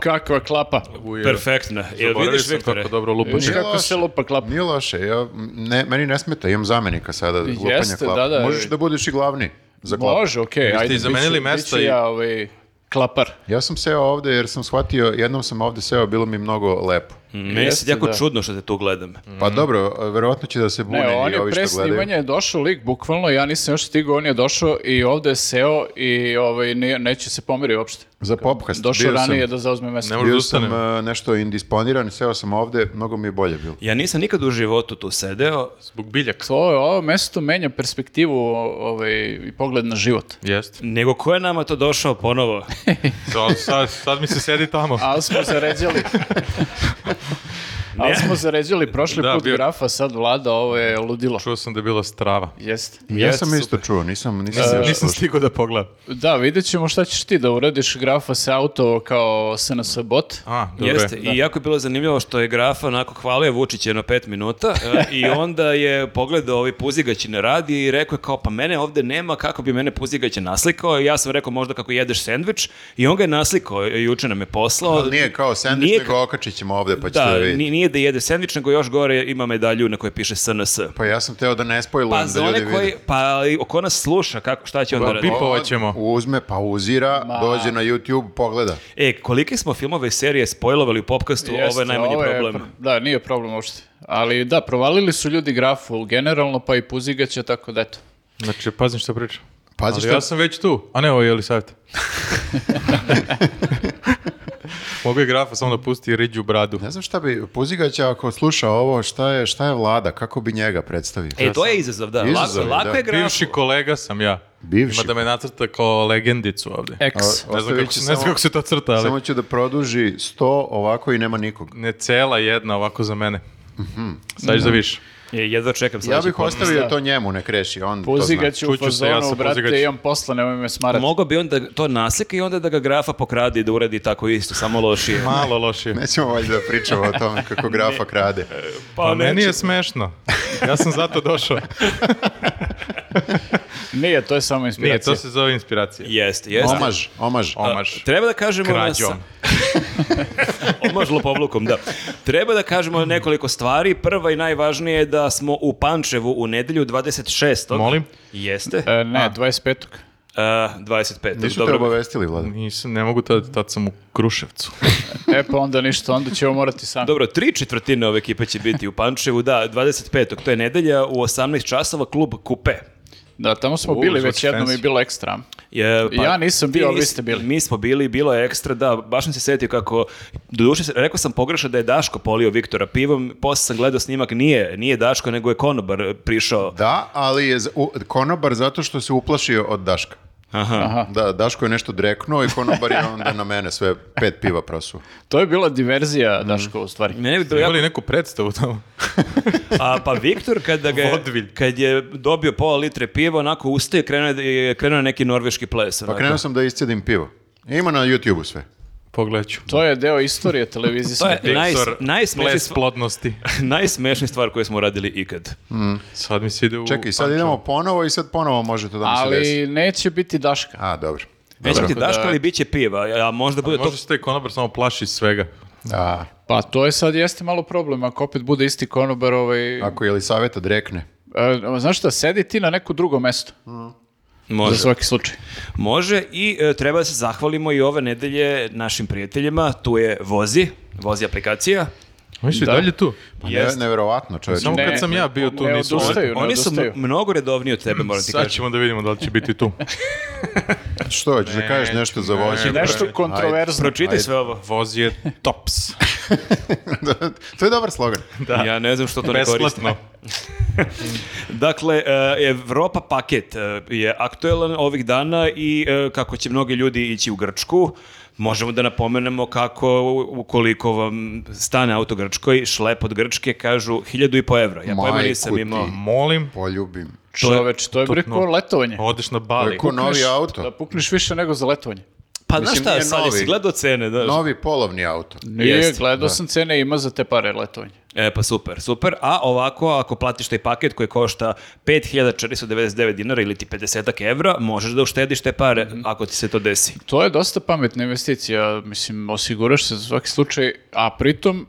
Kakva klapa. Perfektna. Jel Zaboravio vidiš, sam Viktore? kako dobro lupaš. Vidiš Nije kako se loše. lupa klapa. Nije loše, ja, ne, meni ne smeta, imam zamenika sada za lupanje Jeste, klapa. da, da. Možeš da budeš i glavni za klapu. Može, okej. ste ajde, i zamenili bit ću- bit ću mesta i- ja ovaj, klapar. Ja sam seo ovde jer sam shvatio, jednom sam ovde seo, bilo mi mnogo lepo. Meni Jeste, se jako da. čudno što te tu gledam. Mm. Pa dobro, verovatno će da se bune Ne, on i je ovi pre što snimanja gledaju. je došao lik, bukvalno, ja nisam još stigao, on je došao i ovde je seo i ovaj, nije- neće se pomeri uopšte. Za popkast. Došao bio sam- ranije da zauzme mesto. Ne može- Bio da sam ustanem. e, nešto indisponiran, seo sam ovde, mnogo mi je bolje bilo. Ja nisam nikad u životu tu sedeo. Zbog biljaka. To je, ovo mesto menja perspektivu o- ovaj, i pogled na život. Jeste. Nego ko je nama to došao ponovo? To, sad, sad mi se sedi tamo. Ali smo zaređali. Ali smo zaređali prošli Da, put bio- grafa, sad vlada, ovo je ludilo. Čuo sam da je bila strava. Jeste. Ja Jeste, sam isto čuo, nisam, nisam, još Nisam slušao. stigao da pogledam. Da, vidjet ćemo šta ćeš ti da uradiš grafa se auto kao SNS bot. A, dobro. Jeste, i jako je bilo zanimljivo što je grafa onako hvalio Vučića jedno pet minuta e, i onda je pogledao ovi puzigaći ne radi i rekao je kao pa mene ovde nema kako bi mene puzigaći naslikao i ja sam rekao možda kako jedeš sendvič i on ga je naslikao, e, juče nam je poslao. Ali Nije kao sandvič, Nije nego okačit ćemo ovde pa ćete Da, vidjeti. ni- nije da jede sendvič, nego još gore ima medalju na kojoj piše SNS. Pa ja sam teo da ne Pa spojlujem za da ljudi one koji, vide. pa ali ko nas sluša, kako, šta će onda raditi? Pa, bi- Pipovat ćemo. Uzme, pauzira, dođe na YouTube, pogleda. E, kolike smo filmove i serije spojlovali u popkastu, ovo je Jeste, najmanji ovo je problem. E, pr- da, nije problem uopšte. Ali da, provalili su ljudi grafu generalno, pa i puzigaća, tako da eto. Znači, pazim što pričam. Pazi Ali šta... ja sam već tu. A ne, ovo je Jelisaveta. Mogu je grafa samo da pusti riđu bradu. Ne znam šta bi Puzigaća ako sluša ovo, šta je, šta je vlada, kako bi njega predstavio? E, to je izazov, da. Izazov je, lako, lako da. je grafu. Bivši kolega sam ja. Bivši. Ima da me nacrta kao legendicu ovde. E, X. A- Ne znam, kako, Ostavit ću ne znam samo- kako se to crta, ali Samo ću da produži 100 ovako i nema nikog. ne cela jedna ovako za mene. Mhm. Sad ćeš da viš. E, jedva čekam Ja sledeći bigh podcast. ostavio to njemu, nek reši, on to zna. Puzigaću u Čuću se, ja fazonu, sa brate, puzigaćem. imam posla, nemoj me smarati. Mogao bi onda to naslika i onda da ga grafa pokrade i da uradi tako isto, samo lošije. Malo lošije. Nećemo valjda da pričamo o tome kako grafa krade. Pa meni je smešno. Ja sam zato došao. Nije, to je samo Nije, inspiracija. to se zove inspiracija. Jeste, jeste. Omaž, omaž. Omaž. Treba da kažemo... na Krađom. sa- Omaž lopovlukom, da. Treba da kažemo nekoliko stvari. Prva i najvažnija je da smo u Pančevu u nedelju 26. Molim? Jeste. E, ne, 25. E, 25. Nisu te Dobro. obavestili, vlada. Nisam, ne mogu, tad, tad sam u Kruševcu. E pa onda ništa, onda ćemo morati sami. Dobro, tri četvrtine ove ekipe će biti u Pančevu, da, 25. To je nedelja u 18 časova klub Kupe. Da, tamo smo U, bili zvuči već jednom fancy. i bilo ekstra. Je, pa, Ja nisam bio, ti a vi nis- ste bili. Mi smo bili, bilo je ekstra, da, baš sam se setio kako, doduše, se- rekao sam pogrešno da je Daško polio Viktora pivom, posle sam gledao snimak, nije, nije Daško, nego je konobar e, prišao. Da, ali je z- u- konobar zato što se uplašio od Daška. Aha. Da, Daško je nešto dreknuo i konobar je onda na mene sve pet piva prosuo. To je bila diverzija, Mm. Daško, u stvari. Mene bi bilo jako- Imali neku predstavu tamo. a pa Viktor kada ga je, Vodvilj. kad je dobio pola litre piva, onako ustaje, krenuo je da- je krenuo je neki norveški ples. Pa onako. krenuo sam da iscedim pivo. Ima na YouTube-u sve. Pogledat ću. To je deo istorije televizijske. To je naj, Viktor, najsmešnija ples stvar- plodnosti. najsmešnija stvar koju smo radili ikad. Sad mi se ide u... Čekaj, sad idemo ponovo i sad ponovo može to da mi se desi. Ali neće biti Daška. A, dobro. Neće Dobro. biti Daško, ali bit će piva, a možda bude to... Može se taj konobar samo plaši svega. Da, Pa to je sad jeste malo problem, ako opet bude isti konobar, ovaj... ako je li saveta drekne. E, znaš šta, sedi ti na neko drugo mesto, za Može. svaki slučaj. Može i e, treba da se zahvalimo i ove nedelje našim prijateljima. Tu je Vozi, Vozi aplikacija. Oni su i dalje tu. Pa ne, Jeste. neverovatno, čovječe. Samo Ne, kad sam ja bio tu ne nisu... odustaju. ne Oni su odustaju. m- mnogo redovniji od tebe, moram ti Sad kažem. ćemo da vidimo da li će biti tu. Što, ćeš da kažeš nešto za vođe? Nešto kontroverzno. Pročitaj sve ovo. Voz je tops. to je dobar slogan. Ja ne znam što to ne koristim. Besplatno. Dakle, e, Evropa paket e, je aktuelan ovih dana i e, kako će mnogi ljudi ići u Grčku, možemo da napomenemo kako u- ukoliko vam stane auto Grčkoj, šlep od Grčke, kažu hiljadu i po evra. Ja pojma Majku nisam ti. imao. Molim, Poljubim. Čoveč, to je preko letovanje. odeš na Bali. Ko novi Da auto? pukneš više nego za letovanje. Pa Mislim, znaš nije šta, sad jesi novi. gledao cene, da? Novi polovni auto. Nije, Jeste, gledao sam cene, ima za te pare letovanje. E, pa super, super. A ovako, ako platiš taj paket koji košta 5499 dinara ili ti 50 evra, možeš da uštediš te pare ako ti se to desi. To je dosta pametna investicija, mislim, osiguraš se za svaki slučaj, a pritom,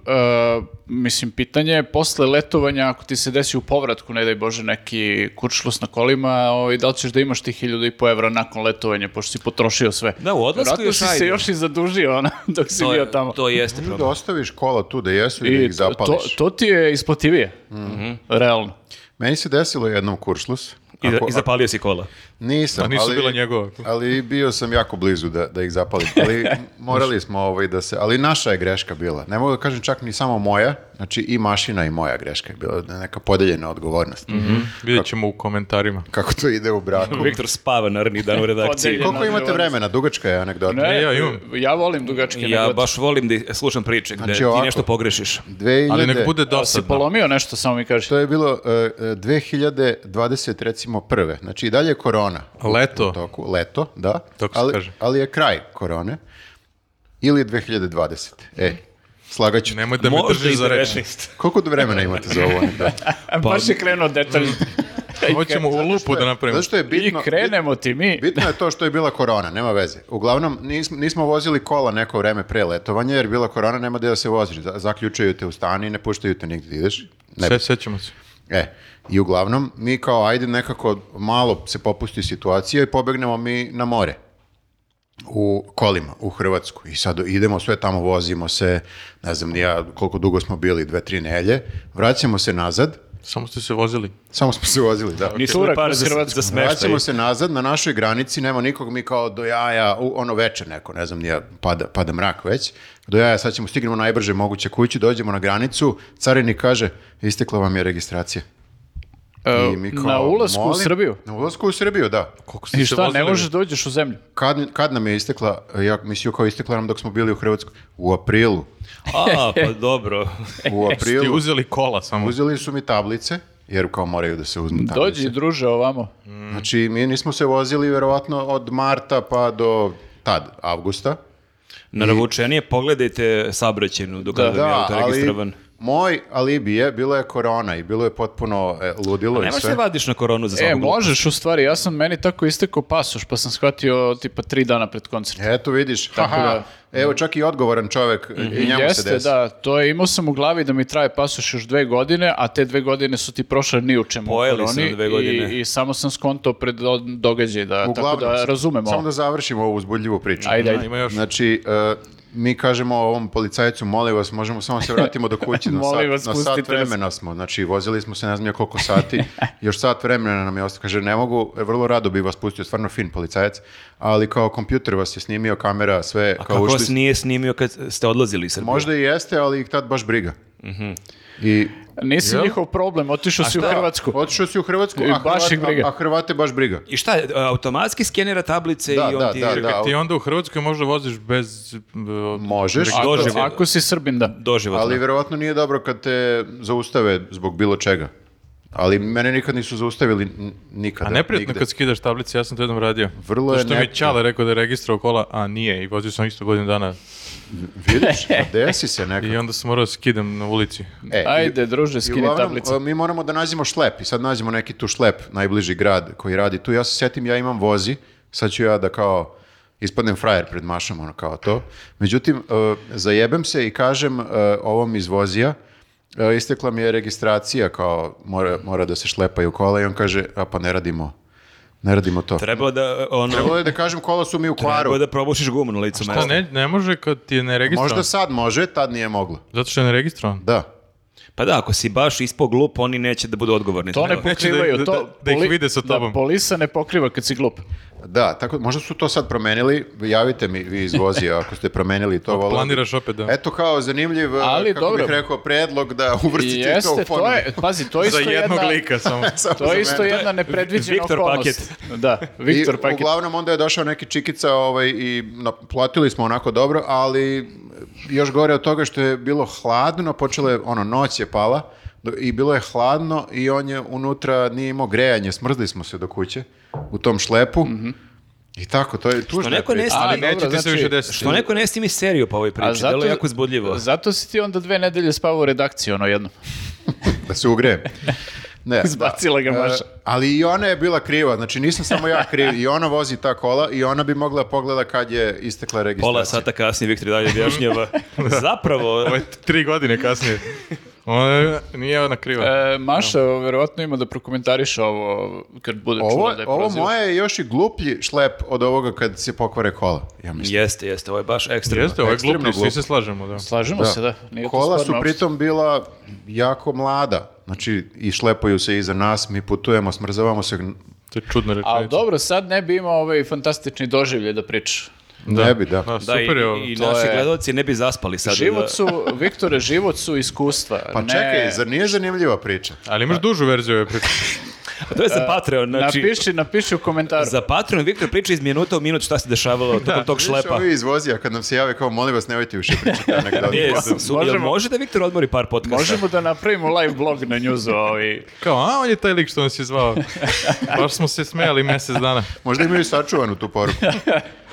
e, mislim, pitanje je posle letovanja, ako ti se desi u povratku, ne daj Bože, neki kurčlus na kolima, ovaj, da li ćeš da imaš tih hiljada i po evra nakon letovanja, pošto si potrošio sve. Da, u odlasku Verovatno još si ajde. se još i zadužio ona, dok si To, bio je, tamo. to jeste Da problem. ostaviš kola tu da jesu i, da I ih to, to, zapališ. to ti je isplativije, Mhm. realno. Meni se desilo jednom kuršlus. I, da- Mhm. Ako- I zapalio si kola. Nisam, A nisu ali, bila njegova. ali bio sam jako blizu da, da ih zapalim. Ali morali smo ovaj da se... Ali naša je greška bila. Ne mogu da kažem čak ni samo moja. Znači i mašina i moja greška je bila. Neka podeljena odgovornost. Mhm. Vidjet ćemo u komentarima. Kako to ide u braku. Viktor spava narednih dana u redakciji. Podeljeno. Mhm. Koliko imate vremena? Dugačka je anegdota. Ne, ja imam. ja volim dugačke E, Ja anegdote. baš volim da slušam priče gde Znači ti ovako. nešto pogrešiš. 2000 Ali nek bude Da, si dosadno. polomio nešto, samo mi kaži. To je bilo e, e, 2020 recimo prve. Znači i dalje je korona. Leto. U toku, leto, da. Tako se ali, kaže. ali je kraj korone. Ili 2020. E, slagaću. Nemoj da me držiš za reč. 19. Koliko do vremena imate za ovo anegdotu? E, baš je krenuo detalj. Hoćemo u lupu da napravimo. Zato što je I bitno... krenemo ti mi. Bitno je to što je bila korona, nema veze. Uglavnom, nismo, nismo vozili kola neko vreme pre letovanja, jer je bila korona, nema gde da se voziš. Za- Zaključaju te u stan i ne puštaju te nigde da ideš. Ne Sve sećamo se. E, i uglavnom, mi kao, ajde nekako malo se popusti situacija i pobegnemo mi na more u kolima, u Hrvatsku. I sad idemo sve tamo, vozimo se, ne znam ni ja koliko dugo smo bili, dve, tri nelje, vraćamo se nazad, Samo ste se vozili. samo smo se vozili, da. Nisu imali Turak pare kroz za, Hrvatsku. za smeštaj. Vraćamo se nazad, na našoj granici nema nikog, mi kao do jaja, u, ono večer neko, ne znam, nije, pada, pada mrak već, do jaja, sad ćemo, stignemo najbrže moguće kući, dođemo na granicu, carinik kaže, istekla vam je registracija. E, I mi kao, na ulasku u molim? Srbiju. Na ulasku u Srbiju, da. Koliko ste I se šta, ne vozili? možeš da uđeš u zemlju? Kad, kad nam je istekla, ja mislio kao istekla nam dok smo bili u Hrvatskoj. U aprilu. A, pa dobro. U Ti aprilu. uzeli kola samo. Uzeli su mi tablice, jer kao moraju da se uzmu tablice. Dođi, druže, ovamo. Mhm. Znači, mi nismo se vozili verovatno od marta pa do tad, avgusta. Naravučenije pogledajte saobraćajnu dok da, je Da, auto ali registrovan. moj alibi je, bila je korona i bilo je potpuno e, ludilo i Nemaš sve. se vadiš na koronu za E, svakog lupa. možeš u stvari, ja sam meni tako istekao pasoš, pa sam shvatio tipa tri dana pred koncert. Eto vidiš, haha, da- evo čak i odgovoran čovek, Mhm. i njemu se Jeste, desi. da, to je, imao sam u glavi da mi traje pasoš još dve godine, a te dve godine su ti prošle ni u čemu. u Pojeli su koroni na dve godine. I, I samo sam skonto pred do- događaj, da, Uglavnom, tako da razumemo. Samo da završimo ovu uzbudljivu priču. Ajde, Da, ajde. Ima još. Znači, e, mi kažemo ovom policajcu, molim vas, možemo samo se vratimo do kuće. Na Molim sat, vas, na sat pustite nas." vremena smo, znači vozili smo se ne znam ja koliko sati, još sat vremena nam je ostao. Kaže, ne mogu, e, vrlo rado bi vas pustio, stvarno fin policajac, ali kao kompjuter vas je snimio, kamera, sve, A kao kako ušli vas nije snimio kad ste odlazili iz Srbije? Možda i jeste, ali ih tad baš briga. Mhm. I Nisi njihov problem, otišao si u Hrvatsku. otišao si u Hrvatsku, I a, baš Hrvat- ih briga. a- a Hrvate baš briga. I šta, e, automatski skenira tablice Da, i on da, ti... da, da. Ti onda u Hrvatskoj možda voziš bez... e, Možeš, Ako, Doživotno. ako si Srbin, da. Doživotno. ali verovatno nije dobro kad te zaustave zbog bilo čega. Ali mene nikad nisu zaustavili n- nikada. A neprijatno nigde. kad skidaš tablice, ja sam to jednom radio. Vrlo je Zato što mi je neprijatno. Ćale rekao da je registrovao kola, a nije. I vozio sam isto godinu dana. Vidiš, pa desi se I nekako. onda sam morao da skidam na ulici. E, i- Ajde, druže, i skini uglavnom, tablicu. a, Mi moramo da nađemo šlep i sad nađemo neki tu šlep, najbliži grad koji radi tu. Ja se setim, ja imam vozi, sad ću ja da kao ispadnem frajer pred mašom, ono kao to. Međutim, e, zajebem se i kažem e, ovom iz vozija, e, istekla mi je registracija kao mora, mora da se šlepaju kola i on kaže, a pa ne radimo, ne radimo to. Trebalo da, e, ono, Trebalo je da kažem kola su mi u kvaru. trebalo da probušiš gumu na licu Pa mesta. ne, ne može kad ti je neregistrovan. Možda sad može, tad nije moglo. Zato što je neregistrovan. Da. Pa da, ako si baš ispod glup, oni neće da budu odgovorni. To ne Treba- Neće da- pokrivaju. da- to, da- da ih poli- vide sa tobom. Da polisa ne pokriva kad si glup. Pa Da, tako, možda su to sad promenili, javite mi vi iz Vozija ako ste promenili to. voleo bih. Planiraš opet da... Eto kao zanimljiv, Pa eh, Ali kako dobro. bih rekao, predlog da uvrstite i to Jeste, u ponudu. to je, pazi, to je isto Za jednog jedna, lika samo. Samo To za je isto mene. jedna nepredviđena Viktor okolnost. Da, Viktor I Paket. Uglavnom onda je došao neki čikica ovaj, i na- platili smo onako dobro, ali još gore od toga što je bilo hladno, počelo je, ono, noć je pala do- i bilo je hladno Mhm. i on je unutra nije imao grejanje, smrzli smo se do kuće u tom šlepu I tako, to je tužna Što neko je ne priča. A, snimi, dobro, Neće ti se znači, više desiti. što neko ne snimi seriju po ovoj priči, zato- Znači, delo je jako zbudljivo. Zato si ti onda dve nedelje spavao u redakciji, ono jedno. Da se ugrejem. Ne, da. Zbacila ga Maša. E, ali i ona je bila kriva, znači nisam samo ja kriv, i ona vozi ta kola i ona bi mogla pogleda kad je istekla registracija. Pola sata kasnije Viktor dalje objašnjava. Zapravo, Ovo je tri godine kasnije. Ona nije ona kriva. E, Maša verovatno ima da prokomentariše ovo kad bude Ovo, čula da je ovo proziva. moje je još i gluplji šlep od ovoga kad se pokvare kola, ja mislim. jeste, jeste, ovo je baš ekstremno. Jeste, ovo e, je ekstremno gluplji, svi glup. se slažemo, da. Slažemo se, da. Nije to Kola su sporno uopšte. pritom bila jako mlada, znači i šlepaju se iza nas, mi putujemo, smrzavamo se, To je čudna rečenica. Ali dobro, sad ne bi imao ovaj fantastični doživlje da priča. ne bi, da. Da, Da, super je ovo. i, i To naši je- gledalci ne bi zaspali sad. Život da- su, Viktore, život su iskustva. Pa ne- čekaj, zar nije zanimljiva priča? Ali imaš dužu verziju ove priče. To je za Patreon, znači... Napiši, napiši u komentaru. Za Patreon Viktor priča iz minuta u minut šta se dešavalo tokom tog Vidiš šlepa. ovi iz vozija kad nam se jave kao, molim vas, nemojte više pričati anegdote. E, su- su- jel Možemo- može da Viktor odmori par podcasta? Možemo da napravimo live blog na njuzu. Ovaj. Kao, a on je taj lik što nas je zvao. Baš smo se smejali mjesec dana. Možda imaju sačuvanu tu poruku.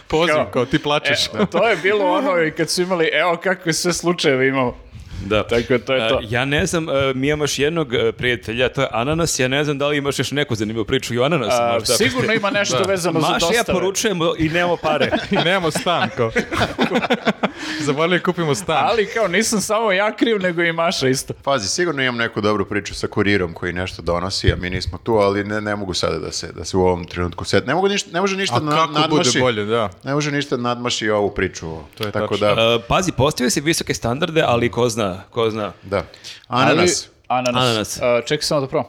Poziv, Kao- e, kao ti plačeš. To je bilo ono i kad su imali, evo kakve sve slučajeve imamo. Da. Tako je, to je A, to. ja ne znam, e, mi imamo još jednog e, prijatelja, to je Ananas, ja ne znam da li imaš još neku zanimljivu priču i o Ananasu. A, možda, ako sigurno ste- ima nešto vezano za Maša, dostave. ja poručujem i nemamo pare. I nemamo stan, kao. Zaboravili kupimo stan. Ali kao nisam samo ja kriv, nego i Maša isto. Pazi, sigurno imam neku dobru priču sa kurirom koji nešto donosi, a mi nismo tu, ali ne, ne mogu sada da se, da se u ovom trenutku set. Ne, mogu ništa, ne može ništa A na- kako nadmaši. bude bolje, da. Ne može ništa nadmaši ovu priču. To je Tako tačno. da, E, pazi, postavio si visoke standarde, ali ko zna, ko zna. da. Ananas. Ali, ananas. Ananas. E, A, čekaj samo da probam.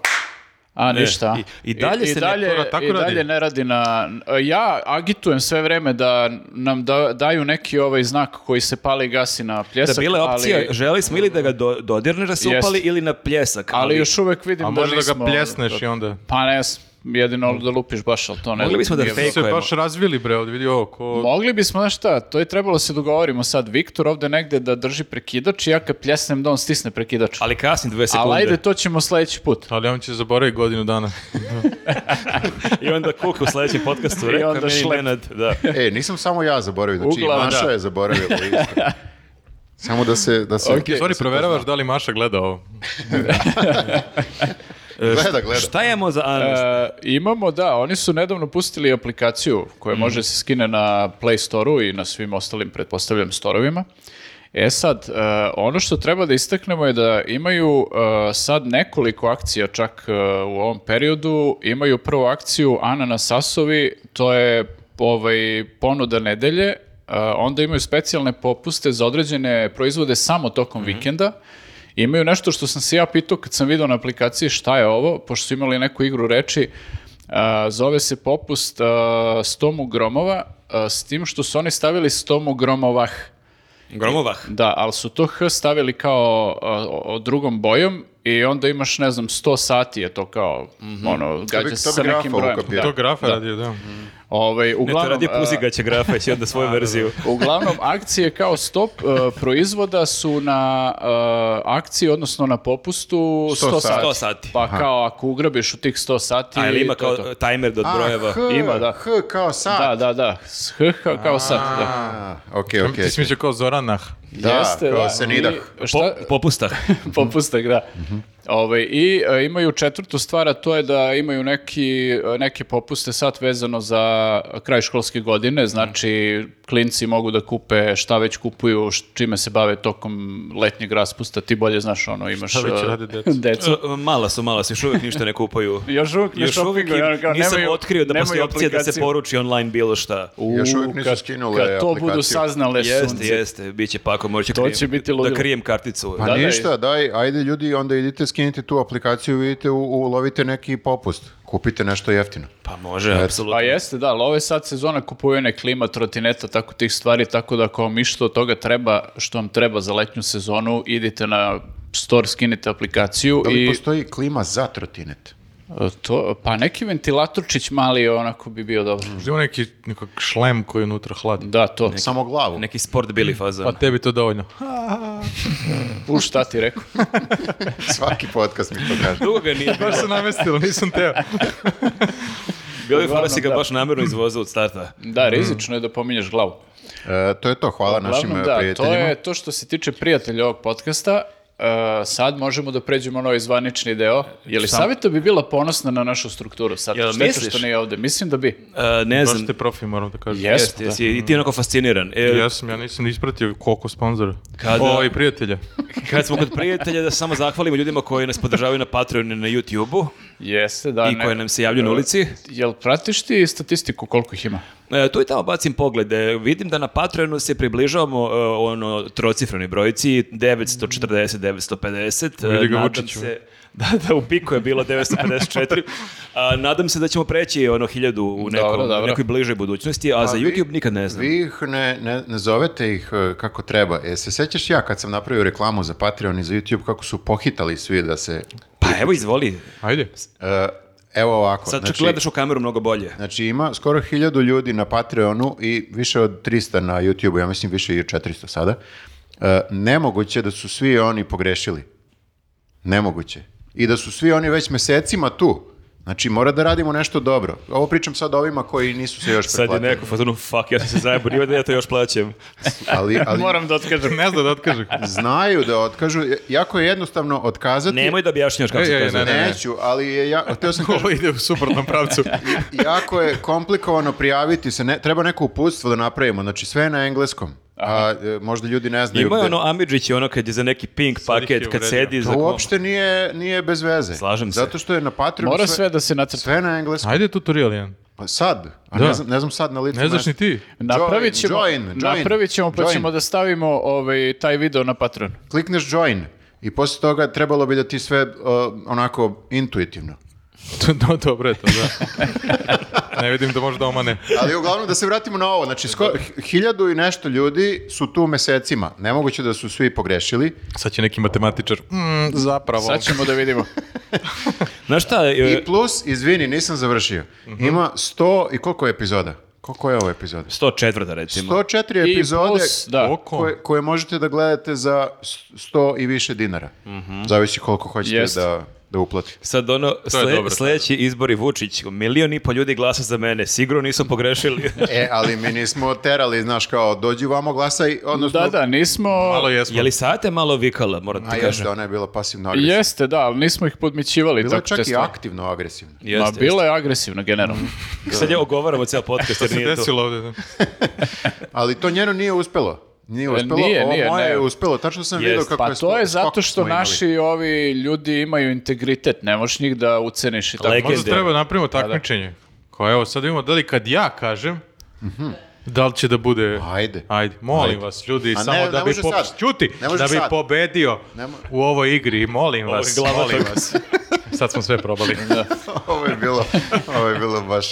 A, ništa. i- i dalje se ne- dalje, to tako i dalje radi. ne radi na... Ja agitujem sve vreme da nam da, daju neki ovaj znak koji se pali i gasi na Da pljesak. bila je opcija, ali, želi smo ili da ga do, dodirneš da se Jest. upali ili na pljesak. ali još uvek vidim A da može nismo... da ga pljesneš i onda... Pa ne, znam, jedino da lupiš baš, ali to ne... Mogli bismo da nije- fake- Mi se Fejkujemo. baš razvili, bre, od vidi ovo, ko... Mogli bismo, znaš šta, to je trebalo se dogovorimo sad. Viktor ovde negde da drži prekidač i ja kad pljesnem da on stisne prekidač. Ali kasni dve sekunde. Ali ajde, to ćemo sledeći put. Ali on će zaboraviti godinu dana. I onda kuka u sledećem podcastu. rekao onda je meni šlep. Nenad, da. E, nisam samo ja zaboravio, znači i Uglavnom, Maša da. je zaboravila isto. Samo da se... Da se Okej. Sorry, proveravaš da li Maša gleda ovo. Gleda, gleda. Šta imamo za Ananas? E, imamo, da, oni su nedavno pustili aplikaciju koja može da se skine na Play Store-u i na svim ostalim, pretpostavljam, storovima. E sad, e, ono što treba da istaknemo je da imaju e, sad nekoliko akcija čak e, u ovom periodu. Imaju prvu akciju Ananas Sasovi, to je ovaj, ponuda nedelje, E, onda imaju specijalne popuste za određene proizvode samo tokom vikenda. Imaju nešto što sam se ja pitao kad sam vidio na aplikaciji šta je ovo, pošto su imali neku igru reči, a, zove se popust a, stomu gromova, a, s tim što su oni stavili stomu gromovah. Gromovah. Da, ali su to H stavili kao a, o- o drugom bojom i onda imaš, ne znam, 100 sati je to kao, ono, Mhm. To bi- gađa se to bi sa nekim grafa brojem. ukapirao. Da. To grafa radio, da. Ovaj, Ne, to uglavnom, radi a, puzigaće grafa, će onda svoju verziju. Uglavnom, akcije kao stop e, proizvoda su na e, akciji, odnosno na popustu 100, 100 sati. 100 sati. Pa kao ako ugrabiš u tih 100 sati... A ili ima to je kao to. tajmer da A, odbrojeva? H, Ima, da. H kao sat. Da, da, da. S H kao, kao sat, da. A, ok, ok. Ti si mislio kao Zoranah. Da, kao senidah. I, Po, šta, popusta. popustak, da. Ovaj, I e, imaju četvrtu stvar, a to je da imaju neki, e, neke popuste sad vezano za kraj školske godine, znači klinci mogu da kupe šta već kupuju, š- čime se bave tokom letnjeg raspusta, ti bolje znaš ono, imaš Šta već e, rade deca? decu. E, Mala su, mala su, još uvijek ništa ne kupaju. Još uvijek ne Još uvijek shoppinguju, ono kao, nisam nemaju- otkrio da nemaju postoji opcija da se aplikaciju. poruči online bilo šta. Još U, uvijek nisu kad- skinule Kad to aplikaciju. budu saznale Jeste, sunce. jeste, bit će pako, morat ću To krijem- će biti da ludilo. krijem karticu. Pa Da, da, ništa, daj, ajde ljudi, onda idite, skinite tu aplikaciju, vidite, u- ulovite neki popust. Kupite nešto jeftino. Pa može, apsolutno. Pa jeste, da, ali ovo je sad sezona kupovine klima, trotineta, tako tih stvari, tako da ako vam išta od toga treba, što vam treba za letnju sezonu, idite na store, skinite aplikaciju Da li i postoji klima za trotinet? e, to, pa neki ventilatorčić mali onako bi bio dobro. Možda ima neki nekak šlem koji je unutra hladi. Da, to. Samo glavu. Neki sport bili fazon. Pa tebi to dovoljno. U, šta ti rekao? Svaki podcast mi to kaže. Dugo ga nije bilo. Baš se namestilo, nisam teo. Bilo je fora si ga Uglavnom, da. baš namjerno izvozao od starta. Da, rizično je da pominješ glavu. E, to je to, hvala našim Uglavnom, e, da, to prijateljima. je to što se tiče prijatelja ovog podcasta. E, sad možemo da pređemo na ovaj zvanični E, deo. Je li Saveta bi bila ponosna na našu strukturu sad? Jel Šteta misliš? što nije ovde. Mislim da bi. E, ne Baš znam, ste profi, moram da kažem. Jes. jeste, jesi, i ti je onako fasciniran. E, Ja sam, ja nisam ni ispratio koliko sponzora. Kada- O, i prijatelja. Kad smo kod prijatelja, da samo zahvalimo ljudima koji nas podržavaju na Patreonu i na YouTubeu Jeste, da. i ne. koji nam se javljaju na ulici. Jel pratiš ti statistiku koliko ih ima? E, tu i tamo bacim pogled. E, vidim da na Patreonu se približavamo e, ono trocifrenoj brojici 940, 950. E, Vidi ga nadam Vučiću. se- Da, da, u piku je bilo 954. A, nadam se da ćemo preći ono hiljadu u nekom, Dobro, dobro. nekoj bližoj budućnosti, a, za vi- YouTube nikad ne znam. Vi ih ne, ne, ne zovete ih e, kako treba. E, se sećaš ja kad sam napravio reklamu za Patreon i za YouTube kako su pohitali svi da se... Pa evo, izvoli. Ajde. e, evo ovako. Sad čak gledaš u kameru mnogo bolje. Znači ima skoro hiljadu ljudi na Patreonu i više od 300 na YouTubeu, ja mislim više i od 400 sada. E, nemoguće da su svi oni pogrešili. Nemoguće. I da su svi oni već mesecima tu. Znači mora da radimo nešto dobro. Ovo pričam sad o ovima koji nisu se još Sad je preplatili. neko fazonu, fuck, ja sam se zajebao, ima da ja to još plaćam. Ali, ali Moram da otkažem. Ne znam da otkaže. znaju da otkažu. Jako je jednostavno otkazati. Nemoj da objašnjaš kako Ej, se ej, to zove. ne, ne, ne. Neću, ali je ja, htio sam kažem, Ovo ide u suprotnom pravcu. jako je komplikovano prijaviti se, ne, treba neko uputstvo da napravimo, znači sve je na engleskom, a e, možda ljudi ne znaju Ima je gde- ono Amidžić, ono kad je za neki pink ih paket, je kad uredio. sedi za... To kom- uopšte nije, nije bez veze. Slažem se. Zato što je na Patreonu Mora sve, sve da se nacrta. sve na engleskom. Ajde tutorial jedan. Pa sad, a Da. ne, znam, ne znam sad na licu. Ne znaš mesta. ni ti. Napravit ćemo, Join, join, napravit ćemo pa join. ćemo da stavimo ovaj, taj video na Patreon. Klikneš join i posle toga trebalo bi da ti sve uh, onako intuitivno. To- do- Dobro je to, da. Ne vidim da možda omane. Ali uglavnom da se vratimo na ovo, znači sko- h- hiljadu i nešto ljudi su tu mesecima. Nemoguće da su svi pogrešili. Sad će neki matematičar. Mm, zapravo. Sad ćemo da vidimo. Znaš šta, e, I plus, izvini, nisam završio. Mhm. Ima 100 i koliko je epizoda? Koliko je ovo epizoda? 104. recimo. 104 I epizode plus, da, Oko. koje, koje možete da gledate za 100 i više dinara. Mhm. Zavisi koliko hoćete Jeste. da, da uplatite. Sad ono, To je sle- dobro. sledeći izbor je Vučić. Milion i po ljudi glasa za mene. Sigurno nisam pogrešili. E, ali mi nismo terali, znaš, kao dođi vamo glasaj, odnosno... da, da, nismo... Malo jesmo. Je li sate malo vikala, moram A ti jeste, kažem? ona je bila pasivno agresivna. Jeste, da, ali nismo ih podmićivali. Bila je tako čak i često. aktivno agresivna. Ma, Jeste, bila je agresivna, generalno. jeste. Sad je ogovaramo ceo podcast jer se nije tu. desilo ovde. da. Ali to njeno nije uspelo. Nije uspelo, E, nije, ovo nije, moje ne. je uspelo. Tačno sam vidio Jest. kako Pa je... to je skok zato što smo imali. naši ovi ljudi imaju integritet, ne možeš njih da uceniš i tako. Leg- Možda Legende. treba napravimo takmičenje. Kao evo, sad vidimo da li kad ja kažem, da li će da bude... Ajde. Ajde, molim Ajde. vas, ljudi, A ne, samo ne da bi može po... sad. Ćuti, Ne može da bi sad. pobedio Ne mo- u ovoj igri, molim Ovo je vas, glava molim toga. vas. Sad smo sve probali. Ovo je bilo, ovo je bilo baš...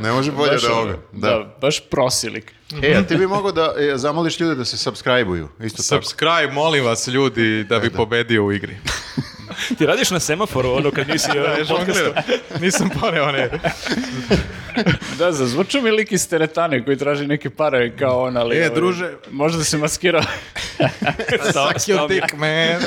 Ne može bolje Baš da ono, ovoga. Da. da, baš prosilik. E, a ti bi mogao da e, zamoliš ljude da se subscribe-uju. Isto tako. Subscribe, molim vas, ljudi, da bi pobedio u igri. Ti radiš na semaforu, ono kad nisi da, E, žonglira. Nisam poneo one. Da, zazvuča mi lik iz teretane koji traži neke pare kao on, ali... E, ovaj, druže. Možda se maskirao. Suck your dick, man.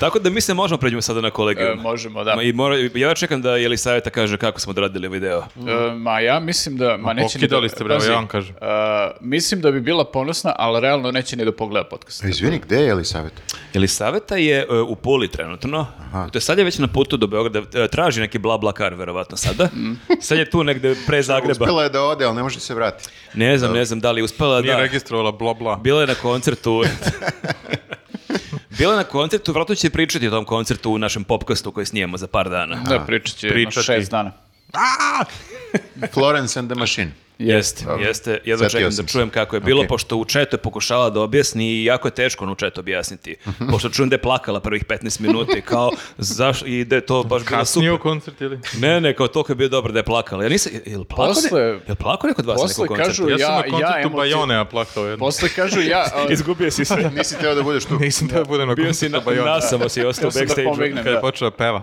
Tako da mi se možemo pređemo sada na kolegiju. E, možemo, da. Ma I mora, ja čekam da Jelisaveta kaže kako smo odradili ovaj video. E, ma ja mislim da... Ma, neće ni da- Pokidali ste, bravo, pazi, ja vam kažem. e, mislim da bi bila ponosna, ali realno neće ni da pogleda podcast. E, Izvini, gde je Elisaveta? Elisaveta je e, u Puli trenutno. To je sad je već na putu do Beograda. e, Traži neki bla bla kar, verovatno sada. sad je tu negde pre Zagreba. Uspela je da ode, ali ne može se vratiti. Ne znam, ne znam da li je uspela Nije da... registrovala, bla, bla. Bila je na koncertu... Bila je na koncertu, vratno će pričati o tom koncertu u našem popkastu koji snijemo za par dana. Da, pričat će jedno Pričati. šest dana. Florence and the Machine. Jeste, jeste. Ja da Setio čekam da sam se. čujem kako je bilo, Ok. pošto u četu je pokušala da objasni i jako je teško ono u četu objasniti. Mhm. Pošto čujem da je plakala prvih 15 minuta i kao, zaš, i da je to baš bilo Kasnije super. u koncert ili? Ne, ne, kao toliko je bio dobar da je plakala. Ja nisam, je li plakao, Posle- ne, je li plakao neko od vas na posle nekom koncertu? kažu- Ja, sam Ja- na ja koncertu emotiv- Bajonea plakao jedno. Posle kažu ja... e, Izgubio si sve. Nisi teo da budeš tu. Nisam da budem na Bio si koncertu na, Bajonea. nasamo si ostao Htio u sam da backstage-u. pobegnem, Kad da. je počeo peva.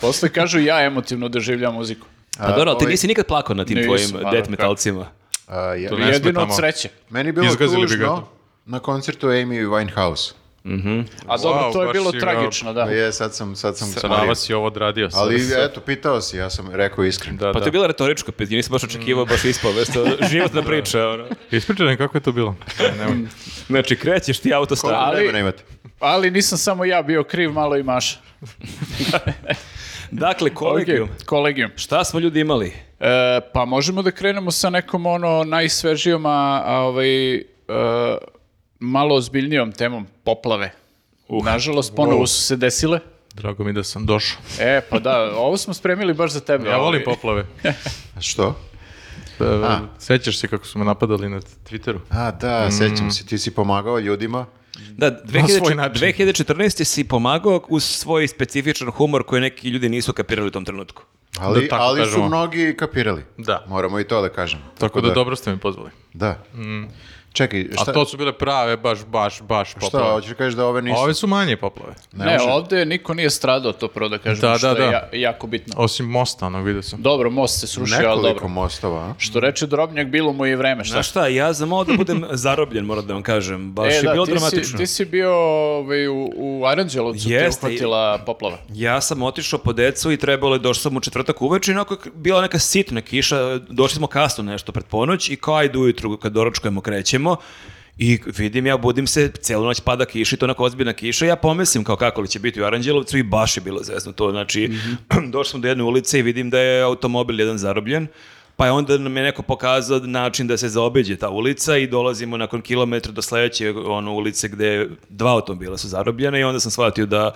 Posle kažu ja emotivno doživljam muziku. Pa dobro, ali ti ovaj- nisi nikad plakao na tim Nisam, tvojim naravno, Pa death kako. metalcima. A, ja- To Ne Jedino smetamo. od sreće. Meni je bilo Izgazili bi ga tužno to. na koncertu Amy Winehouse. A dobro, Wow, to je baš bilo si ga- tragično, da. Pa je, sad sam, sad sam Srava si ovo odradio. sad Ali se- eto, pitao si, ja sam rekao iskreno. Da, Pa to da. je bila retorička pitanja, nisam baš očekivao, baš ispao, već to životna priča. Ono. Ispričaj nam kako je to bilo. Znači, krećeš ti autostradom. ali- Vremena imate. Ali nisam samo ja bio kriv, malo i Maša. Dakle, kolegijum. Ok, Kolegijum. Šta smo ljudi imali? E, pa možemo da krenemo sa nekom ono najsvežijom, a, a ovaj, e, malo ozbiljnijom temom, poplave. Uh. Nažalost, ponovo su se desile. Drago mi da sam došao. E, pa da, ovo smo spremili baš za tebe. Ja ovaj. volim poplave. A Što? E, Sećaš se kako su me napadali na Twitteru? A da, sećam se, ti si pomagao ljudima. Da, 2000 svoj način. 2014. si pomagao uz svoj specifičan humor koji neki ljudi nisu kapirali u tom trenutku. Ali, Da tako ali su kažemo. mnogi kapirali. Da. Moramo i to da kažemo. Tako, da, dobro ste me pozvali. Da. Čekaj, šta, A to su bile prave, baš, baš, baš poplave. šta hoćeš da kažeš da ove nisu? A ove su manje poplave. Ne, može. ovdje niko nije stradao, to prvo da kažem, Da, što da, je da. ja- jako bitno. Osim mosta, onog vidio sam. Dobro, most se srušio, ali Nekoliko dobro. mostova, a? Što reče Drobnjak, bilo mu je i vreme, šta? Znaš šta, ja za malo da budem zarobljen, moram da vam kažem. Baš E, je da, bilo ti si, dramatično. ti si bio ovaj, u, u Aranđelovcu, te Jeste, uhvatila poplava. Ja sam otišao po decu i trebalo je, došao sam u četvrtak uveče i onako je bila neka sitna kiša, došli smo kasno nešto pred ponoć i kao ajde ujutru kad doručkujemo krećemo i vidim ja, budim se, celu noć pada kiša i to onako ozbiljna kiša, ja pomislim kao kako li će biti u Aranđelovcu i baš je bilo zvezno to, znači došli smo do jedne ulice i vidim da je automobil jedan zarobljen, pa je onda nam je neko pokazao način da se zaobiđe ta ulica i dolazimo nakon kilometra do sledeće ono, ulice gde dva automobila su zarobljena i onda sam shvatio da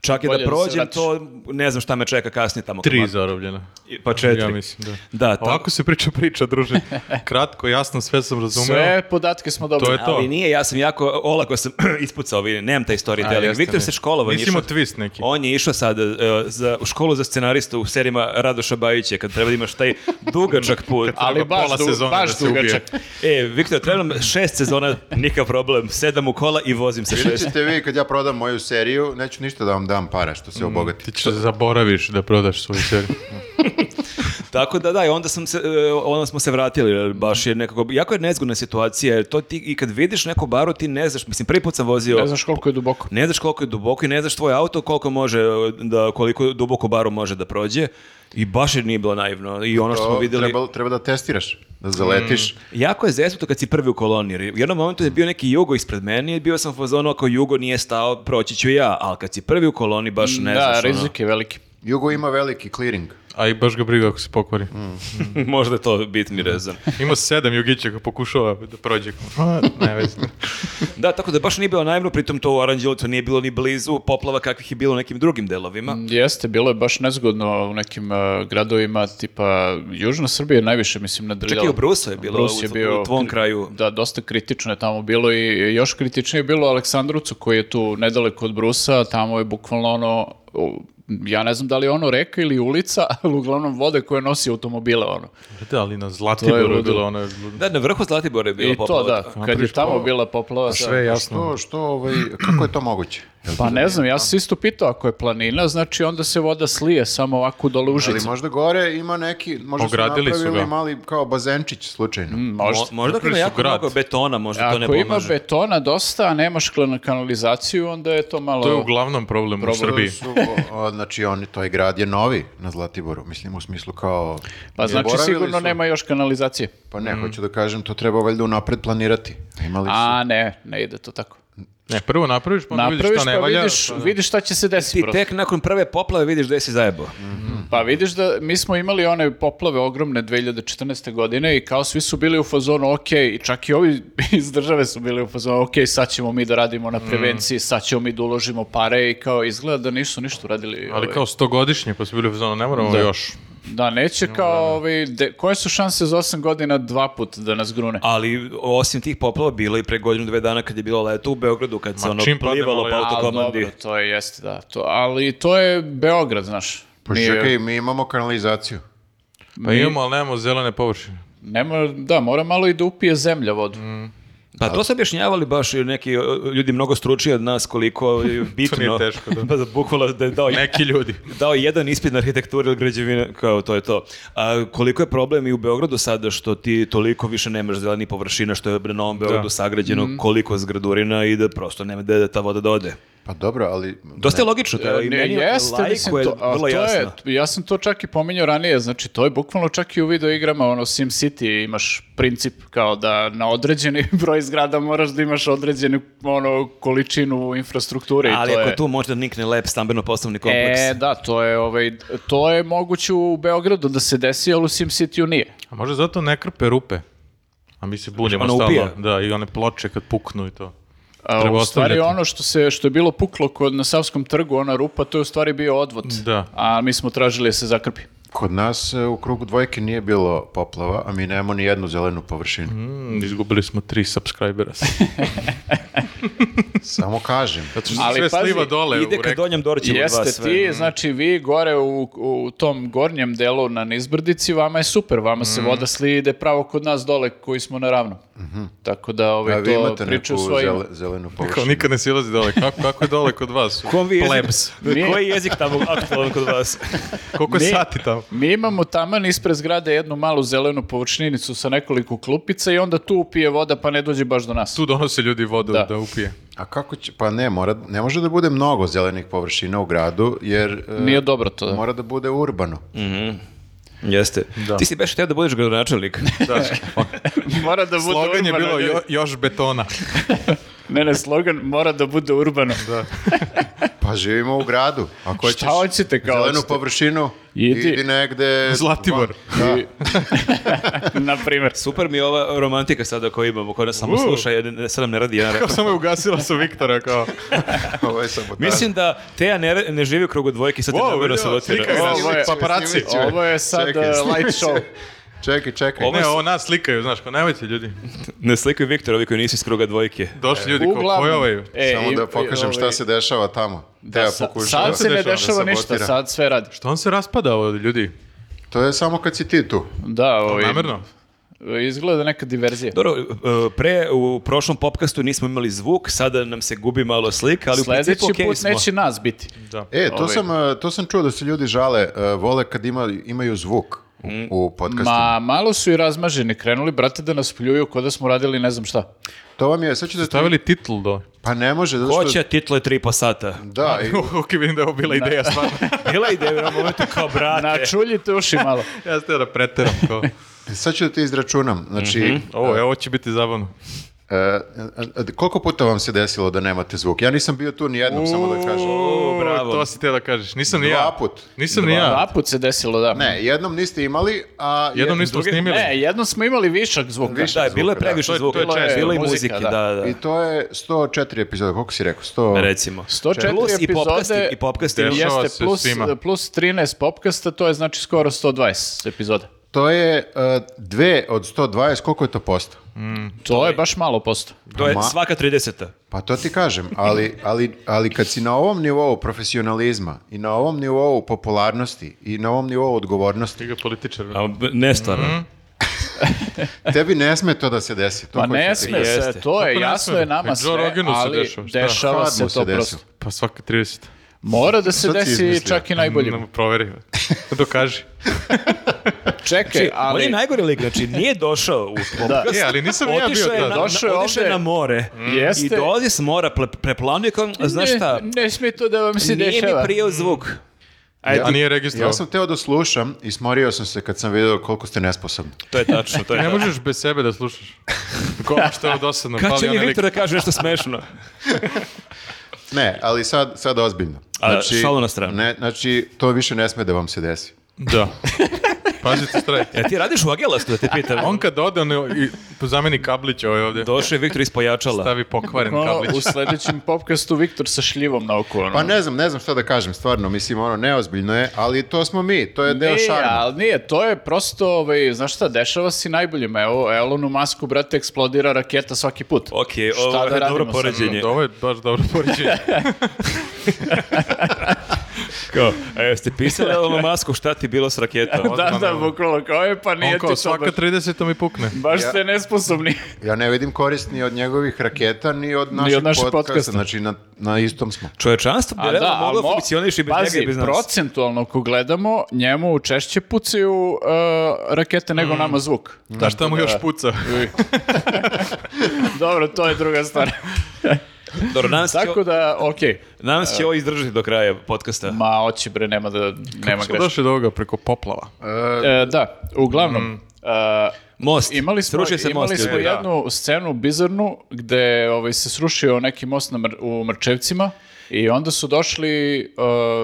čak i Bolje da da se prođem vratiš. to ne znam šta me čeka kasnije tamo. Tri Koma- zarobljena. Pa četiri. Ja mislim, da. Da, tako. Ovako se priča priča, druže. Kratko, jasno, sve sam razumeo. Sve podatke smo dobili. To je to. Ali nije, ja sam jako olako sam ispucao, vidi, nemam taj A, storytelling. jeste, Viktor ne. se školovao. on je Nisi imao išao- twist neki. On je išao sad e, za, u školu za scenarista u serijima Radoša Bajića, kad treba da imaš taj dugačak put. Ali Treba baš, pola du, sezone baš da se dugačak. E, Viktor, treba nam šest sezona, nikakav problem, sedam u kola i vozim se Vidjet šest. ćete vi kad ja prodam moju seriju, neću ništa da vam dam para što se obogati. Mm, Ti ćeš da zaboraviš da prodaš svoju seriju. Tako da da, i onda, sam se, e, onda smo se vratili, jer baš je nekako, jako je nezgodna situacija, jer to ti i kad vidiš neku baru ti ne znaš, mislim, prvi put sam vozio... Ne znaš koliko je duboko. Ne znaš koliko je duboko i ne znaš tvoj auto koliko može e, da koliko duboko baru može da prođe i baš je nije bilo naivno i ono što smo To videli treba, treba da testiraš, da Mm. zaletiš. jako je zeznuto kad si prvi u koloni jer u jednom momentu je bio neki jugo ispred mene i bio sam u fazonu ako jugo nije stao proći ću ja ali kad si prvi u koloni baš ne da, znaš ono. rizik je veliki. Jugo ima veliki clearing. A i baš ga briga ako se pokvari. možda je to bitni rezon Ima sedam jugića ko pokušava da prođe. A, Pa, Ne, vezi. da tako da baš nije bilo naivno pritom to u Aranđelovcu nije bilo ni blizu poplava kakvih je bilo u nekim drugim delovima Jeste, bilo je baš nezgodno u nekim e, gradovima, tipa Južna Srbija je najviše, mislim, nadrljala. Čak i u Brusu je bilo, Brus u- u tvom kri- kraju. Da, dosta kritično je tamo bilo i još kritičnije je bilo u Aleksandrovcu koji je tu nedaleko od Brusa, tamo je bukvalno ono, u- ja ne znam da li je ono reka ili ulica, ali uglavnom vode koje nosi automobile, ono. Da, ali na Zlatiboru je ludilo. bilo ono... da na vrhu Zlatibora je bilo I poplava, to da, kad je Napraviš tamo poplavu. bila poplava. da. Pa Sve je jasno. Što, što, ovaj, kako je to moguće? Pa ne znam, ja sam se isto pitao, ako je planina, znači onda se voda slije samo ovako dole u Ali užicu. možda gore ima neki, možda Pa- Ogradili su su napravili ga. Mm, mali kao bazenčić slučajno. Možda. Mo- možda kad ima Napravili su jako grad. mnogo betona, možda to ne Ako pomaže. ima betona dosta, a nemaš klan- kanalizaciju, onda je to malo... To je uglavnom problem, u Srbiji. Su, o, znači, oni, taj grad je novi na Zlatiboru, mislim u smislu kao... Pa znači zaboravili sigurno su- nema još kanalizacije. Pa ne, hoću da kažem, to treba valjda unapred planirati. Imali su... A ne, ne ide to tako. Ne, prvo napraviš, pa onda vidiš Napraviš šta ne pa valja. vidiš, pa da. vidiš šta će se desiti. Ti prosto. tek nakon prve poplave vidiš da si zajebao. Mm. Pa vidiš da mi smo imali one poplave ogromne 2014. godine i kao svi su bili u fazonu ok, i čak i ovi iz države su bili u fazonu ok, sad ćemo mi da radimo Mm. na prevenciji, sad ćemo mi da uložimo pare i kao izgleda da nisu ništa uradili. Ali ovaj. kao stogodišnje, pa su bili u fazonu, ne moramo Da. još. Da, neće kao, ovaj, de- koje su šanse za 8 godina dva put da nas grune? Ali osim tih poplava bilo i pre godinu dve dana kad je bilo leto u Beogradu kad se Ma, ono čim padne plivalo malo po jaja. Ali autokomandi. dobro, to je, jeste, da. To, ali to je Beograd, znaš. Pa Nije- čekaj, mi imamo kanalizaciju. Pa imamo, ali nemamo zelene površine. Nema, da, mora malo i da upije zemlja vodu. Pa to su objašnjavali baš i neki uh, ljudi mnogo stručniji od nas koliko je bitno. nije teško, da. Pa bukvalno da je dao, Neki ljudi. dao jedan ispit na arhitekturi ili građevine, kao to je to. A koliko je problem i u Beogradu sada što ti toliko više nemaš zeleni površina što je na Novom Beogradu sagrađeno Mm. koliko zgradurina i da prosto nema gde da ta voda dode. Pa dobro, ali... Dosta je logično to. E, je i Ne, meni jeste, laiku mislim, je to, a vrlo to je, jasno. ja sam to čak i pominjao ranije, znači to je bukvalno čak i u video igrama, ono Sim City imaš princip kao da na određeni broj zgrada moraš da imaš određenu ono, količinu infrastrukture i Ali to ako je... tu možda nikne lep stambeno-poslovni kompleks. E, da, to je, ovaj, to je moguće u Beogradu da se desi, ali u Sim Cityu nije. A možda zato ne krpe rupe. A mi se bunimo Ona stalno. upija. Da, i one ploče kad puknu i to. A, Treba u stvari ostavljati. ono što, se, što je bilo puklo kod na Savskom trgu, ona rupa, to je u stvari bio odvod. Da. A mi smo tražili da se zakrpi. Kod nas e, u krugu dvojke nije bilo poplava, a mi nemamo ni jednu zelenu površinu. Mm, izgubili smo tri subscribera. Samo kažem. Zato što se Ali sve pazi, sliva dole Ide u ka reku. Donjem Dorćevu dva Jeste sve. ti, znači vi gore u, u tom gornjem delu na Nizbrdici, vama je super, vama se Mhm. voda slije ide pravo kod nas dole koji smo na ravnom. Tako da A ovaj, pa vi to imate priča neku u svojim... zele- zelenu Kao površinu. nikad ne silazi dole. Kako, kako je dole kod vas? Kom vi jezik- Plebs. Mi- Koji jezik tamo aktualan kod vas? Koliko Mi- je sati tamo? Mi imamo taman ispred zgrade jednu malu zelenu površinicu sa nekoliko klupica i onda tu upije voda pa ne dođe baš do nas. Tu donose ljudi vodu Da. da, upije. A kako će, pa ne, mora, ne može da bude mnogo zelenih površina u gradu, jer e, Nije dobro to. Da. mora da bude urbano. Mhm. Jeste. Ti si baš htio da budeš gradonačelnik. Mora da bude Slogan je urbano, bilo ne- "Jo- još betona. Ne, ne, slogan mora da bude urbano. Pa živimo u gradu. Ako Šta hoćete kao zelenu hoćete? površinu, Idi. idi, negde... Zlatibor. I- Na primjer. Super mi je ova romantika sada koju imamo, koja nas samo U. sluša, jedan, sad nam ne radi jedan rep. Kao samo je ugasila su Viktora kao... Ovo je sabotaža. Mislim da Teja ne, re- ne živi u krugu dvojke, sad je Wow, namjerno vidio, sabotira. slika Ovo je- Paparaci. snimit ću me. Ovo je sad, Čekaj, eh, snimit light ću show. me. Čekaj, čekaj. Ovo je Ne, s- ovo nas slikaju, znaš, kao nemojte ljudi. Ne slikaju Viktor, ovi koji nisu iz kruga dvojke. Došli ljudi kao koji ovaj. e, Samo i- da pokažem i- šta se dešava tamo. Da, ovaj, ja sa- Sad se ne dešava ništa, sad sve radi. Što on se raspada od ljudi? To je samo kad si ti tu. Da, ovaj, Namerno? izgleda neka diverzija. Dobro, e, pre u prošlom popkastu nismo imali zvuk, sada nam se gubi malo slika, ali u Sljedeći principu okej put smo. neće nas biti. Da. E, to, Ovaj. sam, eh, to sam čuo da se ljudi žale, eh, vole kad ima, imaju zvuk u, u podcastima. Mm. Ma, malo su i razmaženi, krenuli, brate, da nas pljuju k'o da smo radili ne znam šta. To vam je, sad ću da... Stavili titl dole. Pa ne može, zato što... Ko će title tri po sata? Da, i, ok, vidim da je ovo bila ideja stvarno. Bila ideja u jednom momentu kao brate. Načuljite uši malo. ja ste da preteram kao. sad ću da ti izračunam. Znači, Mhm. Ovo, je, ovo će biti zabavno. E, a- a- koliko puta vam se desilo da nemate zvuk? Ja nisam bio tu ni jednom, samo da kažem. O, bravo. To si te da kažeš. Nisam ni Dva ja. put. Nisam ni ja. Dva put se desilo, da. Ne, jednom niste imali, a... Jednom je- nismo drugi- snimili. Ne, jednom smo imali višak zvuka. Višak. Da, bilo je zvuka, da. previše To je- to zvuka. je često. Bilo je i Muzika, muzike, da. da, da. I to je 104 epizoda, koliko si rekao? 100... recimo. 104 plus i epizode- popkasti, i popkasti. Dešava Jeste, se plus, svima. plus 13 popkasta, to je znači skoro 120 epizoda. To je e, dve od 120, koliko je to posto? To je baš malo posto. To je Ma- svaka 30 Pa to ti kažem, ali, ali, ali kad si na ovom nivou profesionalizma i na ovom nivou popularnosti i na ovom nivou odgovornosti, Ti ga političar. A b- nestvarno. Mhm. tebi ne sme to da se desi. To Pa hoću ne ti sme kažem. jeste. se, to je, Kako ne jasno sme? je nama Pa Joe sve, Roganu se ali dešava, šta? dešava Kad se mu se to desilo? prosto. Pa svaki 30. Mora da se Sad si desi izmislio. čak i najboljim. Nam proveri. Dokaži. Čekaj, On je ali najgori lik, znači nije došao u Da. podcast. E, ali nisam ni ja bio Otišao je tad. na, Došao je na- otišao je ovde. na more. Jeste. I dolazi s mora, ple, preplanuje kao, a znaš šta, Ne, ne sme to da vam se nije mi dešava. Mhm. prijao zvuk. A nije registrovao. Ja sam teo da slušam i smorio sam se kad sam vidio koliko ste nesposobni. To je tačno, to je Ne tačno. možeš bez sebe da slušaš. Ko što je ovo dosadno. Pa Kad pali će mi onaj lik. Viktor da kaže nešto smešno? Ne, ali sad, sad ozbiljno. A, šalu na stranu. Ne, znači, to više ne sme da vam se desi. Da. Pazite što radite. E, ti radiš u Agelastu, da te pitam. On kad ode, on je- i pozameni kablić ovaj ovdje. Došao je Viktor iz pojačala. Stavi pokvaren Ono, kablić. u sledećem popkastu Viktor sa šljivom na oko. Ono. Pa ne znam, ne znam šta da kažem, stvarno, mislim, ono, neozbiljno je, ali to smo mi, to je deo Nije, šarma. E, ali nije, to je prosto, ovaj, znaš šta, dešava si najboljim. Evo, Elonu Masku, brate, eksplodira raketa svaki put. Ok, Šta ovo da je radimo dobro sad? poređenje. Ovo je baš dobro poređenje. Kao, a jeste pisali Elonu Masku šta ti bilo s raketom? Odmah Da, da, na- bukvalno kao je, pa nije On ti kao to svaka baš- 30 mi pukne. Baš ste nesposobni. Ja ne vidim korist ni od njegovih raketa, ni od našeg, od našeg podcasta. podcasta. Znači, na, na istom smo. Čovečanstvo bi realno moglo mo- funkcioniš i bez pazi, njega i bez nas. procentualno ako gledamo, njemu češće pucaju e, rakete Mm. nego nama zvuk. Da šta mu još puca? Dobro, to je druga stvar. Dobro, nadam se, Tako Tako... da, okej. nadam se će ovo izdržati do kraja podcasta. Ma, oći bre, nema da, nema Kako smo greške. došli do ovoga preko poplava? E, da, uglavnom, Mm. e, Most. imali smo, Srušio se imali most. smo ljudi. jednu scenu bizarnu gde ovaj, se srušio neki most na Mr- u Mrčevcima i onda su došli e,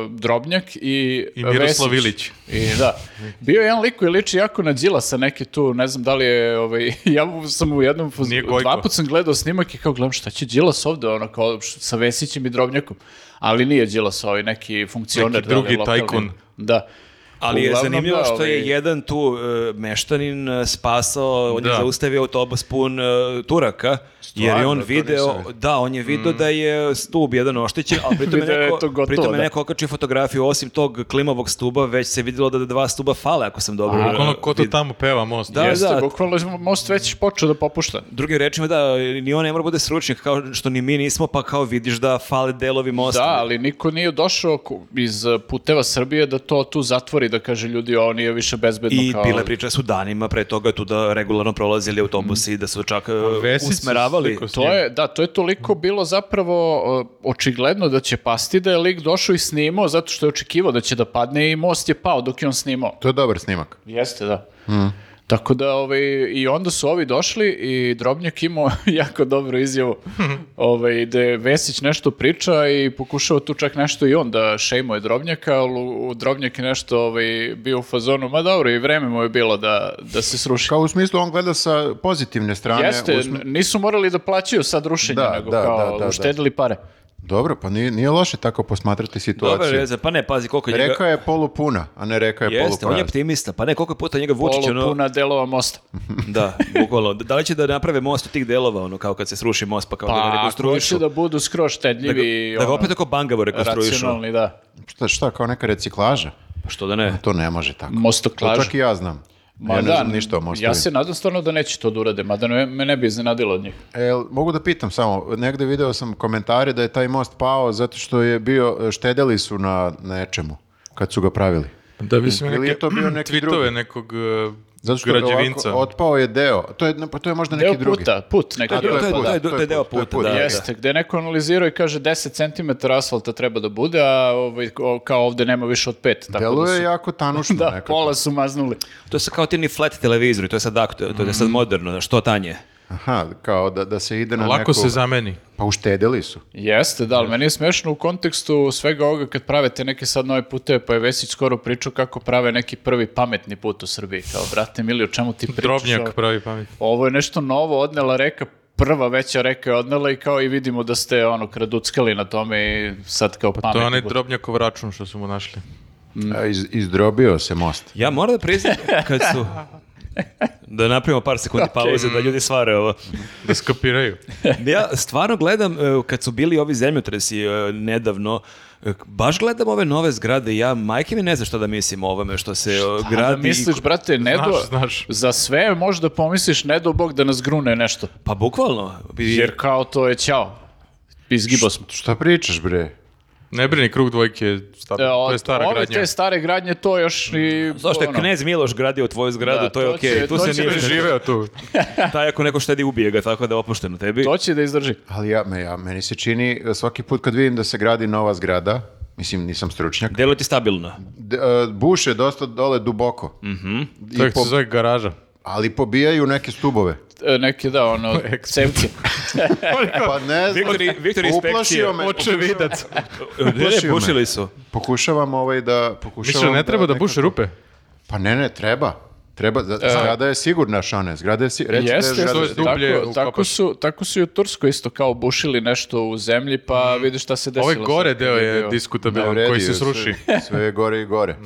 Drobnjak i, I Miroslav Vesić. Ilić. I da. Bio je jedan lik koji liči jako na Đilasa neki tu, ne znam da li je, ovaj, ja mu sam u jednom, fuz- Nije Gojko. dva put sam gledao snimak i kao gledam šta će Đilas ovde, ono kao š- sa Vesićem i Drobnjakom. Ali nije Đilas ovaj neki funkcioner. Neki da li je drugi lokalni. tajkun. Da. Ali je Uglavnom, zanimljivo da, što ovaj, je jedan tu e, meštanin e, spasao, on je Da. zaustavio autobus pun e, Turaka, jer je Stvarno, on to video, nisam vidio. da, on je video da je stub jedan oštećen, ali pritom je Video je neko, to gotovo, pritom je da. neko okačio fotografiju, osim tog klimovog stuba, već se vidjelo da dva stuba fale, ako sam dobro Bukvalno e, ono, ko to vid- tamo peva most? Da, Jeste, da. e, bukvalno most već počeo da popušta. Drugim rečima da ni on ne mora bude sručnjak kao što ni mi nismo, pa kao vidiš da fale delovi mosta. Da, ali niko nije došao ku- iz eh, puteva Srbije da to tu zatvori, da kaže ljudi, ovo nije više bezbedno I kao... bile priče da su danima pre toga tu da regularno prolazili autobusi, da su čak e, Vesić se usmeravali. slikao s To njim. je, da, to je toliko bilo zapravo eh, očigledno da će pasti da je lik došao i snimao zato što je očekivao da će da padne i most je pao dok je on snimao. To je dobar snimak. Jeste, da. Tako da, ovaj, i onda su ovi došli i Drobnjak imao jako dobru izjavu ovaj, da je Vesić nešto priča i pokušao tu čak nešto i on da šejmuje Drobnjaka, ali u- u Drobnjak je nešto ovaj, bio u fazonu, ma dobro, i vreme mu je bilo da, da se sruši. Kao u smislu, on gleda sa pozitivne strane. Jeste, u smi- n- nisu morali da plaćaju sad rušenje, Da, nego da, kao da, da, da. uštedili pare. Dobro, pa nije, nije loše tako posmatrati Dobar situaciju. je veze, pa ne, pazi koliko je njega... Rekao je polupuna, a ne rekao je Jeste, on je poluprazna. optimista, pa ne, koliko je puta njega Vučić, Polu ono, puna delova mosta. da, bukvalno, da li će da naprave most od tih delova, ono, kao kad se sruši most, pa kao da ga Pa, ako rekonstruišu, će da, da budu skroz ga, štedljivi, da ga ono, opet tako bangavo rekonstruišu, racionalni, da. Šta, šta, kao neka reciklaža? Pa što da ne, To ne može tako. Mostoklaž. Pa To čak i ja znam. Ma ja ne da, znam ništa o mostovima. Ja se nadam stvarno da neće to da urade, mada ne- me ne bi iznenadilo od njih. E, Jel, mogu da pitam samo, negde video sam komentare da je taj most pao zato što je bio, štedeli su na nečemu kad su ga pravili. Da bi se Ili je neke to bio neki drugi? tweetove nekog e, Zato što je građevinca. ovako, otpao je deo. To je, pa to je možda Deo neki drugi. puta, put neki A, deo to je- puta. to je- deo to je puta, da, Jeste, gde neko analizirao i kaže 10 cm asfalta treba da bude, a ovaj, ko- kao ovde nema više od 5. Tako Deluje da su, jako tanušno Da, nekako. pola su maznuli. to su kao ti ni flat televizori, to je sad aktualno, to je sad moderno, što tanje, Aha, kao da, da se ide na Lako neku... se zameni. Pa uštedeli su. Jeste, da, ali meni je smešno u kontekstu svega ovoga kad prave te neke sad nove puteve, pa je Vesić skoro pričao kako prave neki prvi pametni put u Srbiji. Kao, brate, mili, o čemu ti pričaš? ovo? Drobnjak pravi pamet. ovo je nešto novo, odnela reka, prva veća reka je odnela i kao i vidimo da ste ono kraduckali na tome i sad kao Pa To je pametni onaj budete. drobnjakov račun što su mu našli. Mm. A, E, iz- izdrobio se most. ja moram da priznam, kad su, da napravimo par sekundi pauze, da ljudi svare ovo, Da skapiraju. Ja stvarno gledam, e, kad su bili ovi zemljotresi e, nedavno, e, baš gledam ove nove zgrade, ja majke mi ne zna šta da mislim o ovome što se e, A gradi. da i- misliš, brate, ne do... znaš. Za sve možda pomisliš, ne do Bog da nas grune nešto. Pa bukvalno. I- Jer kao to je ćao. Izgibo smo. Šta pričaš, bre? Ne brini, krug dvojke je star- E, to o- je stara ove gradnja. te stare gradnje, to još i... Zašto je ono, knez Miloš gradio tvoju zgradu, Da, to je to okej. će- Tu to se će nije da Živeo tu. Taj ako neko štedi ubije ga, tako da je opušteno tebi. To će da izdrži. Ali ja, me, ja, meni se čini e, svaki put kad vidim da se gradi nova zgrada, mislim nisam stručnjak, Delo ti stabilno. d- e, buše dosta dole duboko, To je se zove garaža. ali pobijaju neke stubove. E, Neke, da, ono, cevke. Pa ne znam, Viktor i- Viktor iz inspekcije. uplašio me. Očevidac. Ne, Bušio me. bušili su. Pokušavam ovaj da... Misliš da Pokušavam ne treba da nekako- buše rupe? Pa ne, ne, treba. Treba, za- zgrada je sigurna, Šane. Zgrada je si, reći da je Jeste, zgrada to je jeste, dublje tako, ukopaš. tako, su, tako su i u Turskoj isto kao bušili nešto u zemlji, pa vidiš šta se desilo. Ovaj gore sad kad deo bio. je diskutabilan, Ne, u koji redu se je, sruši. Sve, sve je gore i gore.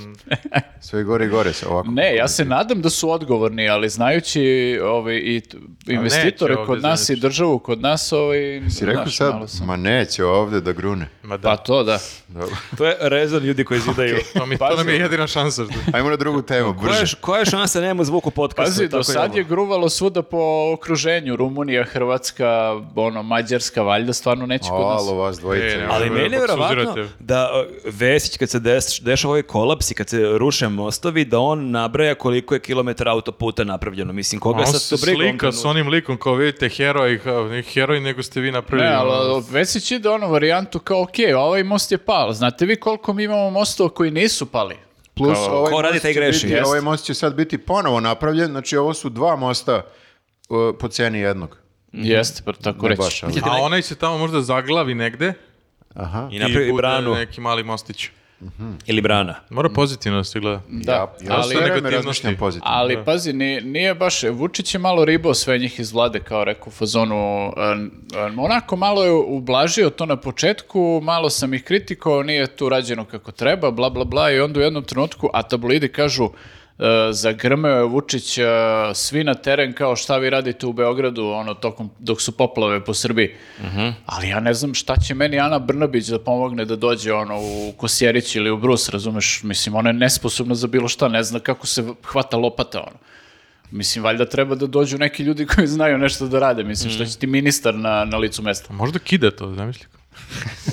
Sve je gore i gore. sa Ovako. Ne, ja se nadam da su odgovorni, ali znajući ovaj, i t- investitore ovde kod nas zemljište. i državu kod nas, ovaj, Si rekao znaš, malo sad, sam- ma neće ovde da grune. Ma da, Pa to da. Dobro. To je rezon ljudi koji zidaju. to, mi, to nam je jedina šansa. što- Ajmo na drugu temu, Koja je, brže. koja je šansa da nema zvuku podcasta? Pazi, do Tako sad imamo. je gruvalo svuda po okruženju. Rumunija, Hrvatska, ono, Mađarska, valjda stvarno neće kod nas. Alo, vas E, dvojice. ne. Ali Dobro, meni je kako se verovatno uzvraćate? da e, Vesić kad se des, dešava ovaj kolaps i kad se ruše mostovi, da on nabraja koliko je kilometara autoputa napravljeno. Mislim, A koga On sad se to briga? u ovom slika s trenutku? onim likom kao vidite heroj, kao, ne heroj nego ste vi napravili. Ne, ono, ali Vesić ide ono varijantu kao, ok, ovaj most je pal. Znate vi koliko mi imamo mostova koji nisu pali? Plus, Kao- ovaj ko radi, most taj će greši, biti- jest. Ovaj most će sad biti ponovo napravljen, znači ovo su dva mosta uh, po ceni jednog. Jeste, pa tako Mhm. Ne reći. baš, ali. A onaj se tamo možda zaglavi negde Aha. I i, napravi bude branu. neki mali mostić. Ili brana. Znači, Mora pozitivno da se gleda. Da, ja, ja ali, sve vreme negativnosti. razmišljam pozitivno. ali pazi, nije, nije baš, Vučić je malo ribao sve njih iz vlade, kao rekao u fazonu, em, em, onako malo je ublažio to na početku, malo sam ih kritikovao, nije tu rađeno kako treba, bla, bla, bla, i onda u jednom trenutku, a tabloidi kažu, e, za Grmeo je Vučić e, svi na teren kao šta vi radite u Beogradu ono tokom dok su poplave po Srbiji. Ali ja ne znam šta će meni Ana Brnabić da pomogne da dođe ono u Kosjerić ili u Brus, razumeš? Mislim ona je nesposobna za bilo šta, ne zna kako se hvata lopata ono. Mislim, valjda treba da dođu neki ljudi koji znaju nešto da rade. Mislim, što će ti ministar na, na licu mesta. Možda kida to, zamisli.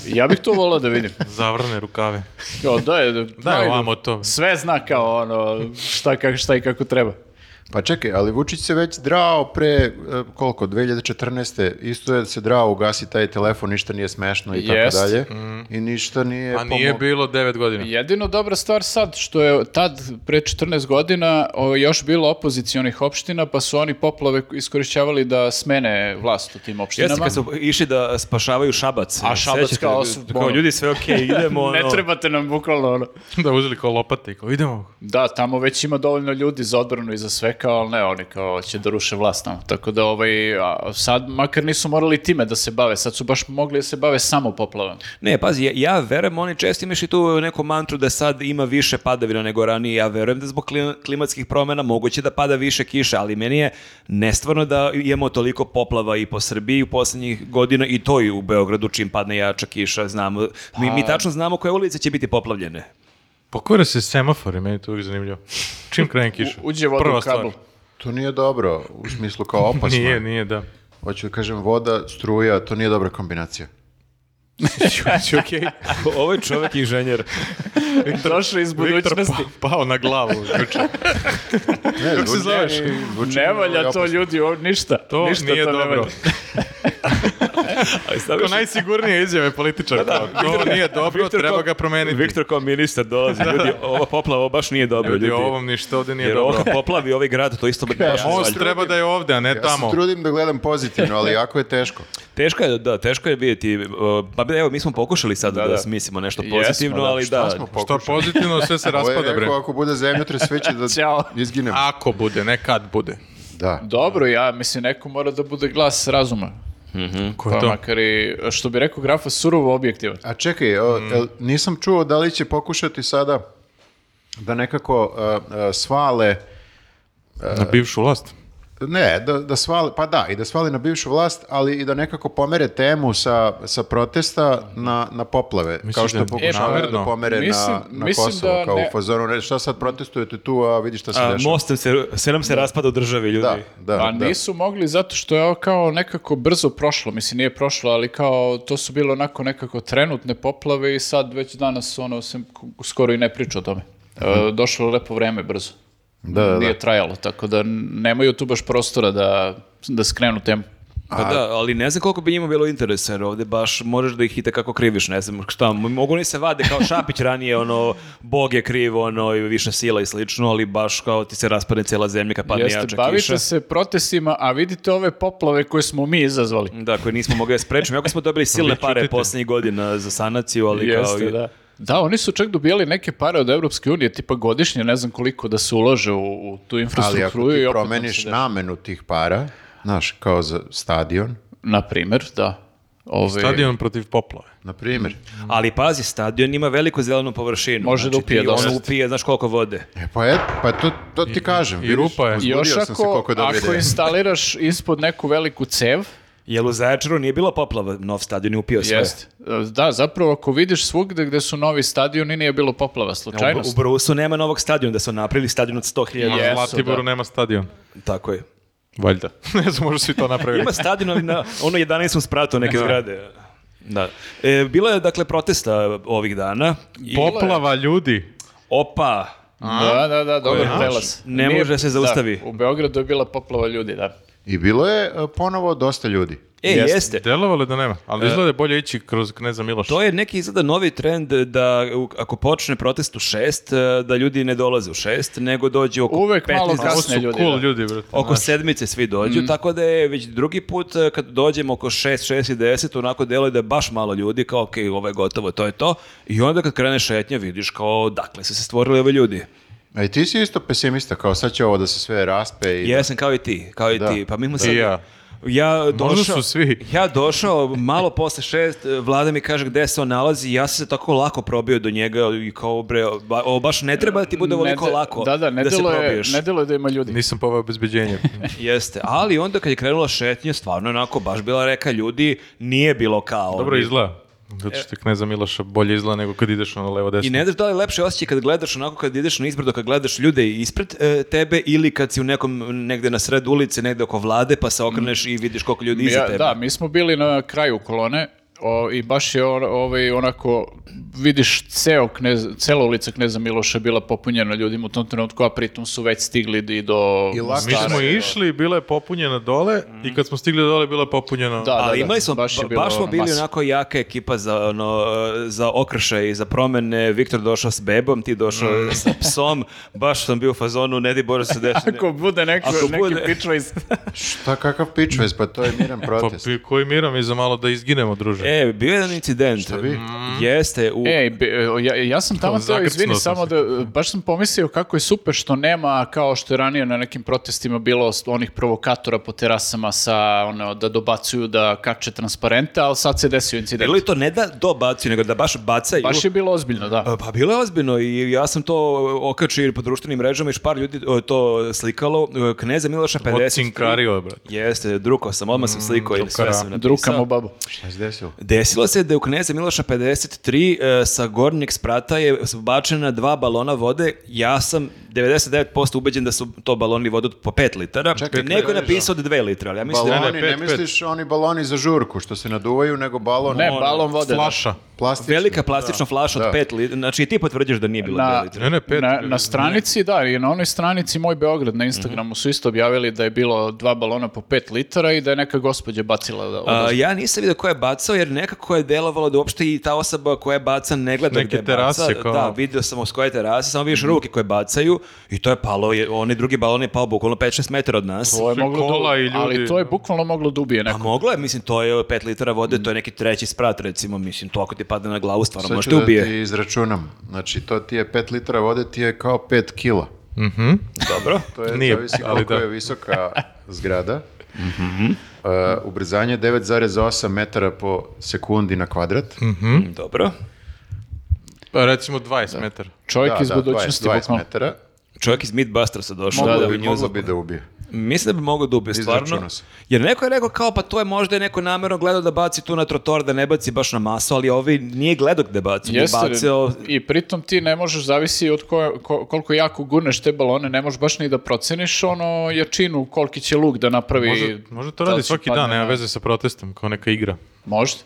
Ja bih to volao da vidim. Zavrne rukave. Kao, da je, da, Daj ovamo to. Sve zna kao ono, šta, kak, šta i kako treba. Pa čekaj, ali Vučić se već drao pre, e, koliko, 2014. Isto je se drao, ugasi taj telefon, ništa nije smešno i tako Jest. dalje. I ništa nije A Pa nije pomo- bilo 9 godina. Pa Jedino dobra stvar sad, što je tad, pre 14 godina, o, još bilo opozicionih opština, pa su oni poplave iskorišćavali da smene vlast u tim opštinama. Jeste kad su išli da spašavaju Šabac. A Šabac Sećate kao da- osu- Kao ljudi sve okej, idemo. ono. Ne trebate nam bukvalno ono. Da uzeli kao lopate i kao idemo. Da, tamo već ima dovoljno ljudi za odbranu i za sve, kao, ali ne, oni kao će da ruše vlast tamo. Tako da, ovaj, a, sad makar nisu morali time da se bave, sad su baš mogli da se bave samo poplavama. Ne, pazi, ja, ja verujem, oni često imaš i tu neku mantru da sad ima više padavina nego ranije. Ja verujem da zbog klima- klimatskih promjena moguće da pada više kiše, ali meni je nestvarno da imamo toliko poplava i po Srbiji u posljednjih godina i to i u Beogradu čim padne jača kiša, znamo. Mi, Pa. mi tačno znamo koje ulice će biti poplavljene. Pokvara se semafori, meni je to uvijek zanimljivo. Čim krene kiša? U- uđe voda Prva u kabel. stvar. To nije dobro, u smislu kao opasno. Nije, nije, da. Hoću da kažem, voda, struja, to nije dobra kombinacija. Pa, Okej. Ovo je čovjek inženjer. Došao iz Viktor budućnosti. pa, pao na glavu. juče. Ne, Kako se zoveš? Ne valja to ljudi, ovo, ništa. To ništa nije to ne dobro. valja. Kao najsigurnije izjave političara. kao, to nije dobro, treba ga promeniti. Viktor kao ministar dolazi. Ljudi, ova poplava baš nije dobro. Ljudi, ovom ništa ovde nije Jer dobro. ovo poplavi ovaj grad, to isto baš ne On valja. treba da je ovde, a ne Ja tamo. se trudim da gledam pozitivno, ali jako je teško. Teško je, da, teško je vidjeti. uh, Pa evo, mi smo pokušali sad da, da. smislimo nešto Jesmo, pozitivno, da. ali da. smo Što pokušali? pozitivno, sve se Ovo je raspada, bre. rekao, ako bude zemljotres, sve će da Ćao. izginem. Ako bude, ne kad bude. Da. Dobro, ja mislim, neko mora da bude glas razuma. Ko Pa je to? makar i, što bi rekao grafa, surovo objektivan. A čekaj, o, Mm. el- nisam čuo da li će pokušati sada da nekako e, e, svale Na bivšu vlast. Ne, da, da svali, pa da, i da svali na bivšu vlast, ali i da nekako pomere temu sa, sa protesta na, na poplave, kao što da- pokušavaju E, pa, da pomere mislim- na, na mislim Kosovo, da kao ne- u fazonu, ne, šta sad protestujete tu, a vidi šta se A, dešava. mostem se, sve nam se raspada u državi, ljudi. Da, da, Pa da. nisu mogli zato što je ovo kao nekako brzo prošlo, mislim nije prošlo, ali kao to su bilo onako nekako trenutne poplave i sad već danas ono se skoro i ne priča o tome. E, došlo je lepo vreme brzo. Da, da, da. Nije trajalo, tako da nemaju tu baš prostora da, da skrenu temu. Pa da, ali ne znam koliko bi njima bilo interesa, jer ovdje baš možeš da ih i kako kriviš, ne znam šta, m- mogu oni se vade kao Šapić ranije, ono, Bog je kriv, ono, i više sila i slično, ali baš kao ti se raspadne cijela zemlja kad padne Jeste, jača bavite kiša. se protestima, a vidite ove poplave koje smo mi Mhm. izazvali. Da, koje nismo mogli da sprečimo. Jako smo dobili silne Vi pare ćutite. posljednjih godina za sanaciju, ali kao... Jeste, i- da. Da, oni su čak dobijali neke pare od Evropske unije, tipa godišnje, ne znam koliko da se ulože u, u tu Ali infrastrukturu. ako i ti opet nam se promeniš desi. namenu tih para, znaš, kao za stadion, Na primer, da. Ove, Stadion protiv poplave. na primjer, Mhm. Ali pazi, stadion ima veliku zelenu površinu. Može da Znači, ti upije dosta. On upije, znaš koliko vode. E, pa, et, pa to, to ti kažem. i vidiš, rupa je. uzbudio Još sam se ako, koliko dobro ako ide. instaliraš ispod neku veliku cev, Jel u Zaječaru nije bila poplava, nov stadion je upio sve. Jeste. Da, zapravo ako vidiš svugde gde su novi stadioni nije bilo poplava, U, slučajnost. u Brusu nema novog stadiona, da su napravili stadion od 100.000. Je. Na Jesu, Zlatiboru da. Pa nema stadion. Tako je. Valjda. ne znam, možda svi to napravili. Ima stadion ali na ono 11. spratu neke zgrade. Da. E, bilo je, dakle, protesta ovih dana. I- Poplava ljudi. Opa! Da, da, da, dobar naš? prelas. Ne Nije- može se zaustavi. Da, u Beogradu je bila poplava ljudi, da. I bilo je e, ponovo dosta ljudi. E, Jeste. jeste. Delovalo je da nema, ali izgleda je bolje ići kroz Kneza Miloša. To je neki izgleda novi trend da u- ako počne protest u šest, e, da ljudi ne dolaze u šest, nego dođu oko Uvek malo 15 Ovo kasne su ljudi, cool da. ljudi, brate. Oko znaš. sedmice svi dođu, tako da je već drugi put e, kad dođemo oko 6, 6 i 10, onako deluje da je baš malo ljudi, kao ok, ovo je gotovo, to je to. I onda kad krene šetnja vidiš kao dakle su se stvorili ovi ljudi. A i E, ti si isto pesimista, kao sad će ovo da se sve raspe i... Jesam kao i ti, kao i Da. ti. Pa mi smo I sad... ja. Ja došao, su svi. Ja došao malo posle šest, e, vlada mi kaže gde se on nalazi i ja sam se tako lako probio do njega i kao bre, ba- ovo baš ne treba da ti bude ovoliko Ne de- lako Da, da, ne se deluje- probiješ. ne deluje da ima ljudi. Nisam poveo obezbeđenje. Jeste, ali onda kad je krenula šetnja, stvarno je onako baš bila reka ljudi, nije bilo kao. Dobro izgleda. Zato što je Kneza Miloša bolje izgleda nego kad ideš na levo desno. I ne znaš da li je lepše osjećaj kad gledaš onako kad ideš na izbrdo, kad gledaš ljude ispred e, tebe ili kad si u nekom negde na sred ulice, negde oko vlade pa se okreneš i vidiš koliko ljudi iza Mm. Ja- tebe. da, mi smo bili na kraju kolone o, i baš je on- ovaj, onako, vidiš ceo knez, cela ulica Kneza Miloša je bila popunjena ljudima u tom trenutku, a pritom su već stigli i do... I lako- Mi smo Stara je, išli, bila je popunjena dole i kad smo stigli dole bila je popunjena. Da, Ali da, imali da, smo, baš, je bilo smo ono bili masa. onako jaka ekipa za, ono, e, za okršaj i za promene. Viktor došao s bebom, ti došao Mm. sa psom. Baš sam bio u fazonu, ne di Bože se desi. ne- Ako bude neko, Ako neki bude- pičvajs- Šta, kakav pičvez, pa to je miran Pa protest. pi- koji mira mi za malo da izginemo, druže. E, bio je jedan incident. Mm. bi? Jeste, u... Ej, be- e, ja, ja sam tamo teo, zagrcnuo izvini, sam samo se. da, e, baš sam pomislio kako je super što nema, kao što je ranije na nekim protestima bilo s- onih provokatora po terasama sa, ono, da dobacuju, da kače transparente, ali sad se desio incident. Bilo je to ne da dobacuju, nego da baš bacaju. Baš je bilo ozbiljno, da. E, Pa bilo je ozbiljno i ja sam to okačio i po društvenim mrežama i par ljudi e, to slikalo. E, Kneza Miloša 50. Ocinkario je, brate. Jeste, drukao sam, odmah sam slikao i sve drukara. sam napisao. Drukamo babu. Šta se desilo? Desilo se da je u Kneza Miloša 53 e, sa gornjeg sprata je bačena dva balona vode. Ja sam 99% ubeđen da su to baloni vode od po 5 litera. Čekaj, Neko je Kneza. napisao da 2 litra, ali ja mislim... Baloni, ne, ne, pet, pet. misliš oni baloni za žurku što se naduvaju, nego balon Ne, balon vode. da. Flaša. plastični. Velika plastična flaša Da. od 5 litra. Znači i ti potvrđuješ da nije bilo 2 Na, litra. Ne, ne, pet. na, na stranici, da, i na onoj stranici Moj Beograd na Mhm. Instagramu su isto objavili da je bilo dva balona po pet litara i da je neka gospođa bacila da A, odozgo. ja nisam vidio ko je bacao jer nekako je delovalo da uopšte i ta osoba koja baca ne gleda Neke gde terase baca. kao. Da, vidio sam s koje terase, samo vidiš ruke koje bacaju i to je palo, je, onaj drugi balon je pao bukvalno 5-6 metara od nas. To je Sve moglo da- kola i ljudi. Pa, ali to je bukvalno moglo da ubije A neko. moglo je, mislim, to je 5 litara vode, to je neki treći sprat, recimo, mislim, to ako ti padne na glavu, stvarno Sad može ću te da ubije. ti izračunam. Znači, to ti je 5 litara vode, ti je kao 5 kila. Dobro. To je, Mhm. Nije, zavisi ali koliko da. je visoka zgrada. Mhm. Uh, ubrzanje 9,8 metara po sekundi na kvadrat. Mhm. Hm? Dobro. Pa recimo 20 metara. Čovjek Da, iz da, budućnosti 20, 20 bukvalno. metara. Čovjek iz Mythbustersa došao. Moglo da bi, bi nju moglo zapo- bi da ubije. Mislim da bi mogao da ubije, stvarno. Izračunao sam. Jer neko je rekao kao, pa to je možda je neko namjerno gledao da baci tu na trotor, da ne baci baš na masu, ali ovi nije gledao gde baci. Jeste, Jeste, bacio... i pritom ti ne možeš, zavisi od koja- ko- koliko jako gurneš te balone, ne možeš baš ni da proceniš ono jačinu, koliki će luk da napravi. Može, može to Da radi će svaki padne dan, nema na- veze sa protestom, kao neka igra. Možda.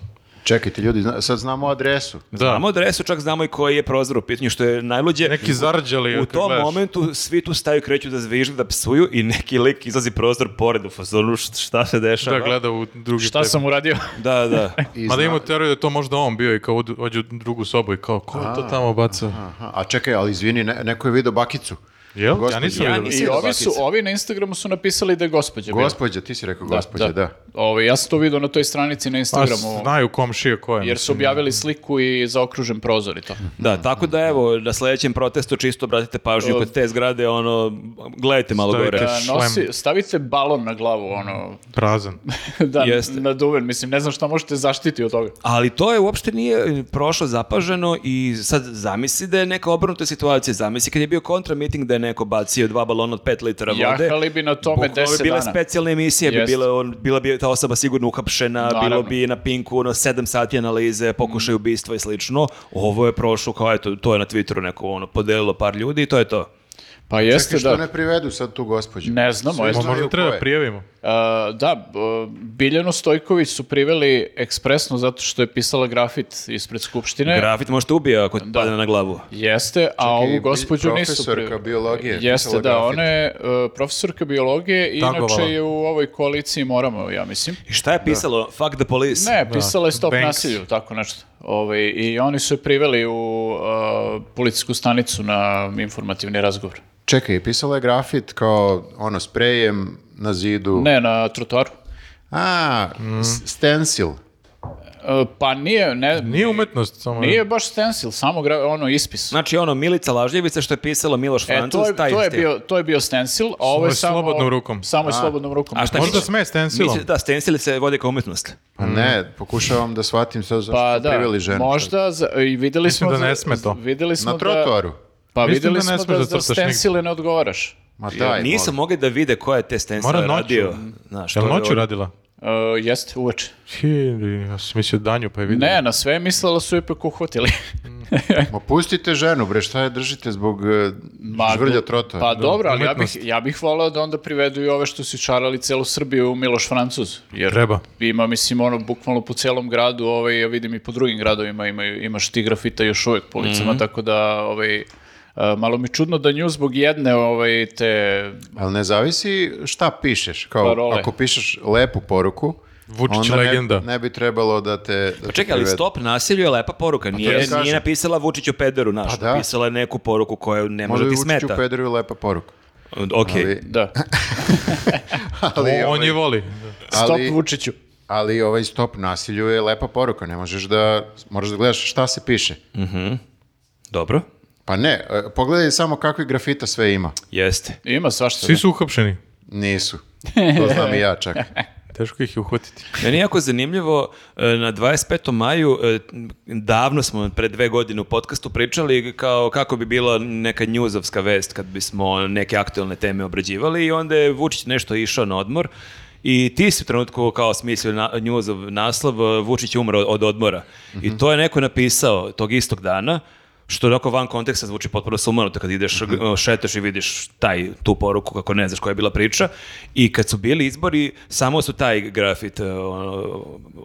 Čekajte ljudi, zna- sad znamo adresu. Da. Znamo adresu, čak znamo i koji je prozor u pitanju, što je najluđe. Neki zarđali. U kad tom gledaš. momentu svi tu staju kreću da zvižde, da psuju i neki lik izlazi prozor pored u fazonu "Št- šta se dešava. Da gleda u drugi Šta tebe. sam uradio? Da, da. I Mada zna- ima teoriju da je to možda on bio i kao od- ođe u drugu sobu i kao, ko je to tamo bacao? Aha, a čekaj, ali izvini, ne- neko je vidio bakicu. Jel? Ja Gospođo. nisam Ja vidio. nisam- I Mislim da ovi, su, zlatica. ovi na Instagramu su napisali da je gospođa bila. Gospođa, ti si rekao gospođa, da. Ovo, Ovaj, ja sam to vidio na toj stranici na Pa Instagramu, znaju komšije ko je. jer su mislim. objavili sliku i zaokružen prozor i to. Da, tako da evo, na sledećem protestu čisto obratite pažnju kod te zgrade, ono, gledajte malo Stavite gore. Da, šlem. nosi, stavite balon na glavu, ono, Prazan. da, Jeste. naduven, mislim, ne znam šta možete zaštiti od toga. Ali to je uopšte nije prošlo zapaženo i sad zamisli da je neka obrnuta situacija. Zamisli kad je bio kontramiting da je neko bacio dva balona od pet litara vode. Jahali bi na tome Bukvalno 10 bi bile dana. specijalne emisije, bi Jest. bile on, bila bi ta osoba sigurno uhapšena, Naravno. Mm. bilo bi na pinku ono, 7 sati analize, pokušaj ubistva i slično. Ovo je prošlo kao eto, to je na Twitteru neko ono, podelilo par ljudi i to je to. Pa jeste, Čekaj, što da. ne privedu sad tu gospođu? Ne znamo, Svi jeste. znaju Možda ko treba je. prijavimo. A, da, b- Biljanu Stojković su priveli ekspresno zato što je pisala grafit ispred Skupštine. Grafit možete ubija ako ti padne na glavu. Jeste, a ovu bi- gospođu nisu profesorka priveli. biologije je Jeste, pisala da, grafit. ona je e, profesorka biologije i Tagovala. inače je u ovoj koaliciji moramo, ja mislim. I šta je pisalo? Fuck the police. Ne, pisala je stop Banks. nasilju, tako nešto. Ovaj, I oni su je priveli u e, policijsku stanicu na informativni razgovor. Čekaj, pisala je grafit kao ono sprejem na zidu. Ne, na trotoaru. A, s- stencil. E, pa nije, ne, Nije umetnost, samo je- nije baš stencil, samo gra- ono ispis. Znači ono, Milica Lažljevica što je pisalo Miloš E, to Francus, je, taj to je stil. bio, to je bio stencil, a ovo je je samo... slobodnom rukom. Samo je slobodnom rukom. A šta Možda misliš? sme stencilom. Misliš Da, stencil se vodi kao umetnost. Pa ne, pokušavam da shvatim sad zašto Mm. Pa pa, da, priveli ženu. možda, za, i videli Mislim smo... da ne za- sme to. Videli smo Na da, trotoaru. pa Mislim videli da ne smo da smeš da za crtaš stencile ne odgovaraš. Ma daj, Nisam molim. mogli da vide ko je te Mora stencile noću. radio. Znaš, to Jel je noću ono- radila? E, jeste, uveče. Hi, ja sam mislio danju pa je vidio. Ne, na sve je mislila su je ipak uhvatili. Ma pustite ženu, bre, šta je držite zbog eh, Ma, žvrlja do- trotoara? Pa dobro, ali ja bih, umetnost. ja bih volao da onda privedu i ove što su čarali celu Srbiju u Miloš Francuz. Jer Treba. Ima, mislim, ono, bukvalno po celom gradu, ovaj, ja vidim i po drugim gradovima imaju, imaš ti grafita još uvek po ulicama, Mhm. tako da, ovaj, a, malo mi čudno da nju zbog jedne ovaj, te... Ali ne zavisi šta pišeš. Kao, Parole. ako pišeš lepu poruku, Vučić onda ne- legenda. Ne, bi trebalo da te... Da Pa te čekaj, ali privedu. stop nasilju je lepa poruka. ja Nije, nije kažem. napisala Vučiću pederu, naš. Pa da. Napisala je neku poruku koju ne može Možda da ti bi Vučiću smeta. pederu lepa poruka. Ok. Ali, Da, ali, O, on ovaj, je voli. stop Ali- Vučiću. ali ovaj stop nasilju je lepa poruka. Ne možeš da... Moraš da gledaš šta se piše. Dobro. Pa ne, eh, pogledaj samo kakvi grafita sve ima. Jeste. Ima svašta. Svi su uhapšeni. Nisu. To znam i ja čak. Teško ih je uhvatiti. Meni je jako zanimljivo, e, na 25. maju, e, davno smo pre dve godine u podcastu pričali kao kako bi bila neka njuzovska vest kad bismo neke aktualne teme obrađivali i onda je Vučić nešto išao na odmor i ti si u trenutku kao smislio na, njuzov naslov e, Vučić je umro od odmora. I to je neko napisao tog istog dana, što onako van konteksta zvuči potpuno sumanuto kad ideš, o, šetaš i vidiš taj, tu poruku kako ne znaš koja je bila priča i kad su bili izbori samo su taj grafit e, ono,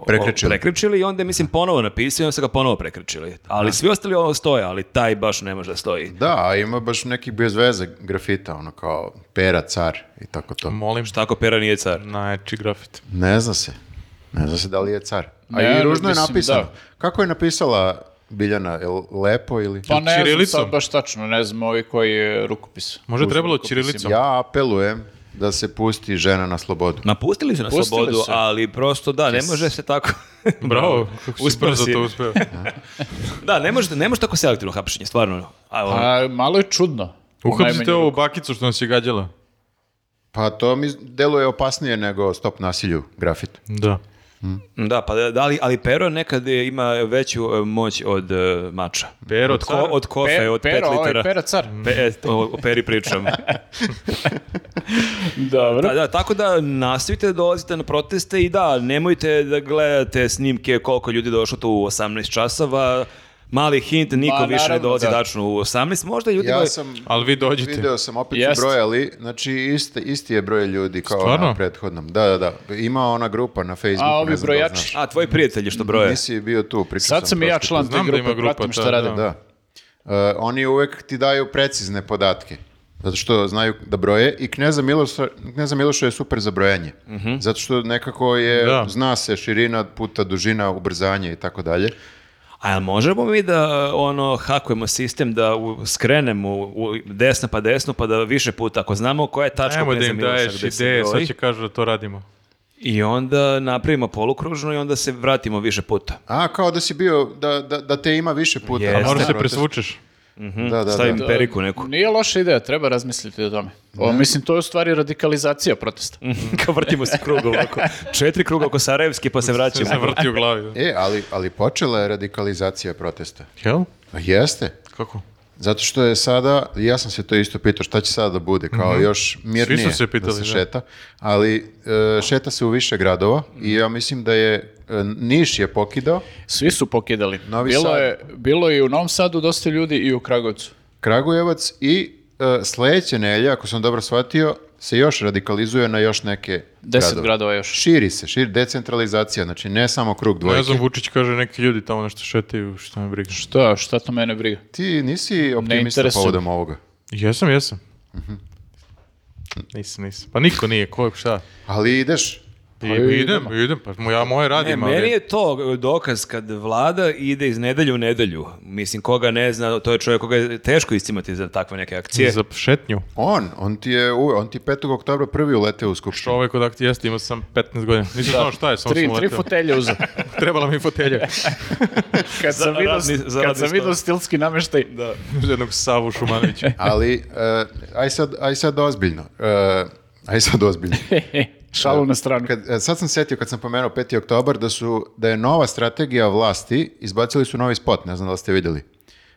Prekrečili. o- prekrečili i onda je, mislim ponovo napisao i onda su ga ponovo prekrečili. Ali svi ostali ovo stoje, ali taj baš ne može da stoji. Da, a ima baš neki bez veze grafita, ono kao pera, car i tako to. Molim šta. Šta ako pera nije car? Najjači grafit. Ne zna se. Ne zna se da li je car. A Ne, i ružno je mislim, napisano. da. Kako je napisala Biljana? Je li lepo ili... Pa ne znam Ćirilicom? sad baš tačno, ne znam ovi koji je rukopis. Možda je Uz trebalo rukopis čirilicom. Ja apelujem da se pusti žena na slobodu. Napustili su na Pustili slobodu, su. ali prosto da, ne može se tako... Bravo, kako si Uspeo brzo si. to uspeo. da, ne može, ne može tako selektivno hapšenje, stvarno. A, ono, A, malo je čudno. u Uhapsite najmanju ovu bakicu što nas je gađala. Pa to mi deluje opasnije nego stop nasilju grafit. Da. Da, pa da, da, ali, ali pero nekad je- ima veću e, moć od e, mača. Pero, od, ko, od kofe, Pe- od Pero, pet ovaj, litara. Pera car. Pe- e, o, o peri pričam. Dobro. Da, da, tako da nastavite da dolazite na proteste i da, nemojte da gledate snimke koliko ljudi došlo tu u 18 časova. Mali hint, niko Ma, više ne naravno, dolazi da. tačno u 18. Možda ljudima... Ja sam... Ali vi dođite. Video sam opet Jest. su brojali, znači iste- isti je broj ljudi kao Stvarno? na prethodnom. Da, da, da. Ima ona grupa na Facebooku. A ovi ne znam da li znaš. brojači. A, tvoji prijatelji što broje. Nisi bio tu, pričao Sad sam i ja prošli član te Znam da grupe, pa ima grupa, pratim da, šta radim. da. Da. E, oni uvek ti daju precizne podatke. Zato što znaju da broje i Kneza Miloša, Kneza Miloša je super za brojanje. Mhm. Zato što nekako je, Da. zna se širina puta dužina, ubrzanje i tako dalje. A jel možemo mi da ono, hakujemo sistem da u, skrenemo u, u desno pa desno pa da više puta, ako znamo koja je tačka Ajmo da Kneza im Miloša daješ gde se ideje, broji, sad će kažu da to radimo. i onda napravimo polukružno i onda se vratimo više puta. A, kao da si bio, da, da, da te ima više puta. Jeste. A moraš se Protest. presvučeš. Da, da, Stavim da. periku neku. Nije loša ideja, treba razmisliti o tome. O, mislim, to je u stvari radikalizacija protesta. Kao vrtimo se krug ovako. Četiri kruga oko Sarajevske pa se Sve vraćamo. se vrti u glavi. E, ali, ali počela je radikalizacija protesta. Jel? Pa Jeste. Kako? Zato što je sada, ja sam se to isto pitao šta će sada da bude, kao još mirnije Mhm. se pitali, da se da. šeta, ali e, šeta se u više gradova i ja mislim da je e, Niš je pokidao, Svi su pokidali. Novi bilo, Sad. je, bilo je i u Novom Sadu dosta ljudi i u Kragovcu. Kragujevac i e, sledeće nelje, ako sam dobro shvatio, se još radikalizuje na još neke Deset gradove. gradova još. Širi se, širi decentralizacija, znači ne samo krug dvojke. Ne znam, Vučić kaže neki ljudi tamo nešto šetaju, šta me briga. Šta, šta to mene briga? Ti nisi optimista interesuje. povodom ovoga. Jesam, jesam. Mhm. Nisam, nisam. Pa niko nije, ko je šta? Ali ideš, I, idem, idem, pa mo- ja moje Pa Ne, radim, E, meni ali... je to dokaz kad vlada ide iz nedelju u nedelju. Mislim, koga ne zna, to je čovjek koga je teško istimati za takve neke akcije. Za šetnju. on, on ti je, u- on ti 5. oktobra prvi uleteo u skupštinu. Čovek odakle Pa ovaj jeste, imao sam 15 godina. Nisam znao šta je, samo Tri, sam tri uleteo. fotelje uzem. Trebala mi fotelja. Kad sam Za vidio, radni- za kad radni sam stol. vidio stilski nameštaj, Jednog Savu Šumanovića. Ali, e, aj, sad, aj sad ozbiljno. E, aj sad ozbiljno. šalu na stranu. Kad, e, sad sam setio kad sam pomenuo 5. oktobar da, su, da je nova strategija vlasti, izbacili su novi spot, ne znam da li ste vidjeli.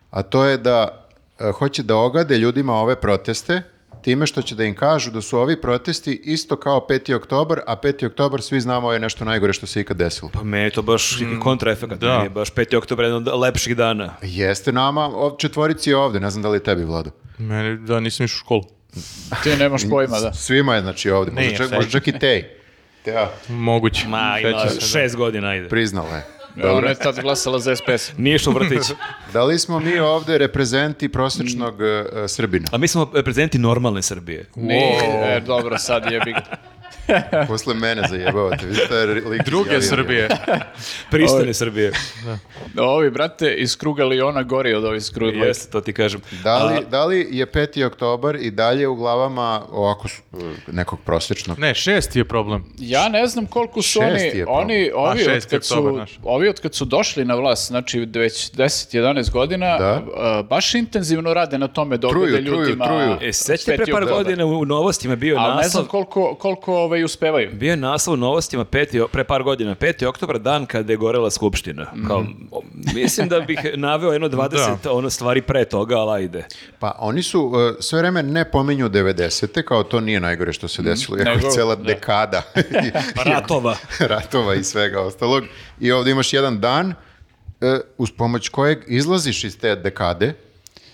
A to je da e, hoće da ogade ljudima ove proteste time što će da im kažu da su ovi protesti isto kao 5. oktobar, a 5. oktobar svi znamo je nešto najgore što se ikad desilo. Pa meni je to baš neki kontraefekat. Mm. da. meni je baš 5. oktober jedan od lepših dana. Jeste nama, ov, četvorici je ovde, ne znam da li je tebi, Vlado. Meni, da, nisam išao u školu. Ti nemaš pojma, da. Svima je znači ovde, možda Nije, čak, sve. možda čak i tej. Ja, Moguće. Ma, Sećam ima se, da. šest godina, ajde. priznala je. Ona je tad glasala za SPS. Nije što u vrtić. Da li smo mi ovde reprezenti prosječnog e, e, Srbina? A mi smo prezidenti normalne Srbije. Nije, e, dobro, sad je big. Posle mene zajebavate. Vidite, taj lik Druge javio. Srbije. Pristojne Srbije. Ovi, brate, iz kruga Liona gori od ovih iz kruga Liona. Jeste, to ti kažem. Da li, da li je 5. oktobar i dalje u glavama ovako s- nekog prosječnog? Ne, šesti je problem. Ja ne znam koliko su oni, Šesti je problem. oni ovi, A, od šesti kad oktobar, su, naš. ovi od kad su došli na vlast, znači već 10-11 godina, Da. a, baš intenzivno rade na tome da ogade Truju, truju, ljudima. truju. E, peti sećate pre par oktobar. godina u u novostima bio Ali ne naslov... znam koliko, koliko ovaj, uspevaju. Bio je naslov u novostima peti, pre par godina, 5. oktobar, dan kada je gorela skupština. Kao, o, mislim da bih naveo jedno 20 ono stvari pre toga, ali ajde. Pa oni su e, sve vreme ne pominju 90. kao to nije najgore što se desilo. Jako nego- je cela da. dekada Pa Ratova. ratova i svega ostalog. I ovdje imaš jedan dan e, uz pomoć kojeg izlaziš iz te dekade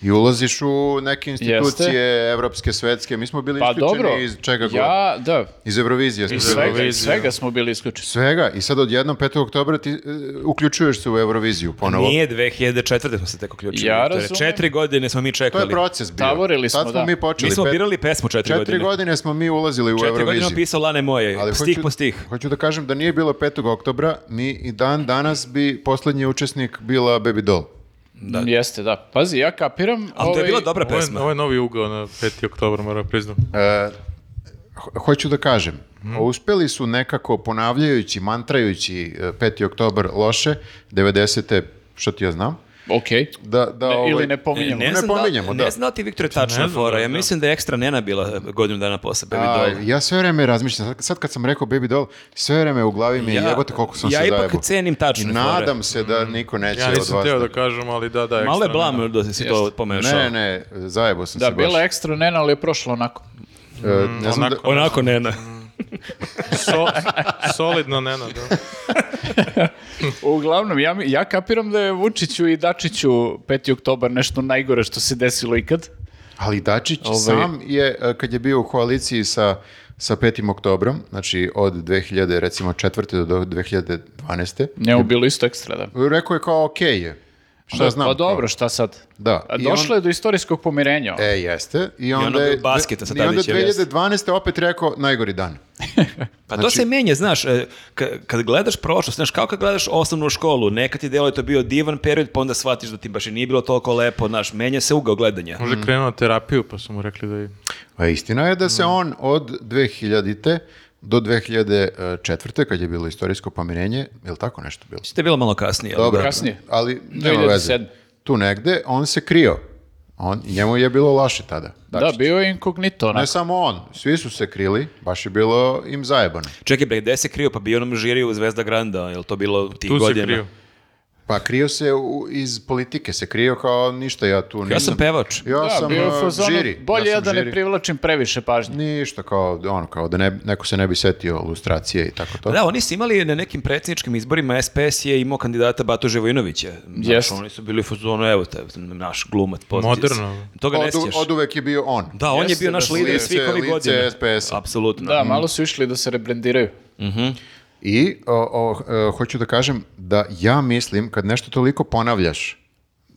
i ulaziš u neke institucije evropske, svetske. Mi smo bili Pa isključeni dobro, iz čega god. ja, da, Iz Eurovizije. smo iz bili. svega, iz Euroviziju. svega smo bili isključeni. Svega. I sad odjednom 5. oktobra ti e, uključuješ se u Euroviziju ponovo. Nije 2004. smo se tek uključili. Ja Doktore. razumem. Četiri godine smo mi To je čekali. proces bio. Tavorili smo, Tad smo da. mi počeli. Mi smo Pet- birali pesmu četiri, Četiri godine. godine. smo mi ulazili u Četiri godine Euroviziju. pisao Lane Moje, E, stih hoću, po stih. Hoću da kažem da nije bilo 5. oktobra, mi i dan danas bi poslednji učesnik bila Baby Doll. Jeste, da. Pazi, ja kapiram... Ali to je ovaj, bila dobra Ovo je, pesma. ovo je novi ugao na 5. oktober, moram priznam. Ho- hoću da kažem, Mhm. uspeli su nekako ponavljajući, mantrajući e, 5. oktobar loše, 90. što ti ja znam, Okej. da, da Ne, ovaj- ili ne pominjemo. Ne pominjemo, da, da. E, Ne znam da ti Viktor je tačna Ne znam, fora. da, Ja da. mislim da je ekstra nena bila godinu dana posle. pa Baby e, A, Doll. ja sve vreme razmišljam, sad, sad kad sam rekao Baby Doll, sve vreme u glavi mi je jebote koliko sam ja se ipak zajebo. cenim tačne I fore. Mhm. nadam se da niko neće Ja od vas. nisam teo da- da kažem, ali da, da, Malo je ekstra nema. blam da si to pomešao. Ne, ne, ne, zajebo sam Da, se baš. bila je ekstra nena, ali je prošlo onako. E, ne znam da- onako. Onako nena. So, solidno nena, da. Uglavnom, ja, mi- ja kapiram da je Vučiću i Dačiću 5. oktobar nešto najgore što se desilo ikad. ali Dačić Ovaj- sam je, e, kad je bio u koaliciji sa, sa 5. oktobrom, znači od 2000, recimo, četvrte do 2012. Njemu bilo isto ekstra, da. Rekao je kao, okej je. Šta znam? Pa kao. dobro, šta sad? Da. A I došlo on- je do istorijskog pomirenja. E, jeste. I ono onda, je- bio basketa sa I onda Tadićem, jeste. 2012. opet rekao, najgori dan. Pa Znači- to se menja, znaš, e, ka- kad gledaš prošlost, znaš, kao kad gledaš osnovnu školu, nekad ti delo je to bio divan period, pa onda shvatiš da ti baš i nije bilo toliko lepo, znaš, menja se ugao Hm. gledanja. Možda je krenuo na terapiju, pa su mu rekli da je... A istina je da se Mm. on od 2000-te do 2004. kad je bilo istorijsko pomirenje, je li tako nešto bilo? Što je bilo malo kasnije. ali Dobro, da. Kasnije. ali nema veze. 2007.. Tu negde on se krio. On, njemu je bilo loše tada. Da, bio je inkognito. Dakle, Ne onako. samo on, svi su se krili, baš je bilo im zajebano. Čekaj bre, gde se krio? Pa bio nam žiriju u Zvezda Granda, jel to bilo tih Tu godina? se krio. Pa krio se u- iz politike, se krio kao ništa ja tu nisam. Ja sam pevač. Ja Da, sam bio je u uh, fazonu, žiri. Bolje ja, sam da ne žiri. privlačim previše pažnje. Ništa, kao, ono, kao da ne, neko se ne bi setio ilustracije i tako to. Da, oni su imali na nekim predsjedničkim izborima, SPS je imao kandidata Batu Živojinovića. Znaš, Jest. oni su bili u fazonu, evo te, naš glumat. postić. Moderno. Toga ne Od, sjećaš. od uvek je bio on. Da, on je Jeste, bio naš da, lider lice- svih ovih lice godina. SPS-a. Apsolutno. Da, malo su išli da se rebrendiraju. I o, o, e, hoću da kažem da ja mislim kad nešto toliko ponavljaš,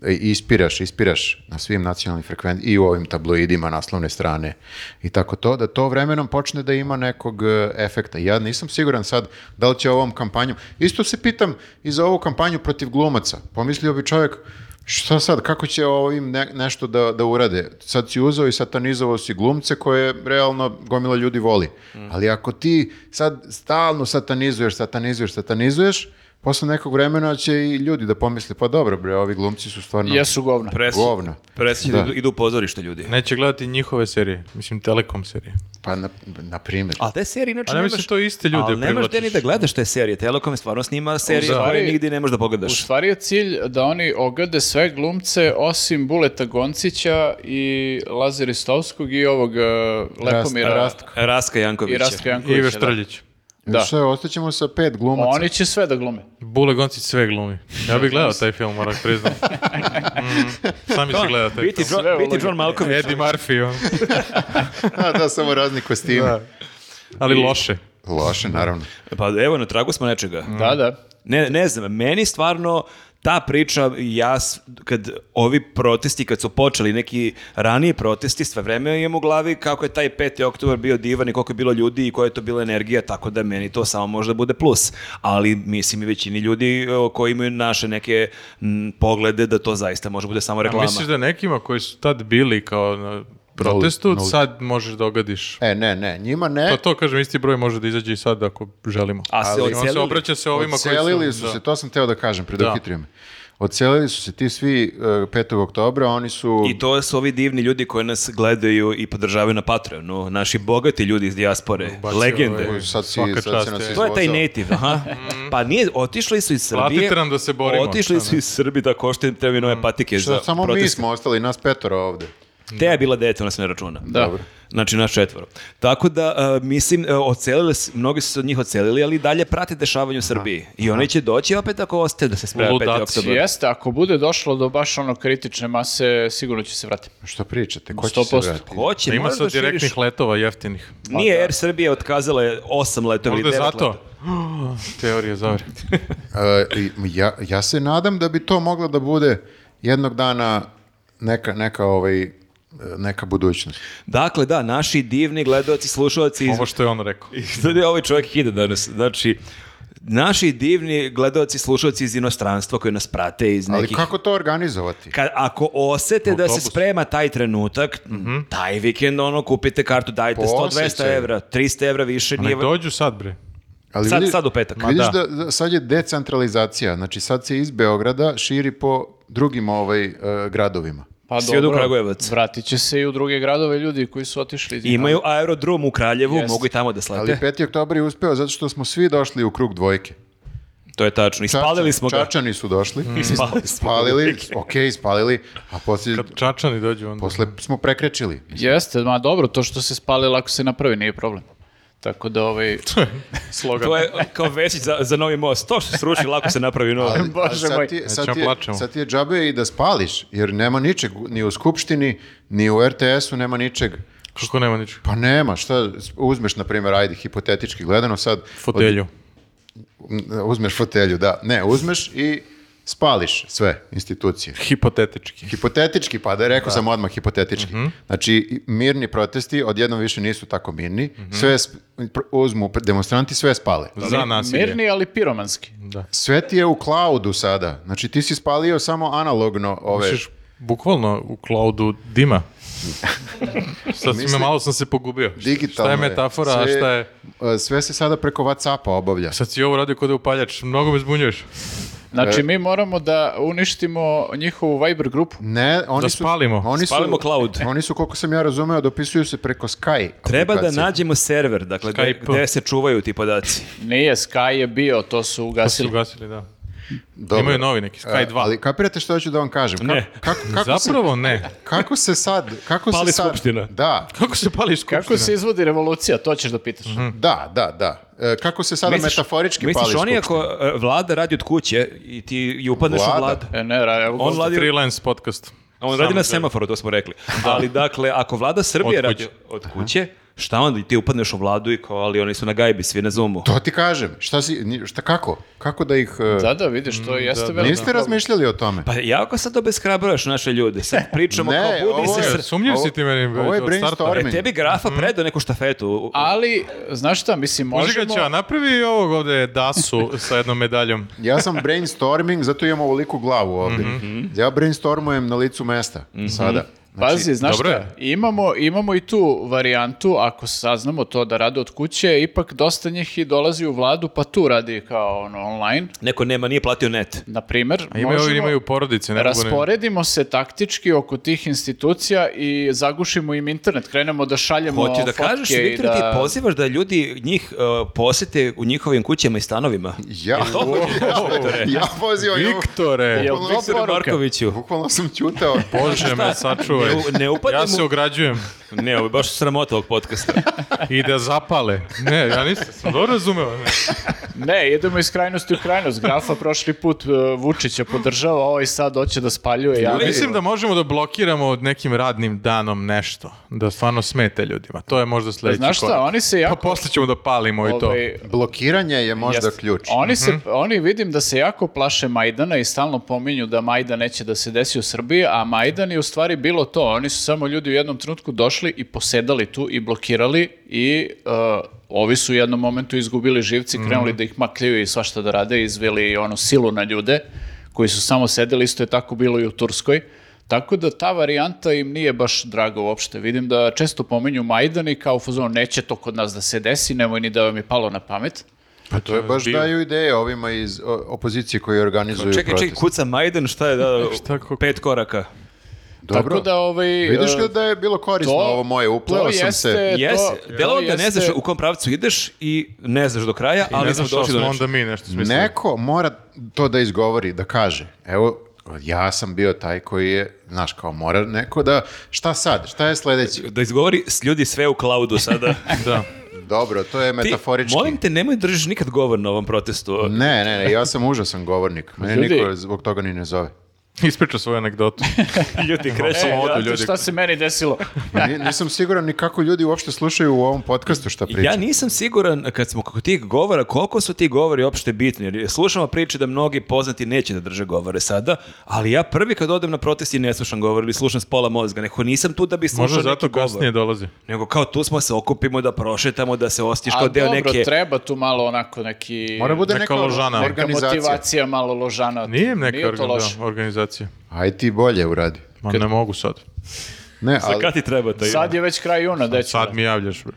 e, ispiraš, ispiraš na svim nacionalnim frekvencijama i u ovim tabloidima naslovne strane i tako to, da to vremenom počne da ima nekog e, efekta. Ja nisam siguran sad da li će ovom kampanjom, isto se pitam i za ovu kampanju protiv glumaca. Pomislio bi čovjek, šta sad, kako će ovim ne- nešto da, da urade? Sad si uzeo i satanizovao si glumce koje realno gomila ljudi voli. Ali ako ti sad stalno satanizuješ, satanizuješ, satanizuješ, posle nekog vremena će i ljudi da pomisle, pa dobro bre, ovi glumci su stvarno Jesu govna. Presu, govna. presu Da. idu, idu u pozorište ljudi. Neće gledati njihove serije, mislim Telekom serije. Pa na, na primjer. Ali te serije inače A ne nemaš... mislim to iste ljude Ali nemaš gde privlačiš. ni da gledaš te serije. Telekom stvarno snima serije stvari- koje nigdje ne možeš da U pogledaš. stvari je cilj da oni ogade sve glumce osim Buleta Goncića i Laze Ristovskog i ovog uh, Lepomira Rastka. Raska Jankovića. i Rastka I Jankovića. da. Ive Štrljić. Da. Sve, ostaćemo sa pet glumaca. Oni će sve da glume. Bule Goncić sve glumi. Ja bih gledao taj film, moram priznam. Mm, sam mi se gleda taj Biti film. John, Sve biti uloge. John Malkovich. Eddie Murphy, on. da, da, samo razni kostime. Ali loše. Loše, naravno. E. Pa evo, na tragu smo nečega. Mhm. Da, da. Ne, ne znam, meni stvarno ta priča, ja, s- kad ovi protesti, kad su počeli neki raniji protesti, sve vreme imam u glavi kako je taj 5. oktober bio divan i koliko je bilo ljudi i koja je to bila energija, tako da meni to samo možda bude plus. Ali mislim i većini ljudi e, koji imaju naše neke m, poglede da to zaista može bude samo A reklama. misliš da nekima koji su tad bili kao na protestu, Nul- nul. sad možeš da ogadiš E, ne, ne, njima ne. Pa to, kažem, isti broj može da izađe i sad ako želimo. A se Ali on se odselili? obraća se ovima koji su... Odselili su da. se, to sam teo da kažem, predohitrio me. Odselili su se ti svi e, 5. oktobra, oni su... I to su ovi divni ljudi koji nas gledaju i podržavaju na Patreonu, naši bogati ljudi iz dijaspore, Ubacio legende. ovaj- Sad si, Svaka sad čast, si e. nas izvozao. To je taj native, aha. Pa nije, otišli su iz Srbije. Platite Mm. nam da Mm. se borimo. Otišli su iz Srbije da košte im trebaju nove patike Što za samo mi protest. smo ostali, nas petoro ovde. Te je bila dete, ona se ne računa. Da. Znači naš četvoro. Tako da, e, mislim, e, odselili, s- mnogi su se od njih odselili, ali i dalje prate dešavanje u Srbiji. I oni će doći opet ako ostaje da se sprema 5. Ludaci. oktober. Jeste, ako bude došlo do baš ono kritične mase, sigurno će se vratiti. Što pričate, ko će se 100%. vratiti? Hoće, Ima moraš sad da širiš- direktnih letova jeftinih. Nije Air Srbija otkazala je osam letova ili Možda je devet zato. letova. Teorija zavre. E, i ja, ja se nadam da bi to moglo da bude jednog dana neka, neka, ovaj, e, neka budućnost. Dakle, da, naši divni gledoci, slušalci iz Ovo što je on rekao. I sad je ovaj čovjek ide danas. Znači, naši divni gledaoci, slušalci iz inostranstva koji nas prate iz Ali nekih... kako to organizovati? Kad, ako osete da se Autobus. sprema taj trenutak, Mhm. taj vikend ono, kupite kartu, dajte Po 100-200 osjećaju. evra, 300 evra više Ne nije... dođu sad, bre. Ali Sad- vidi- sad u petak. Ma Vidiš da. da. da sad je decentralizacija, znači sad se iz Beograda širi po drugim ovaj, e, gradovima. Pa Svi odu u Kragujevac. Vratit će se i u druge gradove ljudi koji su otišli. iz- Imaju aerodrom u Kraljevu, Jest. mogu i tamo da slete. Ali 5. oktober je uspeo zato što smo svi došli u krug dvojke. To je tačno. Ispalili Čačani- smo ga. Čačani su došli. Ispalili smo ga. Spalili, ok, spalili, a poslije, Kad Čačani dođu onda. posle smo prekrečili. Jeste, ma dobro, to što se spali lako se napravi, nije problem. Tako da ovaj... slogan. To je kao vesić za, za novi most. To što se sruši, lako se napravi novi. Ali- Bože ali sad moj. ti je- sad Nećemo ti je- plačemo. sad ti je džabe i da spališ, jer nema ničeg ni u Skupštini, ni u RTS-u, nema ničeg. Kako nema ničeg. Pa nema, šta uzmeš, na primjer, ajde, hipotetički gledano sad, Fotelju. Uzmeš fotelju, da. Ne, uzmeš i spališ sve institucije. Hipotetički. Hipotetički, pa da rekao sam odmah hipotetički. Znači, i- mirni protesti odjednom više nisu tako mirni. Sve sp- pr- uzmu pr- demonstranti, sve spale. Za nasilje. Mirni, ali piromanski. Sve ti je u cloudu sada. Znači, ti si spalio samo analogno ove... Misliš, bukvalno u cloudu dima. Sad si Misli- me, malo sam se pogubio. Digitalno Šta je metafora, a Sve- šta je... e, Sve se sada preko Whatsappa obavlja. Sad si ovo radio kod je upaljač, mnogo me zbunjuješ. Znači, mi moramo da uništimo njihovu Viber grupu. Ne, oni Da su, spalimo. Oni Spalimo su, cloud. Oni su, koliko sam ja razumeo, dopisuju se preko Sky. Treba da aplikacije. nađemo server, dakle, gde, Skype. gde se čuvaju ti podaci. Nije, Sky je bio, to su Da su ugasili. ugasili, da. Dobro. Imaju novi neki, Sky E, 2. Ali kapirate što hoću da vam kažem? Kako, Ne. Kako, kako, se, Zapravo ne. kako se sad... Kako Pali se sad, skupština. Da, Kako se pali skupština? Kako se izvodi revolucija, to ćeš da pitaš. Hm. da, da, da. E, kako se sada metaforički pali misliš oni skupština? ako e, vlada radi od kuće i ti i upadneš Vlada? E, u vladu. E, ne, ra- evo, On gosta. vladi, Freelance podcast. on radi Sam na za- semaforu, to smo rekli. Ali dakle, ako vlada Srbije Od radi kuće. od kuće, šta onda i ti upadneš u vladu i kao, ali oni su na gajbi, svi na zoomu. To ti kažem. Šta si, ni- šta kako? Kako da ih... e, Da, da, vidiš, to jeste veliki niste problem. razmišljali o tome? Pa jako sad obeshrabruješ naše ljude. Sad pričamo Ne, kao budi ovo se... je- Mhm. sr- Sumnjiv si ti meni. ovo je od starta. brainstorming. E, tebi grafa predao neku štafetu. Ali, znaš šta, mislim, Možda možemo... ga će, napravi ovog ovde dasu sa jednom medaljom. Ja sam brainstorming, zato imam ovoliku glavu ovdje. Mhm. Ja brainstormujem na licu mesta sada. Pazi, znaš Znači, dobro šta, imamo, imamo i tu varijantu, ako saznamo to da rade od kuće, ipak dosta njih i dolazi u vladu, pa tu radi kao ono, online. Neko nema, nije platio net. Na primer, A imaju, možemo... imaju porodice. Ne mogu ne- Rasporedimo se taktički oko tih institucija i zagušimo im internet. Krenemo da šaljemo Hoću da fotke kažeš, i Viktor, da... ti pozivaš da ljudi njih uh, posete u njihovim kućama i stanovima. Ja, Viktore. ja pozivam... Viktore. Jel Bukvalno- to poruka? Markoviću. Bukvalno sam ćutao. Bože me sačuvaj. Ne u- ne upadne ja se mu- ograđujem. Ne, ovo je baš sramota ovog podcasta. I da zapale. Ne, ja nisam, sam dobro razumeo. Ne. Ne, idemo iz krajnosti u krajnost. Grafa prošli put e, Vučića podržava, ovaj sad hoće da spaljuje. Ja, Ljudi- Mislim da možemo da blokiramo nekim radnim danom nešto. Da stvarno smete ljudima. To je možda sledeći Znaš šta, korak. oni se Pa jako... posle ćemo da palimo i to. ovaj, Blokiranje je možda Jeste. ključ. Oni, se, oni vidim da se jako plaše Majdana i stalno pominju da Majdan neće da se desi u Srbiji, a Majdan je u stvari bilo to. Oni su samo ljudi u jednom trenutku došli i posedali tu i blokirali i uh, ovi su u jednom momentu izgubili živci, krenuli da ih makljaju i svašta da rade, izveli ono silu na ljude koji su samo sedeli, isto je tako bilo i u Turskoj. Tako da ta varijanta im nije baš draga uopšte. Vidim da često pominju Majdan i kao fuzon neće to kod nas da se desi, nemoj ni da vam je palo na pamet. Pa to je baš bio. daju ideje ovima iz o, opozicije koji organizuju čekaj, čekaj, protest. kuca Majdan, šta je da, Šta, ko- pet koraka? Dobro. Tako da ovaj Vidiš e, li da je bilo korisno to- ovo moje, upleo to sam se. jeste- E, to- Jes, to delo da ne znaš jeste- u kom pravcu ideš i ne znaš do kraja, Ali ali smo ne znam što došli do smo nečega. onda mi nešto smislili. Neko mora to da izgovori, da kaže. Evo, ja sam bio taj koji je, znaš, kao mora neko da, šta sad, šta je sledeći? Da izgovori s ljudi sve u klaudu sada. Da. Dobro, to je Ti, metaforički. molim te, nemoj držiš nikad govor na ovom protestu. Ne, ne, ne, ja sam užasan govornik. Mene Ljudi- niko zbog toga ni ne zove. Ispriča svoju anegdotu. ljudi kreću E, odu znate ljudi. šta se meni desilo? Ja ni- nisam siguran ni kako ljudi uopšte slušaju u ovom podcastu šta pričam. Ja nisam siguran kad smo kako tih govora, koliko su ti govori uopšte bitni. Jer slušamo priče da mnogi poznati neće da drže govore sada, ali ja prvi kad odem na protest i ne slušam govor ili slušam s pola mozga, neko nisam tu da bi slušao Možda neki zato govor. kasnije dolazi. Nego kao tu smo se okupimo da prošetamo, da se ostiš A kao deo dobro, neke... treba tu malo onako neki... Mora bude Neka neka, ložana. Neka neka organizacija. motivacija malo ložana. Nije im neka Nije to organ- loše. da, organizacija. Aj ti bolje uradi. Ma ne mogu sad. Ne, Za ali kad ti treba to Sad je već kraj juna, deću. Sad mi javljaš. bre.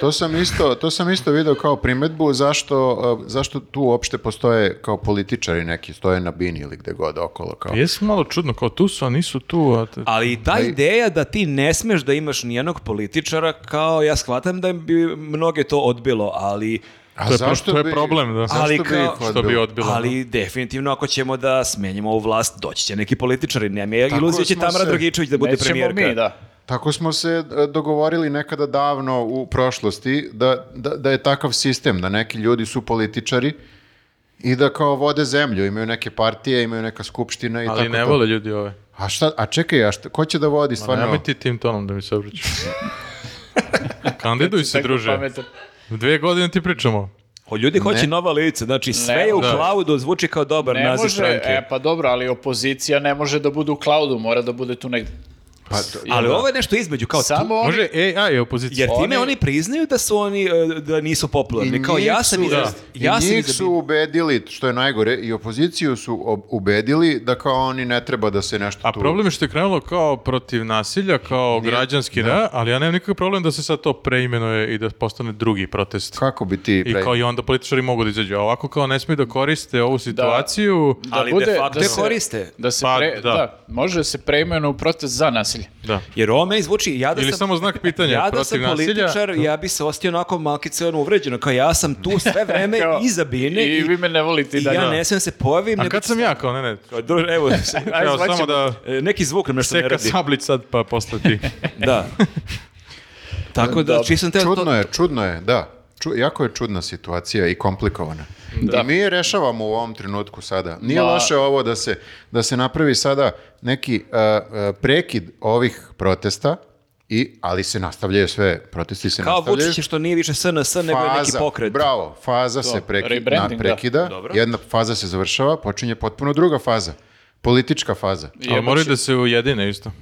to sam isto, to sam isto video kao primetbu zašto, uh, zašto tu uopšte postoje kao političari neki, stoje na bini ili gde god okolo. Kao. Jesi malo čudno, kao tu su, a nisu tu. A te- Ali i ta ideja da ti ne smeš da imaš nijednog političara, kao ja shvatam da bi mnoge to odbilo, ali... A To je pro- to je problem, da. Zašto Ali bi kao- ih Što bi odbili? odbilo. Ali definitivno ako ćemo da smenjimo ovu vlast, doći će neki političari. Nema je Tako iluzija će smo Tamara se- Dragičević da bude Nećemo premijerka. mi, da. Tako smo se e, dogovorili nekada davno u prošlosti da, da, da je takav sistem, da neki ljudi su političari i da kao vode zemlju, imaju neke partije, imaju neka skupština i Ali tako ne to. vole ljudi ove. A šta, a čekaj, a šta, ko će da vodi Pa stvarno? nemoj ti tim tonom da mi se obraćaš. Kandiduj se, Tako druže. pametan. Dve godine ti pričamo. O, ljudi hoće Ne. nova lica, znači sve Ne, je u da. cloudu, zvuči kao dobar Ne naziv može, stranke. e, pa dobro, ali opozicija ne može da bude u cloudu, mora da bude tu negde. Pa, to- Ali ovo je nešto između, kao tu- Samo oni- Može AI je opozicija. Jer time Oni- oni priznaju da su oni, e, da nisu popularni. I Kao njih ja sam, su- iz- da. ja I sam njih iz- su ubedili, što je najgore, i opoziciju su ob- ubedili da kao oni ne treba da se nešto A tu... problem je što je krenulo kao protiv nasilja, kao građanski, da. ali ja nemam nikakav problem da se sad to preimenuje i da postane drugi protest. Kako bi ti... I pre- kao i onda političari mogu da izađu. A ovako kao ne smiju da koriste ovu situaciju. da ali de bude- facto da se- koriste. Da se Pa, pre, da. da. može da se preimenu u protest za nasilje. Da. Jer ovo meni zvuči, ja da Ili sam... samo znak pitanja ja da sam protiv nasilja. političar, ja bi se ostio onako malkice ono uvređeno, kao ja sam tu sve vreme Kao, iza bine I, E, i, vi me ne volite i i dalje. ja ne smem se pojavim. A nego kad ću sam se- ja kao, ne, ne, Kao, druže, evo, evo zvaćemo- samo da e, neki zvuk nam nešto ne seka radi. sablić sad pa posle ti. Da. Tako da, čiji sam teo to... Čudno je, čudno je, da. Ču- jako je čudna situacija i komplikovana. Da. I mi je rešavamo u ovom trenutku sada. Nije Ma- loše ovo da se, da se napravi sada neki uh, uh, prekid ovih protesta, i, ali se nastavljaju sve, protesti se Kao nastavljaju. Vučić je što nije više SNS, nego je neki pokret. Bravo, faza se preki, rebranding, na- da. prekida, Dobro. jedna faza se završava, počinje potpuno druga faza, politička faza. Ali Jebaće. moraju da se ujedine isto.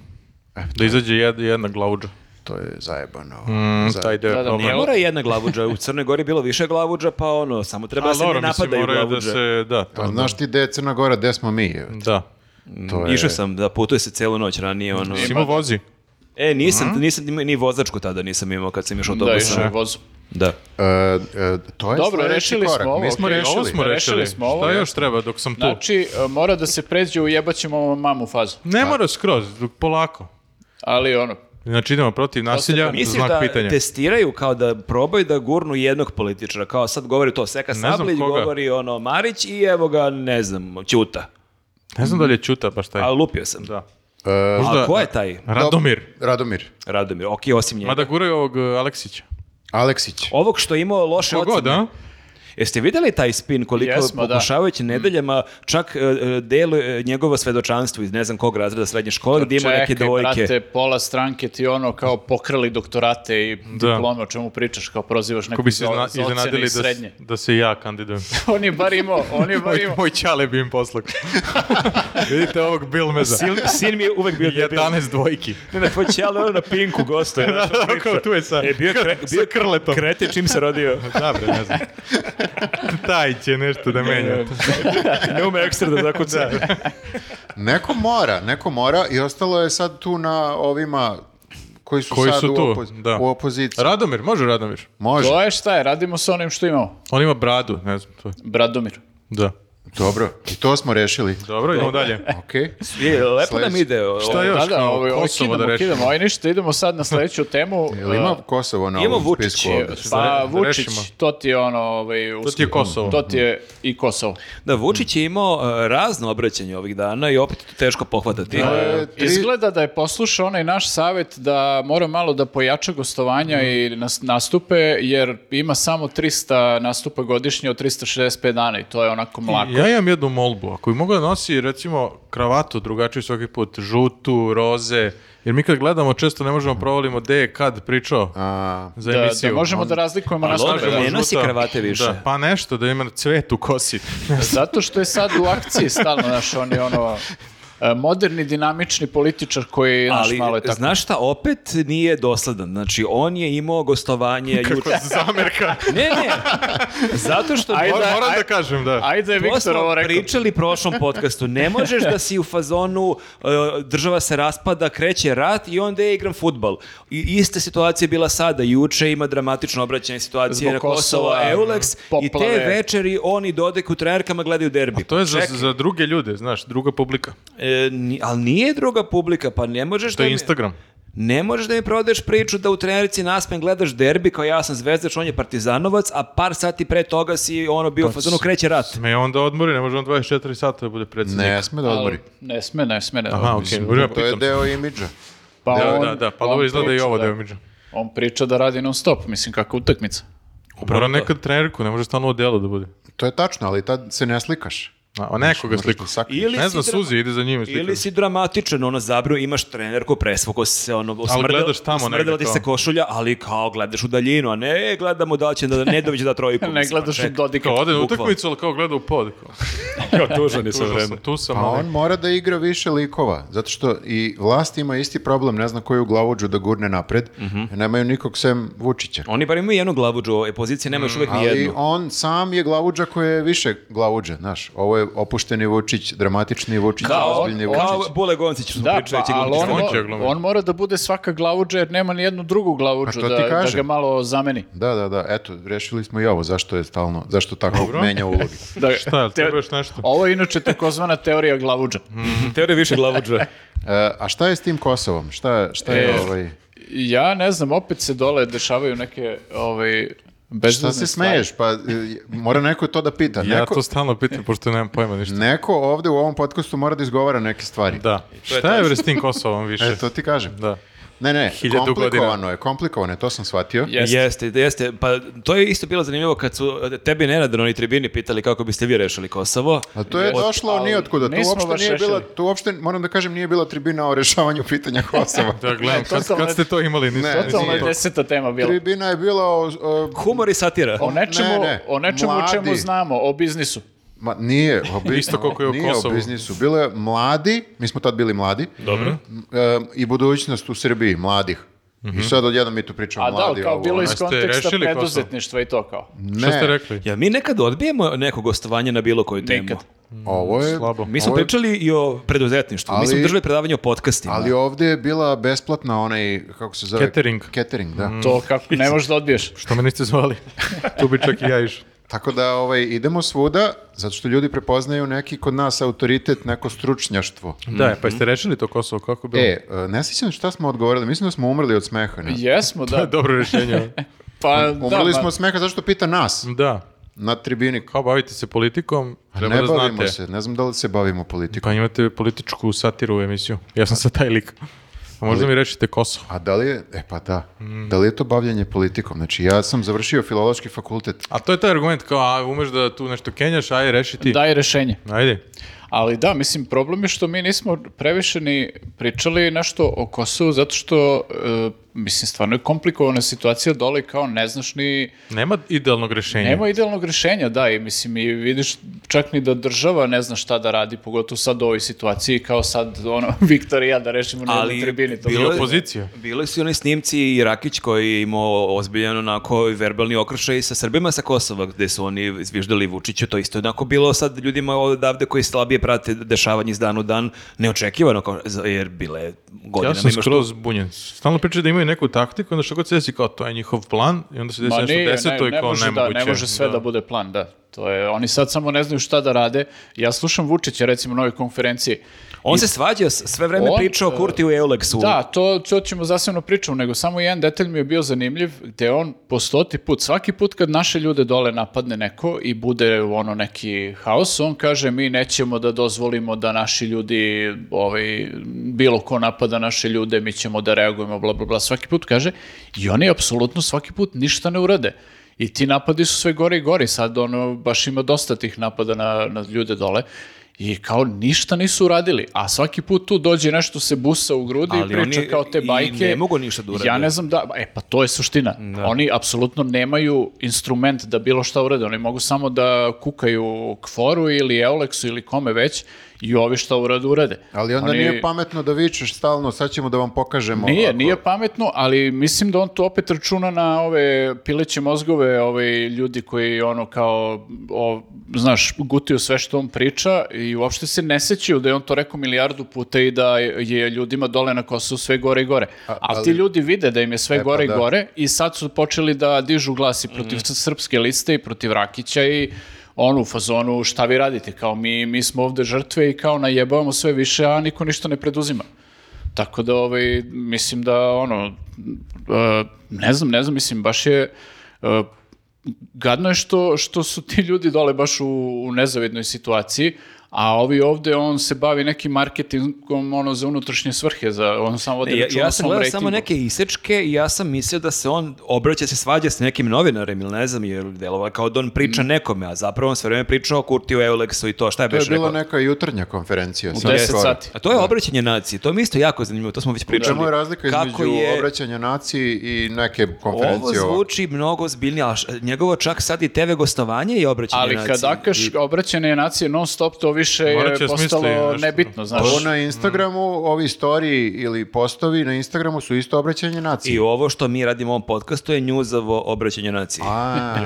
Da izađe jed, jedna glavuđa. To je zajebano. Mm, Za- taj deo je Da, da, problem. Ne Jel- mora jedna glavuđa, u Crnoj Gori je bilo više glavuđa, pa ono, samo treba da Ali se ne dobro, mislim, napadaju moraju da glavuđe. se, da, A to, znaš ti gde je Crna Gora, gde smo mi? da. To je... Išao sam, da putuje se celu noć ranije, ono. Simo vozi. E, nisam, Mhm. nisam ni- ni vozačku tada nisam imao kad sam išao Da, autobusom. išao je Da, vozom. E, e, to je Dobro, sledeći rešili korak. smo ovo, Mi smo okej. rešili. Ovo smo Rešili rešili. smo ovo, Šta ja. još treba dok sam tu? Znači, e, mora da se pređe u jebaćemo mamu fazu. ne mora skroz, dok- polako. Ali ono, Znači idemo protiv nasilja, Misliš znak Pa da pitanja. testiraju kao da probaju da gurnu jednog političara, kao sad govori to Seka znam Sablić, koga. govori ono Marić i evo ga, ne znam, Ćuta. Ne znam da li je Ćuta baš taj. A lupio sam. Da. E, A ko je taj Radomir. Radomir, Radomir? Ok, osim njega. Mada guraju ovog e, Aleksića. Aleksić. Ovog što je imao loše Ko god, ocene. a? Jeste vidjeli taj spin koliko Jesmo, da. pokušavajući nedeljama čak e, e, deluje e, njegovo svedočanstvo iz ne znam kog razreda srednje škole gdje ima neke čekaj, dvojke. brate, pola stranke ti ono kao pokrali doktorate i Da. diplome, o čemu pričaš, kao prozivaš Ko neko bi se za, izna- za ocene iznenadili i da, s- srednje. da se i ja kandidujem. on je bar imao, on je bar moj, imao. moj čale bi im poslao. Vidite ovog Bilmeza. Sin, sin mi je uvek bio debil. 11 dvojki. Ne, ne, tvoj ćale, ono na pinku gostuje. znaš, ono priča. Kao tu je sa, E, bio je kre, bio sa je krletom. krete čim se rodio. Da bre, ne znam. Taj će nešto da menja. Ne ume ekstra da zakuca. Neko mora, neko mora i ostalo je sad tu na ovima koji su Koji sad su u, tu, opozi- da. u opoziciji. Radomir, može Radomir. Može, To je šta je, radimo sa onim što imamo. On ima bradu, ne znam, to je. Bradomir. Da. dobro, i to smo rešili. Dobro, idemo dalje. Okej. Je, lepo nam Sledeći. ide. o- Šta je? još da, da, kao ovo, ovo Kosovo da kidamo, rešimo? kidamo, aj ništa, idemo sad na sledeću temu. eh, Jel ima Kosovo na Ima ovom Vučić spisku je. ovde? Pa Da re- da Vučić, rešimo. to ti je ono... Ovaj, To ti je Kosovo. To ti je i Kosovo. Da, Vučić je imao e, razno obraćanje ovih dana i opet to teško pohvatati. E, tri- Izgleda da je poslušao onaj naš savjet da mora malo da pojača gostovanja Mm. i nas, nastupe, jer ima samo 300 nastupa godišnje od 365 dana i to je onako mlako. Ja imam jednu molbu, ako bi mogla da nosi recimo kravatu drugačiju svaki put, žutu, roze, jer mi kad gledamo često ne možemo provalimo gde je kad pričao A, za Da, emisiju. da možemo On- da razlikujemo Ali nastupe. dobro, da. ne nosi žuta. kravate više. Da, pa nešto, da ima cvet u kosi. Zato što je sad u akciji stalno, znaš, on je ono e, moderni, dinamični političar koji, znaš, Ali, malo je tako. znaš šta, opet nije dosledan. Znači, on je imao gostovanje Kako juče. zamerka. Ne, ne, zato što... Ajde, Mor- da, moram da ajde. kažem, da. Ajde, To Viktor, ovo smo rekao. pričali u prošlom podcastu. Ne možeš da si u fazonu e, država se raspada, kreće rat i onda ja igram futbal. I ista situacija je bila sada. Juče ima dramatično obraćanje situacije Zbog na Kosovo, Kosova, Eulex i poplave. te večeri oni dodek u trenerkama gledaju derbi. To je za, Čekaj, za druge ljude, znaš, druga publika. e, ni- ali nije druga publika, pa ne možeš To da je mi- Instagram. Ne možeš da mi prodeš priču da u trenerici naspen gledaš derbi kao ja sam zvezdač, on je partizanovac, a par sati pre toga si ono bio u fazonu kreće rat. Me onda odmori, ne može on 24 sata da bude predsjednik. ne sme da odmori. Ali Ne sme, ne sme, ne. Aha, okej, dobro, ja To je pitam. deo imidža. Pa Da, on- da, da, pa on dobro izgleda i priča ovo da- deo imidža. On priča da radi non stop, mislim, kakva utakmica. Mora nekad trenerku, ne može stalno u delu da bude. To je tačno, ali tad se ne slikaš. A, o nekoga sliku. Ili Ne si znam, dra- Suzi ide za njim i slika. Ili si dramatičan, ona zabrio, imaš trenerku, presvuko si se, ono, gledaš tamo negde usmrdila ti to. se košulja, ali kao gledaš u daljinu, a ne e, gledamo da li će da Nedović da trojku. Pa Ne mislim, gledaš u čekaj. Dodika. Kao ode na Bukvalno. utakmicu, ali kao gleda u pod. Kao, Ja, tužan je sve tužan sam, vreme. tu sam, Pa on ali... mora da igra više likova, zato što i vlast ima isti problem, ne zna koju glavođu da gurne napred, Mhm. nemaju nikog sem Vučića. Oni bar imaju jednu glavu, Joe, e, pozicije nema još uvek ni Mm, Ali jednu. on sam je glavuđa koji je više glavuđa, znaš. Ovo je opušteni Vučić, dramatični Vučić, Kao, ozbiljni kao Vučić. Bule Goncić, što smo Da, pričali, pa, će ali glumiti on, Goncić. Goncić je mo- glavni. on mora da bude svaka glavuđa jer nema nijednu drugu glavuđu Pa to da, ti da kažem. ga malo zameni. Da, da, da, eto, rešili smo i ovo, zašto je stalno, zašto tako menja ulogi. Da, ga- Šta, jel te- treba još nešto? Ovo je inače takozvana teorija glavuđa. Teorija više glavuđa. E, a šta je s tim Kosovom? Šta, šta je E, ovaj... Ja ne znam, opet se dole dešavaju neke ovaj, Šta bezvezne se stvari. smeješ? Pa e, mora neko to da pita. Ja neko, to stalno pitam, pošto nemam pojma ništa. neko ovde u ovom podcastu mora da izgovara neke stvari. Da. Šta je bre s tim Kosovom više? E, to ti kažem. Da. Ne, ne, Hiljadu godina. komplikovano je, komplikovano je, to sam shvatio. Jeste. Jeste, jeste. Pa to je isto bilo zanimljivo kad su e, tebi Nenad na onoj tribini pitali kako biste vi rešili Kosovo. A to je došlo ali ni od kuda. To nismo uopšte baš nije rešili. bila, to uopšte moram da kažem nije bila tribina o rešavanju pitanja Kosova. Da, gledam, Ne, kad, totalno- kad ste to imali? Nisam, Ne, nisam Totalno je to- deseta tema bila. Tribina je bila o, o- Humor i satira. O nečemu, Ne, ne, O nečemu o čemu mladi. znamo, o biznisu. ma nije, o biznisu, Isto koliko je u nije Kosovu. o biznisu. Bilo je mladi, mi smo tad bili mladi, Dobro. m, e, i budućnost u Srbiji, mladih. Mhm. I sad odjednom mi tu pričamo A da, mladi. ali kao ovo, bilo ono. iz Jeste konteksta rešili Kosovo? preduzetništva i to kao. Ne, Šta ste rekli? Ja mi nekad odbijemo neko gostovanje na bilo koju temu. Nikad. ovo je, Slabo. Mi smo Ovo je- pričali i o preduzetništvu. Mi smo Ali- držali predavanje o podcastima. ali ovdje je bila besplatna onaj, kako se zove? Catering. Mhm. Catering, da. To kako ne možeš da odbiješ. Što me niste zvali? tu bi čak i ja išao. Tako da ovaj, idemo svuda, zato što ljudi prepoznaju neki kod nas autoritet, neko stručnjaštvo. Da, pa jeste rešili to Kosovo? Kako bilo? Mhm. E, e, ne sjećam šta smo odgovorili, mislim da smo umrli od smeha. Ne? Jesmo, da. Dobro rešenje. Pa, Umrli da, smo ma- od smeha, zašto pita nas da. na tribini? Kao bavite se politikom, treba ne da bavimo znate. se, ne znam da li se bavimo politikom. Pa imate političku satiru u emisiju. Ja sam sad taj lik. A možda mi rešite Kosovo. A da li je, e pa da, Mm. da li je to bavljanje politikom? Znači ja sam završio filološki fakultet. A to je taj argument kao, a umeš da tu nešto kenjaš, aj reši ti. daj rešenje. Ajde. Ali da, mislim, problem je što mi nismo previše ni pričali nešto o Kosovu, zato što, e, mislim, stvarno je komplikovana situacija dole i kao ne znaš ni... Nema idealnog rešenja. Nema idealnog rešenja, da, i mislim, i vidiš čak ni da država ne zna šta da radi, pogotovo sad u ovoj situaciji, kao sad, ono, Viktor i ja da rešimo na jednoj tribini. To bilo- bilo... opozicija. Bili su i oni snimci i Rakić koji je imao ozbiljan onako verbalni okršaj sa Srbima sa Kosova gde su oni zviždali Vučiću. To isto je onako bilo sad ljudima odavde koji slabije prate dešavanje iz dana u dan neočekivano kao- za- jer bile Ja godinama sam imaš skroz zbunjen. Stalno pričaju da imaju neku taktiku, onda što god se desi kao to je njihov plan i onda se desi Ma nešto nije, deseto ne, i ne kao može, da, nemoguće. ne može sve da. bude plan, da. To je, oni sad samo ne znaju šta da rade. Ja slušam Vučića, recimo, na ovoj konferenciji. On se svađao, s- sve vreme On, pričao o Kurti u Euleksu. Da, to, to ćemo zasebno pričamo, nego samo jedan detalj mi je bio zanimljiv, gde on po stoti put, svaki put kad naše ljude dole napadne neko i bude ono neki haos, on kaže mi nećemo da dozvolimo da naši ljudi, ovaj, bilo ko napada naše ljude, mi ćemo da reagujemo, bla, bla, bla, svaki put kaže i oni apsolutno svaki put ništa ne urade. I ti napadi su sve gori i gori, sad ono, baš ima dosta tih napada na, na ljude dole. I kao ništa nisu uradili, a svaki put tu dođe nešto se busa u grudi Ali i priča oni kao te i bajke. ne mogu ništa da urade. Ja ne znam da, e pa to je suština. Oni apsolutno nemaju instrument da bilo šta urade, oni mogu samo da kukaju kforu ili Euleksu ili kome već i ovi šta urade urade. Ali onda Oni- nije pametno da vičeš stalno, sad ćemo da vam pokažemo. Nije, ako- nije pametno, ali mislim da on to opet računa na ove pileće mozgove, ove ljudi koji ono kao, o, znaš, gutio sve što on priča i uopšte se ne sećaju da je on to rekao milijardu puta i da je ljudima dole na Kosovu sve gore i gore. A, ti ljudi vide da im je sve pa gore da. Mhm. i gore i sad su počeli da dižu glasi protiv srpske liste i protiv Rakića i onu u fazonu šta vi radite, kao mi, mi smo ovde žrtve i kao najebavamo sve više, a niko ništa ne preduzima. Tako da, ovaj, mislim da, ono, e, ne znam, ne znam, mislim, baš je, e, gadno je što, što su ti ljudi dole baš u, u nezavidnoj situaciji, A ovi ovde, on se bavi nekim marketingom ono, za unutrašnje svrhe, za, on samo vodi Ja, računa ja o sam svom gledao rejtingu. samo neke isečke i ja sam mislio da se on obraća se svađa s nekim novinarem ili ne znam, jer delovalo je kao da on priča nekome, a zapravo on sve vreme pričao o Kurtiju Euleksu i to, šta je To je beš bila rekao? neka jutarnja konferencija. U sad 10 skoro. sati. A to je obraćanje naciji, to mi je isto jako zanimljivo, to smo već U pričali. čemu je razlika Kako između je- obraćanja naciji i neke Ovo konferencije? ovako? zvuči mnogo zbiljnije, a š- njegovo čak sad i TV gostovanje je obraćanje Ali naciji. kad akaš obraćanje nacije non stop, to više Morat je će smisliti postalo nešto. Ono nebitno, znaš. Ovo Ono na Instagramu, ovi storiji ili postovi na Instagramu su isto obraćanje naciji. I ovo što mi radimo u ovom podcastu je njuzovo obraćanje naciji. A,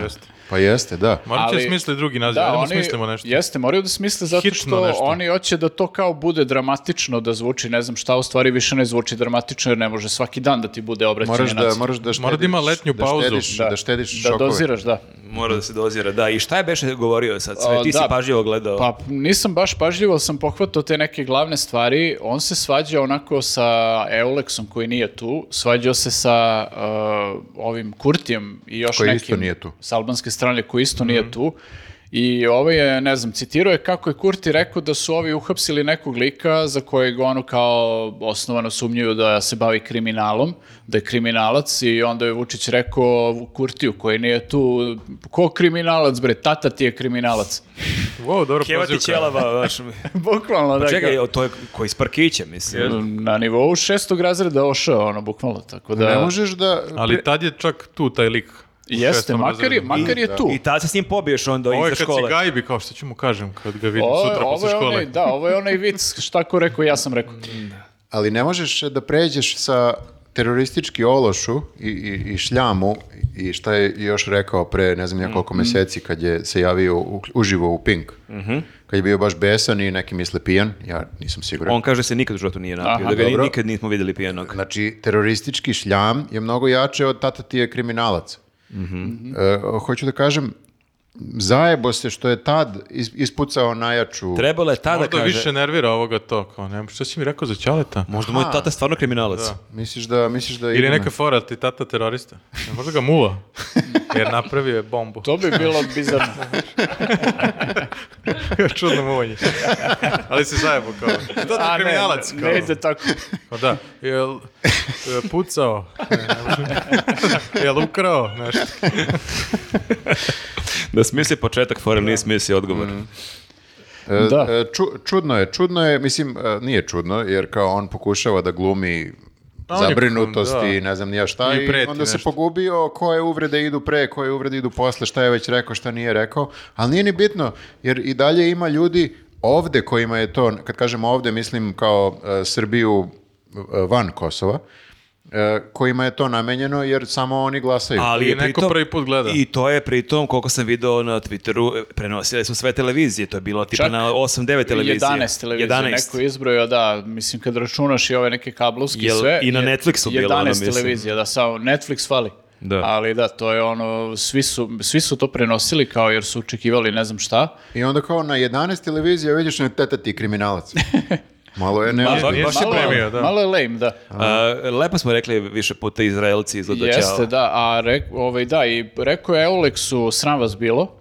pa jeste, da. Morat će Ali- smisli drugi naziv, da, smislimo nešto. Jeste, moraju da smisle zato Hitno što nešto. oni hoće da to kao bude dramatično da zvuči, ne znam šta, u stvari više ne zvuči dramatično jer ne može svaki dan da ti bude obraćanje Moraš da, nacije. moraš da štediš. Mora da ima letnju da pauzu. štediš- da, štediš da šokove. doziraš, da. Mora da se dozira, da. I šta je Beše govorio sad sve? A, Ti si da. pažljivo gledao. Pa nisam baš pažljivo, ali sam pohvatao te neke glavne stvari. On se svađao onako sa Euleksom koji nije tu, svađao se sa uh, ovim Kurtijem i još Koji nekim. isto nije tu. Mhm. S albanske strane koji isto nije tu. I ovo je, ne znam, citirao je kako je Kurti rekao da su ovi uhapsili nekog lika za kojeg ono kao osnovano sumnjuju da se bavi kriminalom, da je kriminalac i onda je Vučić rekao Kurtiju koji nije tu, ko kriminalac bre, tata ti je kriminalac. Wow, dobro Keva ti prozivka. ćelava, baš. Bukvalno, da. Čekaj, kao- o, to je koji s parkićem, mislim. Na nivou šestog razreda oš, ono, bukvalno, tako da... Ne možeš da... Ali tad je čak tu taj lik. u Jeste, šestom makar je, razredu. makar je tu. I tad se s njim pobiješ onda Ovo iza je kad si škole. gajbi, kao što ću mu kažem kad ga vidim Ovo, sutra ovo posle je škole. onaj, da, ovo je onaj vic, šta ko rekao, ja sam rekao. Ali ne možeš da pređeš sa teroristički ološu i, i, i šljamu i šta je još rekao pre ne znam nekoliko Mm-hmm. meseci kad je se javio u- uživo u Pink. Kad je bio baš besan i neki misle pijan, ja nisam siguran. On kaže da se nikad u životu nije napio, Aha, da ga ni- dobro. nikad nismo vidjeli pijenog. Znači, teroristički šljam je mnogo jače od tata ti je kriminalac. Mm-hmm. E, hoću da kažem, zajebo se što je tad is- ispucao najjaču... Trebalo je tada Možda kaže... više nervira ovoga to, kao nema, što si mi rekao za Ćaleta? Možda moj tata stvarno kriminalac. Misliš da... Misliš da Ili je idemo- neka fora, ti tata terorista. E, Možda ga muva, jer napravio je bombu. To bi bilo bizarno. Čudno muvanje. Ali se zajebo kao. Tata A ne, kriminalac. ne, kao. ide tako. Pa da, jel e, pucao? Ne, ne može. jel ukrao nešto? Da smisli početak fora, nije smisli odgovor. E, Da. e, ču- čudno je, čudno je, mislim, e, nije čudno, jer kao on pokušava da glumi A Pa on je zabrinutost da. i ne znam nija šta I i, preti onda se nešto. pogubio koje uvrede idu pre, koje uvrede idu posle, šta je već rekao, šta nije rekao, ali nije ni bitno, jer i dalje ima ljudi ovde kojima je to, kad kažem ovde, mislim kao e, Srbiju e, van Kosova, e, kojima je to namenjeno jer samo oni glasaju. Ali I je neko pritom- prvi put gleda. I to je pritom, koliko sam video na Twitteru, e, prenosile su sve televizije. To je bilo tipa Čak na 8-9 televizija. 11 televizija, 11. neko je izbrojao, da, mislim kad računaš i ove neke kablovske i Jel- sve. i na je- Netflixu bilo, ono, 11 mislim. televizija, da, samo Netflix fali. Da. Ali da, to je ono, svi su, svi su to prenosili kao jer su očekivali ne znam šta. I onda kao na 11 televizija vidiš na teta ti kriminalac. Malo je pa Ba- neozbiljno. ba- baš je Malo- premijer. premio, da. Malo je lame, da. A, lepo smo rekli više puta Izraelci izgleda Jeste, ćao. da, a rek, ovaj, da, i rekao je Euleksu, sram vas bilo,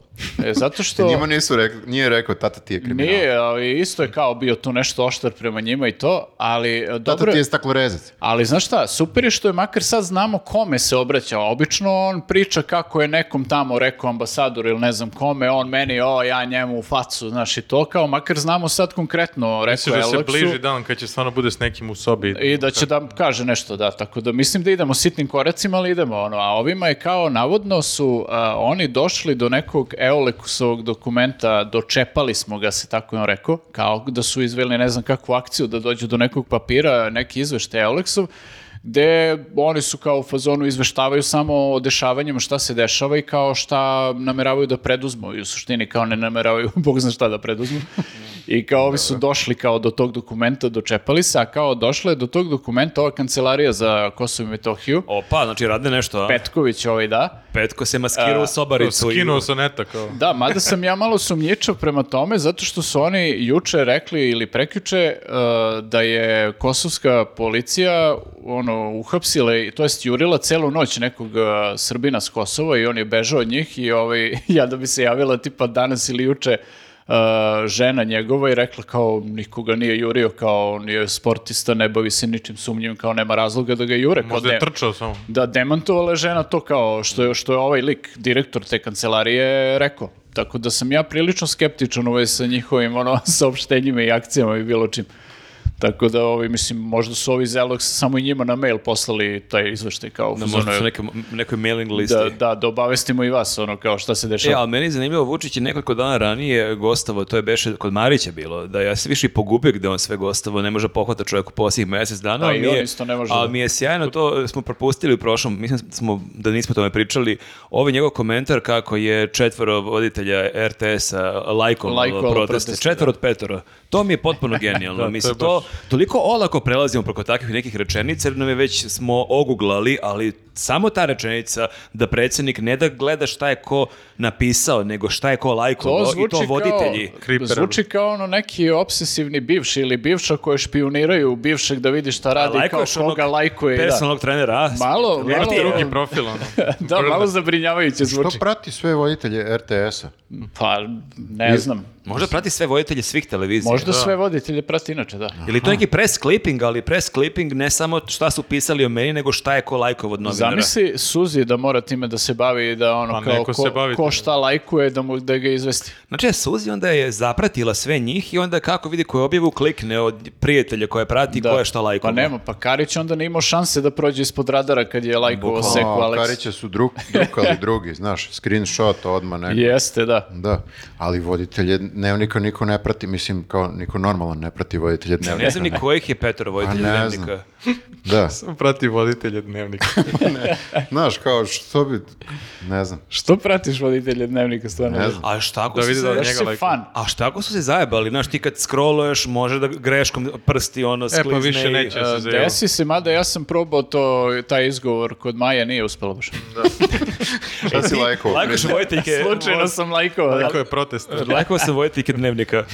e, zato Ti što Njima nisu rekli, nije rekao tata ti je kriminal. nije, ali isto je kao bio tu nešto oštar prema njima i to, ali e, Tata dobro, ti je staklorezac. ali znaš šta, super je što je makar sad znamo kome se obraća, obično on priča kako je nekom tamo rekao ambasador ili ne znam kome, on meni, o, ja njemu u facu, znaš, i to kao, makar znamo sad konkretno, rekao Misliš da je se Euleksu. bliži dan kad će stvarno bude s nekim u sobi. I da će da kaže nešto, da, tako da mislim da idemo sitnim koracima, ali idemo, ono, a ovima je kao, navodno su a, oni došli do nekog Eulekusovog dokumenta, dočepali smo ga, se tako je on rekao, kao da su izveli ne znam kakvu akciju, da dođu do nekog papira, neki izvešte Euleksov, gde oni su kao u fazonu izveštavaju samo o dešavanjima šta se dešava i kao šta nameravaju da preduzmu i u suštini kao ne nameravaju bog zna šta da preduzmu i kao ovi su došli kao do tog dokumenta dočepali se, a kao došla je do tog dokumenta ova kancelarija za Kosovo i Metohiju Opa, znači rade nešto, a? Petković ovaj da Petko se maskirao u sobaricu. i- Skinuo sa neta kao. Da, mada sam ja malo sumnjičav prema tome, zato što su oni juče rekli ili prekjuče uh, da je kosovska policija ono, uhapsila, i- to jest jurila celu noć nekog uh, Srbina s Kosova i on je bežao od njih i ovaj, ja da bi se javila tipa danas ili juče uh, žena njegova i rekla kao nikoga nije jurio, kao on je sportista, ne bavi se ničim sumnjivim, kao nema razloga da ga jure. kao Možda je ne- trčao samo. da demantovala je žena to kao što je, što je ovaj lik, direktor te kancelarije, rekao. Tako da sam ja prilično skeptičan uvez sa njihovim ono, saopštenjima i akcijama i bilo čim. Tako da, ovi, mislim, možda su ovi iz Eloxa samo i njima na mail poslali taj izveštaj kao... u Da, fazonu, možda su neke, nekoj mailing listi. ono- da, da, da obavestimo i vas, ono, kao šta se E, dešava. ali meni je zanimljivo, Vučić je nekoliko dana ranije gostavo, to je beše kod Marića bilo, da ja se više i pogubio gde on sve gostavo, ne može pohvata čovjek u posljednjih mjesec dana. Pa ali i mi je- on isto ne može Ali da- mi je sjajno, to e, smo propustili u prošlom, mislim smo, da nismo o tome pričali, ovaj njegov komentar kako je četvoro voditelja RTS-a lajkovalo Lajkovalo proteste, proteste, četvoro od petoro. To mi je potpuno genijalno. to je mislim, to, baš- toliko olako prelazimo preko takvih nekih rečenica, jer nam je već smo oguglali, ali samo ta rečenica da predsjednik ne da gleda šta je ko napisao, nego šta je ko lajkovao i to voditelji. Kao, Kriper. Zvuči kao ono neki obsesivni bivši ili bivša koje špioniraju bivšeg da vidi šta radi, kao Lajkuješ koga onog lajkuje. Da. Personalnog trenera. a? Malo, Lep malo- ti je. Drugi profil, ono. da, malo zabrinjavajuće To zvuči. prati sve voditelje RTS-a. Pa, ne znam. Možda prati sve voditelje svih televizija. Možda sve voditelje prati inače, da. Ili to neki press clipping, ali press clipping ne samo šta su pisali o meni, nego šta je ko lajkov od novinara. Zamisli Suzi da mora time da se bavi i da ono Pa kao neko se ko, bavi ko time. šta lajkuje da, mu, da ga izvesti. Znači, Suzi onda je zapratila sve njih i onda kako vidi koju objavu klikne od prijatelja koje prati, Da. ko je šta lajkova. Pa nema, pa Karić onda nije imao šanse da prođe ispod radara kad je lajkovao Bukvalno. Seku A, Aleks. Pa, Karića su druk, drukali drugi, znaš, screenshot odmah neko. Jeste, da. Da, ali voditelje dnevnika niko ne prati, mislim, kao niko normalan ne prati voditelje dnevnika. Ne znam ni kojih je Petrov voditelj Pa ne dnevnika. znam. Da, Prati voditelje dnevnika. znaš, kao što bi, ne znam. Što pratiš voditelje dnevnika stvarno? Ne znam. A šta ako Da su vidi se... da- Znaš Njega si lajkuje. fan. A šta ako su se zajebali? Znaš, ti kad scrolluješ, može da greškom prsti ono E, sklizne pa više i- neće se zajebati. Desi se, mada ja sam probao to, taj izgovor kod Maja nije uspelo baš. Šta si lajkao? Lajkoš E, voditeljke... Slučajno sam lajkovao. Da. Tako je protest. Lajkova sam voditeljke dnevnika.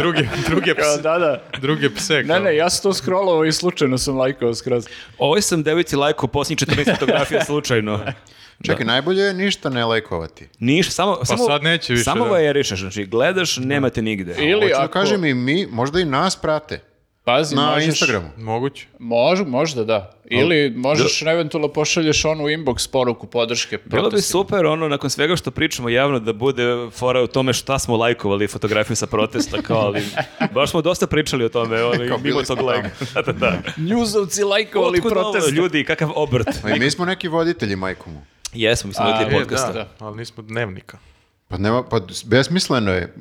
Drugi, druge, Kao, pse, da, da. druge pse. Ne, kao. ne, ja sam to scrollovao i slučajno sam lajkao skroz. Ovo sam devici lajkao posljednjih 14 fotografija slučajno. Čekaj, najbolje je ništa ne lajkovati. Niš, samo... Pa samo, sad neće više, Samo da. vajerišeš, znači gledaš, nema te nigde. Ili Hoću da ako... kažem i mi, možda i nas prate Pazi, na možeš- Instagramu. Moguće. Mož, možda da. Ili možeš eventualno pošalješ onu inbox poruku podrške. Bilo bi protestima. super ono, nakon svega što pričamo javno da bude fora u tome šta smo lajkovali fotografiju sa protesta, kao ali baš smo dosta pričali o tome, ono, i Kao mimo bili smo tog lajka. Da, da, da. Njuzovci lajkovali Otkud ovo, protest. ljudi, kakav obrt. Ma i mi smo neki voditelji, majku mu. Jesmo, mislim, A, voditelji je, E, podcasta. da, da, ali nismo dnevnika. Pa, nema, pa besmisleno je.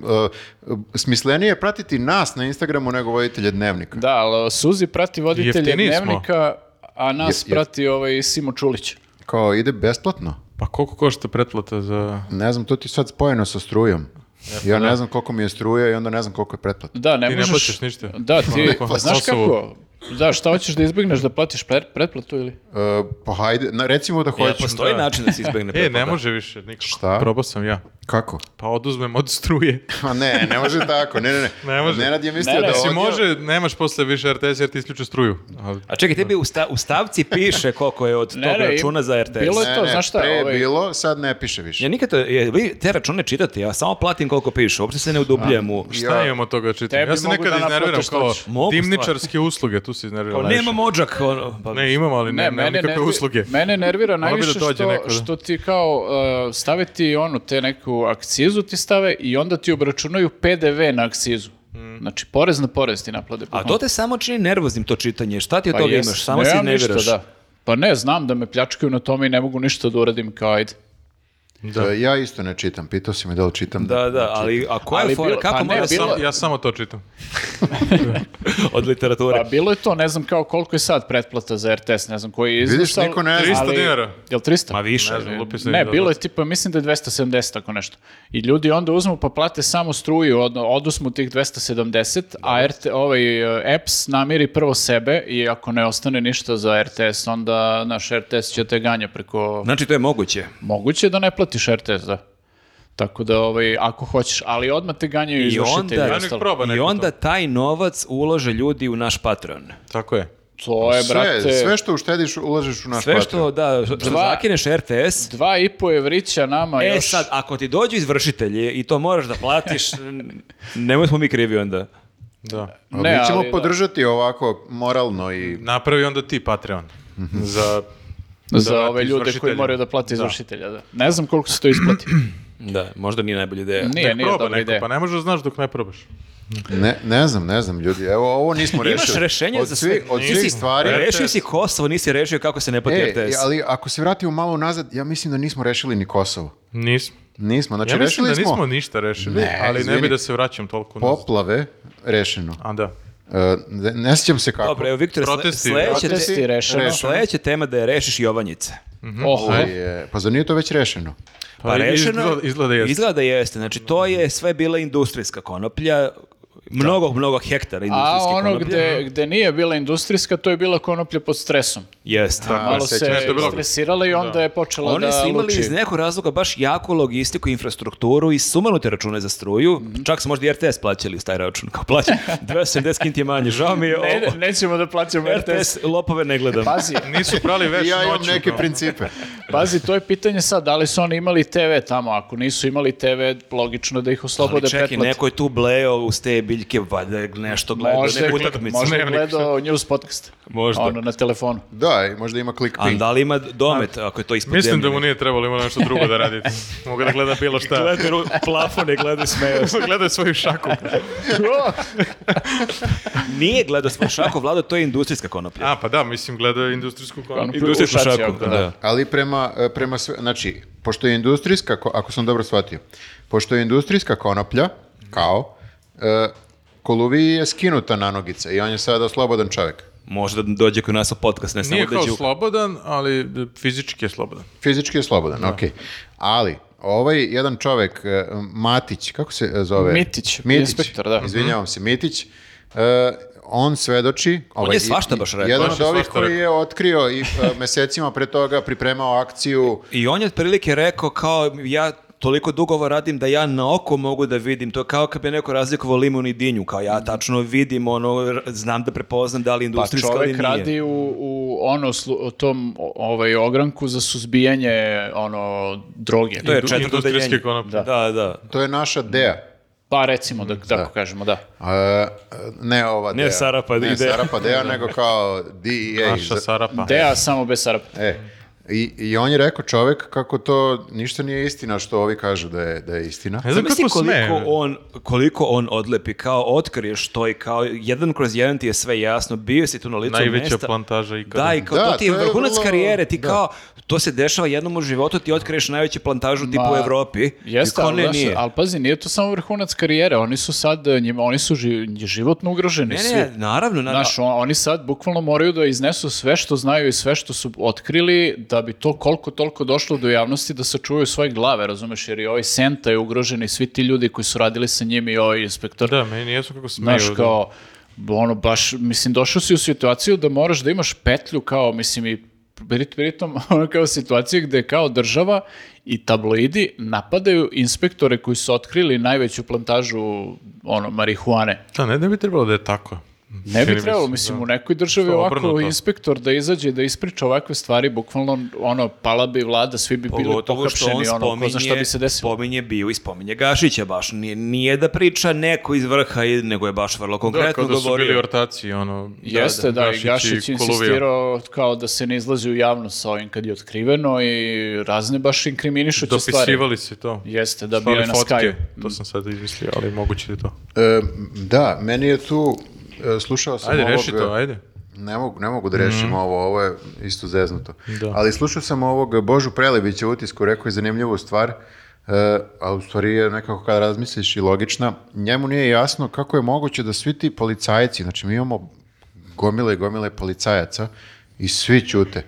Uh, smislenije je pratiti nas na Instagramu nego voditelje dnevnika. Da, ali Suzi prati voditelje Jeftiniji smo. dnevnika, a nas Je- je- prati ovaj Simo Čulić. Kao ide besplatno. Pa koliko košta pretplata za... Ne znam, to ti je sad spojeno sa strujom. E, pa Ja ne znam koliko mi je struja i onda ne znam koliko je pretplata. Da, ne Ti ne možeš... plaćaš ništa. Da, ti, Onako, pa znaš Kosovo. kako? Da, šta hoćeš da izbjegneš da platiš pre- pretplatu ili? Uh, pa hajde, na, recimo E, da pa- Ja, hoću. postoji da. način da se izbegne E, ne pretplata. može više nikako. Šta? Probao sam ja. Kako? Pa oduzmem od struje. A Pa ne, ne može tako, ne, ne, ne. Ne može. Nenad je mislio Ne, ne, da Mislim, ovdje- može, nemaš posle više RTS jer ti isključe struju. Ali, A čekaj, tebi u, sta, u stavci piše koliko je od tog Ne, ne, računa za RTS. bilo je- Ne, to, ne, znaš šta, pre je ovaj- bilo, sad ne piše više. Ja nikad, to- je, vi te račune čitate, ja samo platim koliko piše, uopšte se ne udubljujem u... šta Ja- imam od toga čitam? Tebi Ja se mogu nekad da naplate iznerviram što kao hoćeš. Mogu, dimničarske usluge, tu se iznerviram. Kao, najviše. nemam odžak, ono, pa- Ne, imam, ali ne, nemam mene nikakve nervi- usluge. Mene nervira Mora bi da najviše dođe što, neko, da. što ti kao uh, stave ti ono, te neku akcizu ti stave i onda ti obračunaju PDV na akcizu. Znači, porez na porez ti naplade. Mm. A to te samo čini nervoznim to čitanje. Šta ti od toga Pa jes, imaš? Samo nemam se ne ništa, vjeraš. da. Pa ne, znam da me pljačkaju na tome i ne mogu ništa da uradim kao ajde. E, Ja isto ne čitam, pitao si me da li čitam. Da, da, ali a koja Ali je fora? bilo- Kako pa ne, mora bilo- samo- Samo- ja samo to čitam. od literature? Pa bilo je to, ne znam kao koliko je sad pretplata za RTS, ne znam koji je iznos. Vidiš, ali- niko ne zna. 300 ali- dinara. Jel 300? Ma više. Ne znam, lupi sam Ne, izgleda. bilo je tipa, mislim da je 270 tako nešto. I ljudi onda uzmu pa plate samo struju, od, odusmu tih 270, a RT, ovaj, EPS namiri prvo sebe i ako ne ostane ništa za RTS, onda naš RTS će te ganja preko... Znači, to je moguće. Moguće je da ne platiš RTS, da. Tako da, ovaj, ako hoćeš, ali odmah te ganjaju I izvršitelji. onda- i Ja Ja nek ostalo. proba I neko onda to. taj novac ulože ljudi u naš Patreon. Tako je. To je, Sve, ovaj, brate, sve što uštediš, ulažeš u naš Sve što, Patreon. da, što Dva- zakineš RTS, dva i po evrića nama e još. sad, ako ti dođu izvršitelji i to moraš da platiš, n- nemoj smo mi krivi onda. Da. A Ne, Mi ćemo ali da. podržati ovako moralno i... Napravi onda ti Patreon. Za za vrati ove ljude koji izvršiteljima. moraju da plate izvršitelja. Da. Ne znam koliko se to isplati. Da, možda nije najbolja ideja. Nije, Nek nije proba dobra neko, ideja. pa ne možeš da znaš dok ne probaš. Ne, ne znam, ne znam, ljudi. Evo, ovo nismo rešili. Imaš rešenje od za svih- sve. Od Nisi- svih stvari... Rešio si Kosovo, nisi rešio kako se ne plati E, RTS. ali ako se vratimo malo nazad, ja mislim da nismo rešili ni Kosovo. Nismo. Nismo, znači ja mislim rešili da smo nismo ništa rešili, Ne, ali ne izvini. bi da se vraćam toliko nazad. poplave, rešeno. A da. E, ne, ne sjećam se kako. Dobro, evo, Viktore, sle- Protesti, sledeća, protesti, te- rešeno. Rešeno. sledeća tema da je rešiš Jovanjice. Oh, Ovo je- pa zar nije to već rešeno? Pa, Pa rešeno, izgleda- izgleda jeste. Mhm. Izgleda jeste. Znači, to je sve bila industrijska konoplja, mnogo, mnogo hektara A industrijske ono konoplje. gde, gde nije bila industrijska, to je bila konoplja pod stresom. Jeste. Malo sećam se se toga. stresirala i onda je počela Oni da su imali luči. iz nekog razloga baš jaku logistiku, infrastrukturu i sumanute račune za struju. Mhm. Čak su možda i RTS plaćali uz taj račun. Kao plaća 270 kinti manje. Žao mi je Ne, ovo. ne- nećemo da plaćamo RTS. RTS lopove ne gledam. Pazi, Nisu prali veš I ja imam noću, neke kao. principe. pazi, to je pitanje sad, da li su oni imali TV tamo? Ako nisu imali TV, logično da ih oslobode Ali čekaj, pretplate. neko je tu bleo uz te biljke, valjda je nešto gledao, Možda je neku gled- utakmicu. možda je Dnevnik, gledao news podcast. Možda. Ono, na telefonu. Da, i možda ima A clickbait. da li ima domet, ako je to ispod Mislim da zemlje? mu nije trebalo ima nešto drugo da radite. Mogu da gleda bilo šta. Gledaju plafone, gledaju smeju. Gleda svoju šaku. Nije gledao svoj šako, Vlado, to je industrijska konoplja. A, pa da, mislim, gleda industrijsku Ono, konoplju. u šaci, ono, da. Ali prema, e, prema sve, znači, pošto je industrijska, ko- ako sam dobro shvatio, pošto je industrijska konoplja, kao, e, Koluviji je skinuta na nogice i on je sada slobodan čovjek. Možda dođe kod nas u podcast, ne samo Nije da kao će u- slobodan, ali e, fizički je slobodan. Fizički je slobodan, okej. Ali, ovaj jedan čovjek, e, Matić, kako se e, zove? Mitić, inspektor, da. Izvinjavam se, Mitić. e, on svedoči... ovaj, je i- svašta i- baš rekao. Jedan Baš od je ovih svašta koji je otkrio i e, mesecima pre toga pripremao akciju I on je otprilike rekao kao ja toliko dugo ovo radim da ja na oko mogu da vidim. To je kao kad bi neko razlikovao limun i dinju. Kao ja tačno vidim, ono, r- znam da prepoznam da li Pa je industrijska ili čovek nije. radi u, u ono, slu, u tom o- ovaj, ogranku za suzbijanje ono, droge. To je Indu- četvrto industrijske odeljenje. konoplje. Da, da. To je naša Dea. Pa recimo, Mm, da, tako kažemo, da. E, ne ova Ne Dea. Sara pa ne Dea. Sara pa Dea, nego kao DEA. Naša Za- Pa. Sarapa. Dea samo bez sarapa. E, i, I on je rekao čovek kako to ništa nije istina što ovi kažu da je, da je istina. Ne znam Zamisli kako koliko sme. on, koliko on odlepi, kao otkriješ to i kao jedan kroz jedan ti je sve jasno, bio si tu na licu Najveća mesta. plantaža ikada. Da, i kao Da, to ti je to je vrhunac vrlo- karijere, ti kao, to se dešava jednom u životu, ti otkriješ najveću plantažu tipa u Evropi. Jeste, I kao, ali, ne, znaš, nije. ali pazi, nije to samo vrhunac karijere, oni su sad, eh, njima, oni su ži- životno ugroženi Ne, svi. ne, naravno, naravno. Znaš, on- oni sad bukvalno moraju da iznesu sve što znaju i sve što su otkrili da bi to koliko toliko došlo do javnosti da sačuvaju svoje glave, razumeš, jer i ovaj Senta je ugrožen i svi ti ljudi koji su radili sa njim i ovaj inspektor. Pa Da, meni jesu kako smeju. Znaš, kao, ono, baš, mislim, došao si u situaciju da moraš da imaš petlju, kao, mislim, i prit- pritom, ono, kao situacija gde kao država i tabloidi napadaju inspektore koji su otkrili najveću plantažu, ono, marihuane. Da, ne, ne bi trebalo da je tako. Ne Čini bi mi trebalo, se, mislim, da. u nekoj državi Što ovako obrnuto. inspektor da izađe i da ispriča ovakve stvari, bukvalno, ono, pala bi vlada, svi bi bili Pogotovo što on pohapšeni, ono, ko spominje, zna šta bi se desilo. spominje bio i spominje Gašića baš. Nije, nije da priča neko iz vrha, i- nego je baš vrlo Da, konkretno kao da su govorio. bili ortaci, ono... Jeste, da, i Gašić i Koluvija. insistirao kao da se ne izlazi u javnost sa ovim kad je otkriveno i razne baš inkriminišuće stvari. Dopisivali se to. Jeste, da bio Slali je na fotke. Sky. To sam sad izmislio, ali moguće je to. E, da, meni je tu, e, slušao sam Ajde, ovog... reši to, ajde. Ne mogu, ne mogu da rešim ovo, ovo je isto zeznuto. Ali slušao sam ovog Božu Prelevića u utisku, rekao je zanimljivu stvar, e, a u stvari je nekako kad razmisliš i logična. Njemu nije jasno kako je moguće da svi ti policajci, znači mi imamo gomile i gomile policajaca i svi ćute.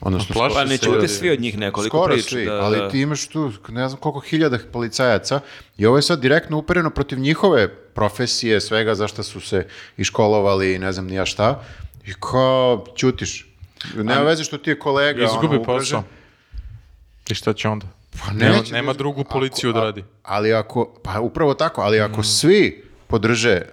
Odnosno, plaše Pa skoro- ne se čute ljudi. svi od njih nekoliko skoro priča. svi, da, da. ali ti imaš tu ne znam koliko hiljada policajaca i ovo je sad direktno upereno protiv njihove profesije, svega zašta su se iškolovali i ne znam ni ja šta. I kao ćutiš. Nema veze što ti je kolega. ono, Izgubi ugrožen. posao. I šta će onda? Pa Nema, neće, nema drugu policiju da radi. Ali ako, pa upravo tako, ali ako svi podrže e,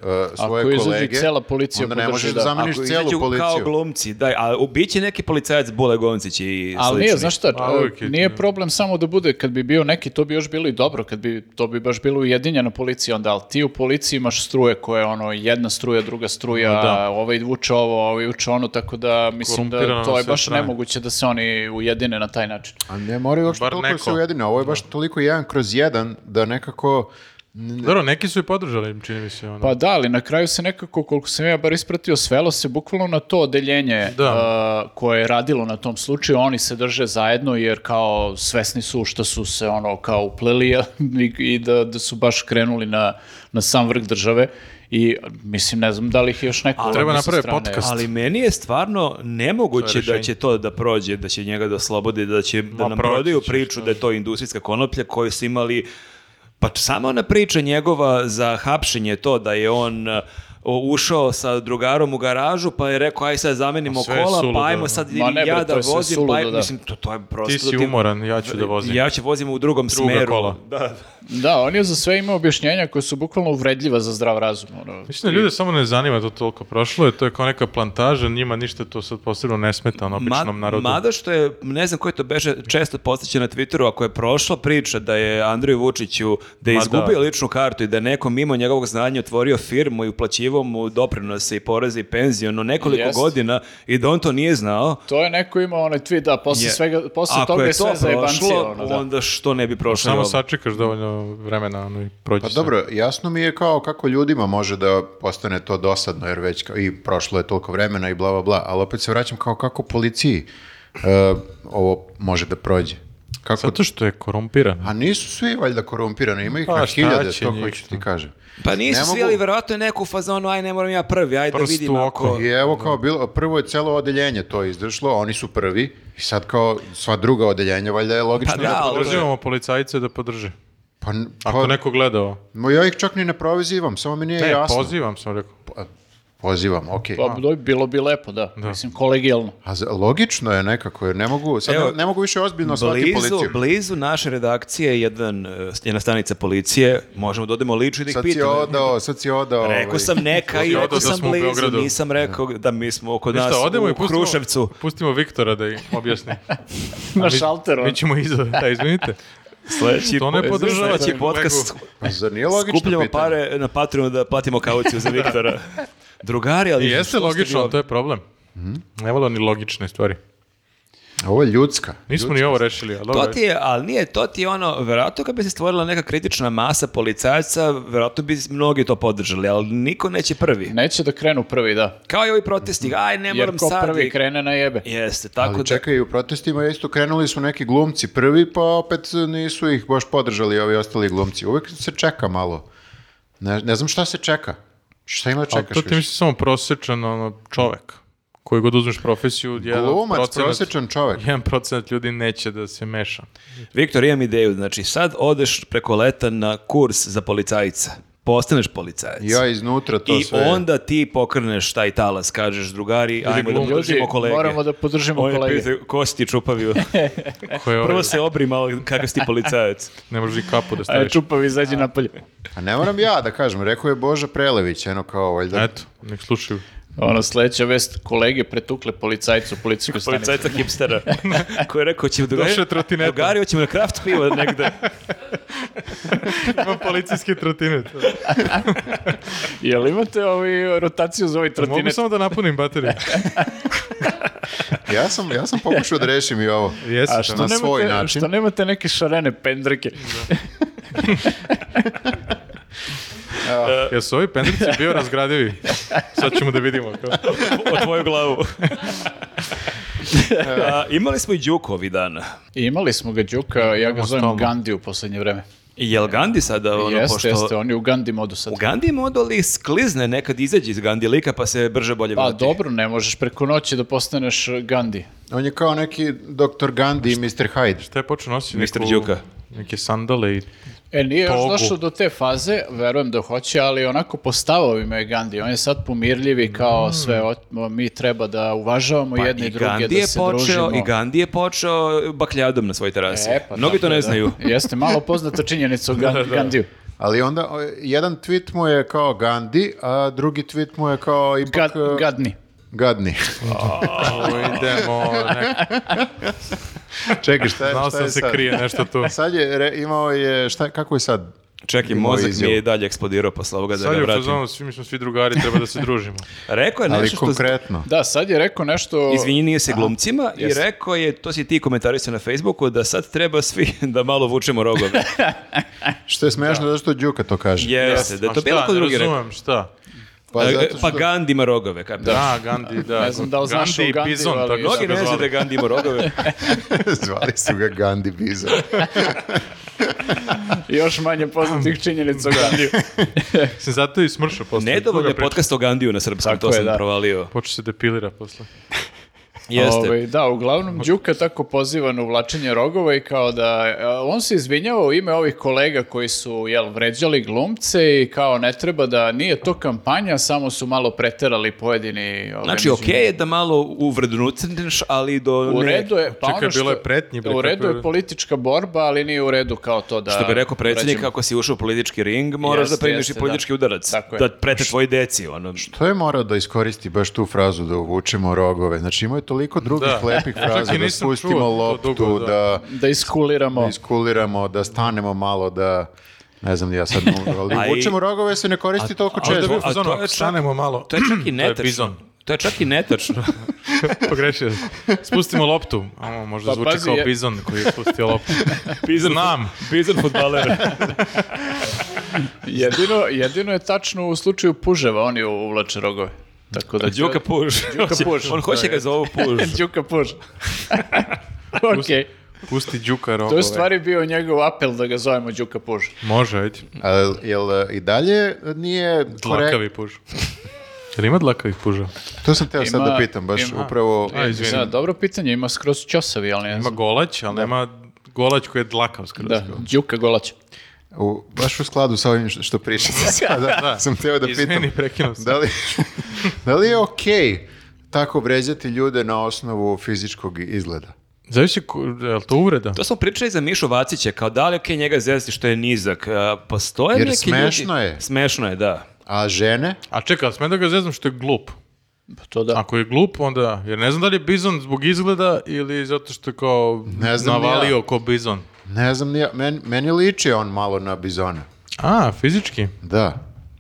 svoje Ako izađe kolege. cela policija onda ne podrži, možeš da. da zameniš Ako celu izađu Kao policiju. glumci, daj, a u- bit će neki policajac Bule Goncić i Ali slični. nije, znaš šta, A, uvijek je- nije problem samo da bude, kad bi bio neki, to bi još bilo i dobro, kad bi, to bi baš bilo ujedinjena policija onda, ali ti u policiji imaš struje koje, ono, jedna struja, druga struja, da. ovaj vuče ovo, ovaj vuče ono, tako da mislim da Korumpirano to na je sve baš strane. nemoguće da se oni ujedine na taj način. A ne moraju uopšte Bar toliko da se neko. ujedine. Ovo je baš toliko jedan kroz jedan da nekako... Dobro, neki su i podržali, čini mi se. Ono. Pa da, ali na kraju se nekako, koliko sam ja bar ispratio, svelo se bukvalno na to odeljenje Da. uh, koje je radilo na tom slučaju. Oni se drže zajedno jer kao svesni su što su se ono kao upleli i, i da, da su baš krenuli na, na sam vrh države. I mislim, ne znam da li ih je još neko... Ali treba sa naprave strane- podcast. Ali meni je stvarno To nemoguće je da rešenje. će to da prođe, da će njega da oslobode, da će da Ma, nam proći prodaju će, priču da je to industrijska konoplja koju su imali pa sama ona priča njegova za hapšenje to da je on e, ušao sa drugarom u garažu pa je rekao aj sad zamenimo A sve je kola suludo, pa ajmo da. sad Ma ili ne, bre, ja to da je sve vozim pa aj- suludo, da. mislim to, to je prosto Ti si umoran, ja ću da vozim. Pa, ja ću vozim u drugom Druga smeru kola. da Da, on je za sve imao objašnjenja koje su bukvalno uvredljiva za zdrav razum. Ono. Mislim da ljude samo ne zanima to toliko prošlo, je to je kao neka plantaža, njima ništa to sad posebno ne smeta na Ma- običnom narodu. Mada što je, ne znam koji to beže, često postaće na Twitteru, ako je prošla priča da je Andriju Vučiću, da je Ma izgubio da. ličnu kartu i da je neko mimo njegovog znanja otvorio firmu i uplaćivao mu doprinose i poreze i penziju, no nekoliko Jest. godina i da on to nije znao. To je neko imao onaj tweet, da, posle, je- svega, posle Ako toga je, je sve to za jebancije. prošlo, Ono, da. onda što ne bi prošlo? i Samo ovo? sačekaš dovoljno vremena ono, i prođe Pa sve. dobro, jasno mi je kao kako ljudima može da postane to dosadno, jer već kao- i prošlo je toliko vremena i bla, bla, bla. Ali opet se vraćam kao kako policiji e, ovo može da prođe. Kako... Zato što je korumpiran. A nisu svi valjda korumpirani, ima ih Pa na šta hiljade, će to njih, hoću ti no. kažem. Pa nisu Ne svi, mogu- ali verovatno je neko u fazonu, aj ne moram ja prvi, aj da Prst vidim u ako... oko. I evo kao bilo, prvo je celo odeljenje to izdršlo, oni su prvi i sad kao sva druga odeljenja valjda je logično. Pa da, ali- Podrživamo policajce da podrže. Pa, n- Ako pa- neko gleda ovo. Ma ja ih čak ni ne prozivam, samo mi nije Ne, jasno. pozivam sam rekao. Pozivam, okej. Pa, da, bilo bi lepo, da. Mislim, kolegijalno. A za- logično je nekako, jer ne mogu, sad Evo, ne, ne mogu više ozbiljno shvatiti Pa Blizu, policiju. blizu naše redakcije je jedan, eh, jedna stanica policije, možemo da odemo lično i da ih Sad si pitamo. odao, sad si odao. Rekao ovaj. sam neka i Odao rekao da sam smo u blizu, Beogradu. nisam rekao da mi smo oko nas Pa Ništa, odemo u i pustimo, Kruševcu. pustimo Viktora da im objasni. Na Mi- šalteru. Mi ćemo iza, da, izvinite. Sledeći To ne po- podržava sledeći taj podcast. Pa zar nije logično Skupljamo pitanje? pare na Patreon da platimo kauciju za Viktora. Drugari, ali... I E, jeste što ste vi logično, Mhm. ali to je problem. Ne vole oni logične stvari. Ovo je ljudska. Nismo ni ovo rešili, ali To dobro. Pa ti je, ali nije, to ti je ono, vjerojatno kad bi se stvorila neka kritična masa policajaca, vjerojatno bi mnogi to podržali, ali niko neće prvi. Neće da krenu prvi, da. Kao i ovi protesti, aj ne moram Jer ko sad. prvi i- krene na jebe. Jeste, tako Ali da... čekaj, u protestima je isto krenuli su neki glumci prvi, pa opet nisu ih baš podržali ovi ostali glumci. Uvijek se čeka malo. Ne, ne znam šta se čeka. Šta ima da Ali čekaš to ti više? misli samo prosječan ono, čovek. Koji god uzmeš profesiju, jedan Glumac, procenat- prosječan čovek. jedan procenat ljudi neće da se meša. Viktor, imam ideju, znači sad odeš preko leta na kurs za policajca, postaneš policajac. Ja iznutra to I sve. onda ti pokrneš taj talas, kažeš drugari, ajmo da glumci. Ljudi, podržimo kolege. moramo da podržimo On je kolege. pitao, ko si ti čupavio? Ko je ovaj- Prvo se obri malo kakav si ti policajac. Ne možeš i kapu da Ajde, staviš. čupavi, izađi napolje. A ne moram ja da kažem, rekao je Boža Prelević, eno kao valjda. Eto, nek slušaju. Ono, sledeća vest, kolege pretukle policajcu u policijskoj stanici. Policajca hipstera. Koji je rekao, ćemo drugari, Došao je trotinetom. drugari, hoćemo na kraft pivo negde. Ima policijski trotinet. Jel imate ovi rotaciju za ovaj Pa Mogu trotinet? samo da napunim bateriju. Ja sam, ja sam pokušao da rešim i ovo. Jesi. A što na nemate, svoj način. što nemate neke šarene pendrike? Jesu ovi pendrici bio razgradivi? Sad ćemo da vidimo. kao. o tvoju glavu. A, imali smo i Đuku ovih dana. I imali smo ga Đuka, ja ga zovem stalno. Gandhi u poslednje vreme. Jel Gandhi sada, ono, jeste, pošto... jeste, on je u Gandhi modu sad. U Gandhi moduli sklizne nekad izađe iz Gandhi lika pa se brže bolje Pa vrati. dobro, ne možeš preko noći da postaneš Gandhi. On je kao neki Dr. Gandhi i Mr. Hyde. Šta je počeo nositi? Mr. Đuka. Neke sandale i... E, nije još Togu. došao do te faze, verujem da hoće, ali onako po stavovima je Gandhi. On je sad pomirljivi kao sve, o- mi treba da uvažavamo Mm. Pa jedni i druge, Gandhi da je se počeo, družimo. i Gandhi je počeo bakljadom na svoj terasi. E, pa Mnogi tako to ne je, da. znaju. Jeste malo poznata činjenica o Gan- Gandhiju. Ali onda o, jedan tweet mu je kao Gandhi, a drugi tweet mu je kao ipak... Gad, e, gadni. Gadni. Ovo idemo, nek, Čekaj, šta je, znao šta je sam se sad? E, krije nešto tu. Sad je, re- imao je, šta, kako je sad? Čekaj, Imao mozak mi izjavu. je i dalje eksplodirao posle ovoga da Sad ga je u vratim. fazonu, svi mi smo svi drugari, treba da se družimo. Rekao je Ali nešto što... konkretno. Da, sad je rekao nešto... Izvini, nije se glumcima i jeste. rekao je, to si ti komentarisao na Facebooku, da sad treba svi da malo vučemo rogove. Što je smešno zato što Đuka to kaže. Jeste, da je A to Pa šta, bilo ko ne drugi rekao. razumem, šta? Pa, E, zato Pa što- Gandhi ima rogove, kaj Da, da. Gandhi, da. Ne znam da li znaš Gandhi o i Gandhiju, Bizon, ali- tako su Mnogi ga ne znaju zvali. da je Gandhi ima rogove. Zvali su ga Gandhi Biza. Još manje poznatih činjenica o Gandhiju. Se zato i smrša posle. Nedovoljno toga je priča. podcast o Gandhiju na srpskom, Tako to je, sam da. provalio. Počeo se depilira posle. Jeste. Ovaj, da, uglavnom Đuka tako poziva na uvlačenje rogova i kao da e, on se izvinjava u ime ovih kolega koji su jel vređali glumce i kao ne treba da nije to kampanja, samo su malo preterali pojedini. ovaj, Znači, među- okej je da malo uvrednucneš, ali do U ne- redu je, pa čekaj, ono što, bilo je pretnji, bre, u redu kako je je- politička borba, ali nije u redu kao to da... Što bi rekao predsjednik, vređamo. ako si ušao u politički ring, moraš Jeste, da primiš jeste, i politički da. udarac. Tako je. Da prete tvoji deci, ono. To je morao da iskoristi baš tu frazu da uvučemo rogove. Znači imao je toliko drugih Da. lepih fraza, Čak i da nisam spustimo čuo to loptu, dugo, da. da. Da iskuliramo. iskuliramo, da stanemo malo, da ne znam ni ja sad, ali A i- uvučemo rogove se ne koristi toliko A onda često. bi u A to fazonu, je čak- stanemo malo. To je čak i To je netačno. bizon. To je čak i netačno. Pogrešio. sam. Spustimo loptu. A, možda Pa zvuči pazi, kao je- Bizon koji je spustio loptu. Bizon, Znam. Bizon futbaler. Jedino, jedino je tačno u slučaju puževa, oni uvlače rogove. Tako da... Đuka Puž. Puž. On hoće ga zovu Puž. Đuka puž. Okej. Pusti Đuka To rogove. je u stvari bio njegov apel da ga zovemo Đuka Puž. Može, ajde. A jel- jel e, i dalje nije korekt? Dlakavi puž. Jel ima dlakavih puža? To sam teo sad Ima- da pitam, baš ima- upravo... A, izvini. Da, dobro pitanje, ima skroz ćosavi, ali ne Ima znam. golać, ali nema golać koji je dlakav skroz. Da, Đuka Golać. U, baš u skladu sa ovim što, što pričate sada, sam teo da pitam. Izmeni, prekinuo sam. Da li, da li je okej tako vređati ljude na osnovu fizičkog izgleda? Zavisi, ko- je li to uvreda? To smo pričali za Mišu Vacića, kao da li je okej njega zezati što je nizak. A, Postoje Jer neki smešno ljudi- je. Smešno je, da. A žene? A čekaj, smem da ga zeznam što je glup. Pa to da. Ako je glup, onda... Jer ne znam da li je bizon zbog izgleda ili zato što je kao Ne znam ni ja. navalio ko bizon. Ne znam, ni ja- men, meni liči on malo na bizona. A, fizički? Da.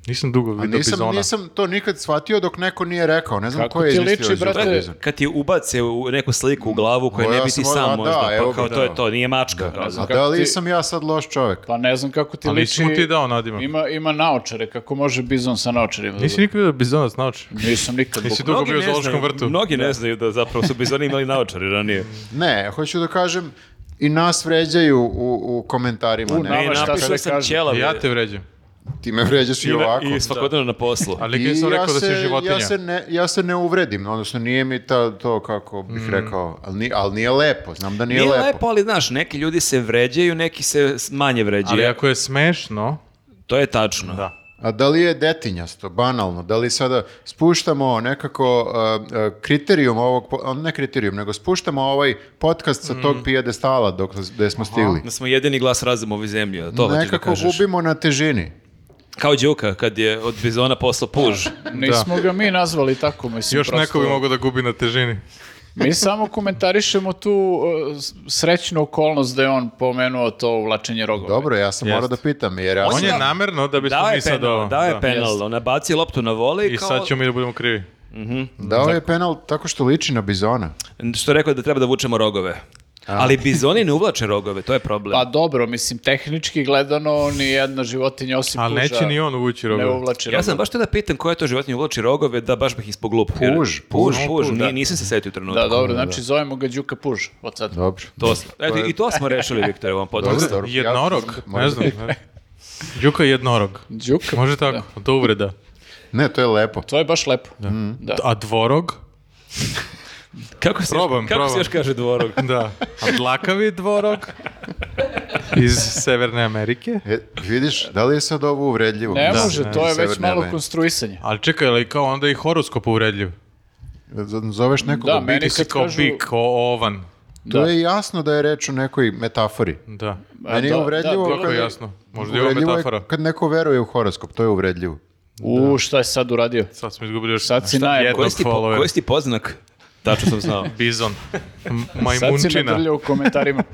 Nisam dugo A vidio nisam, bizona. nisam to nikad shvatio dok neko nije rekao. Ne znam Kako ko je ti izmislio liči, izraz brate? bizon. Kad ti ubace u neku sliku u glavu koja Ovo ne ja bi sam ti ovo- sam a da, možda, evo pa ga, kao da. to je to, nije mačka. kao za- A kako da li ti- sam ja sad loš čovjek? Pa ne znam kako ti Ali liči. nisi mu ti dao nadimak. Ima, ima naočare, kako može bizon sa naočarima. da Nisi bude? nikad vidio bizonac na oči. Nisam nikad. Nisi bukvalno. Mnogi dugo bio u ne znaju- zoološkom vrtu. Mnogi ne znaju da zapravo su bizoni imali naočare ranije. Ne, hoću da kažem, i nas vređaju u, u komentarima. U, ne? nama Ne, Ma šta napisao ti da sam kažem? ćelavi. Ja te vređam. Ti me vređaš i, I na- ovako. I svakodnevno na poslu. Ali nikad nisam rekao da si životinja. Ja se, ne, ja se ne uvredim, odnosno nije mi ta, to kako bih rekao, ali, ni- ali nije lepo, znam da nije, Nije lepo. lepo, ali znaš, neki ljudi se vređaju, neki se s- manje vređaju. Ali ako je smešno... To je tačno. A da li je detinjasto, banalno, da li sada spuštamo nekako uh, uh, kriterijum ovog, po- ne kriterijum, nego spuštamo ovaj podcast sa Mm. tog pijedestala dok gde smo stigli. Da smo jedini glas razuma ove zemlje, to hoćeš da Nekako kažeš. gubimo na težini. Kao Đuka, kad je od Bizona poslao puž. Nismo ga mi nazvali tako, mislim. Još prosto. neko bi mogao da gubi na težini. Mi samo komentarišemo tu uh, s- srećnu okolnost da je on pomenuo to uvlačenje rogova. Dobro, ja sam Jest. morao da pitam, jer ja On sam- je namerno da bismo Dao je mi sad ovo... penal, dao je da. penal. Ona baci loptu na vole i I kao... sad ćemo mi da budemo krivi. dao je penal tako što liči na bizona. Što je rekao da treba da vučemo rogove. Ali Bizoni ne uvlače rogove, to je problem. Pa dobro, mislim, tehnički gledano ni jedna životinja osim Ali puža neće ni on uvući ne rogu. uvlači ja sam rogove. baš te da pitam koja je to životinja uvlači rogove, da baš bih ispog glup. Jer- Puž, puž, puž, puž, puž, ni- da. nisam se setio u trenutku. Da, dobro, znači zovemo ga Đuka Puž od sad. Dobro. To smo- eto, I to smo rešili, Viktor, u ovom podcastu. Dobro. Jednorog? Ja- Ne znam. ne. Đuka je jednorog. Đuka, Može tako, to je uvreda. Ne, to je lepo. to je baš lepo. Da. A dvorog? Kako se, Probam, kako se probam. još kaže dvorog? Da. A dlakavi dvorog? Iz Severne Amerike? E, vidiš, da li je sad ovo uvredljivo? Ne Da. može, to je već Severne malo Amerike. konstruisanje. Ali čekaj, ali kao onda je i horoskop uvredljiv. Zoveš nekoga Da, bik. meni Ti si kad kao kažu... bik, o ovan. Tu da. je jasno da je reč o nekoj metafori. Da. Meni je da, uvredljivo. da, bilo kad- je jasno. Možda je ovo uvredljivo metafora. kad neko veruje u horoskop, to je uvredljivo. U, šta je sad uradio? Sad smo izgubili još Sad si najeb- jednog Koji si, ti po, followera. koji si ti poznak? Tačno sam znao. Bizon. M- Sad si me Majmunčina. drljao u komentarima.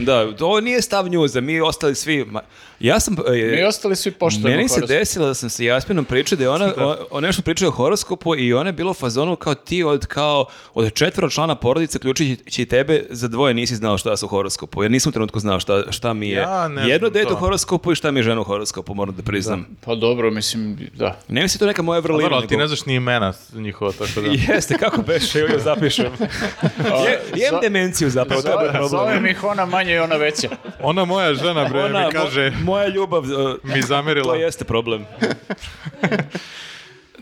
Da, to ovo nije stav njuza, mi ostali svi... ma- ja sam... e, Mi ostali svi poštujemo Meni se horoskop. desilo da sam se Jaspinom pričao da je ona, o, o nešto pričao o horoskopu i ona je bila u fazonu kao ti od, kao, od četvora člana porodice, ključujući i tebe, za dvoje nisi znao šta su u horoskopu. Ja nisam u trenutku znao šta, šta mi je Ja ne jedno znam dete to. u horoskopu i šta mi je žena u horoskopu, moram da priznam. Pa dobro, mislim, da. Ne mislim to neka moja Pa vrlina. Dobro, ali ti nego- ne znaš ni imena njihova, tako da... Jeste, kako beše, joj joj zapišem. Je, jem za- demenciju zapravo, Pa, to je Zove, moj problem. zovem ih ona manje i ona veća. Ona moja žena, bre, Ona, mi kaže, mo- moja ljubav, uh, mi zamerila. To jeste problem.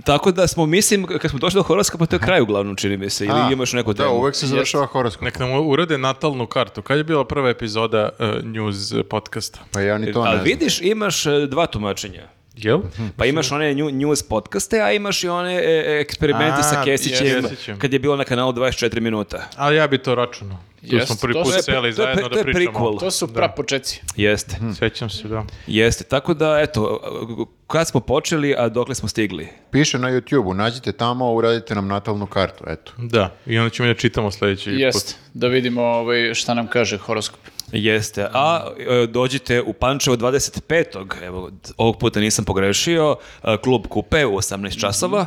Tako da smo, mislim, kad smo došli do horoskopa, to je kraj uglavnom, čini mi se. Ili A, imaš neku Da, temu. uvek se završava horoskop. Nek nam urade natalnu kartu. Kad je bila prva epizoda uh, news podcasta? Pa ja ni to ne Ali znam. vidiš, imaš e, dva tumačenja. Jel? Pa imaš one nju- news podcaste, a imaš i one e, e, eksperimente A, sa Kesićem, Kesićem. kad je bilo na kanalu 24 minuta. Ali ja bi to računao. Tu Jest, smo prvi to put su- seli to je zajedno pre- da To je pričamo. prequel. To su prapočeci. Jeste, Mhm. Sećam se, da. jeste. Tako da, eto, kad smo počeli, a dokle smo stigli? Piše na YouTube-u, nađite tamo, uradite nam natalnu kartu, eto. Da, i onda ćemo da čitamo sledeći put. Jest, da vidimo ovaj, šta nam kaže horoskop. Jeste, a e, dođite u Pančevo 25. Evo, d- ovog puta nisam pogrešio, e, klub Kupe u 18 časova.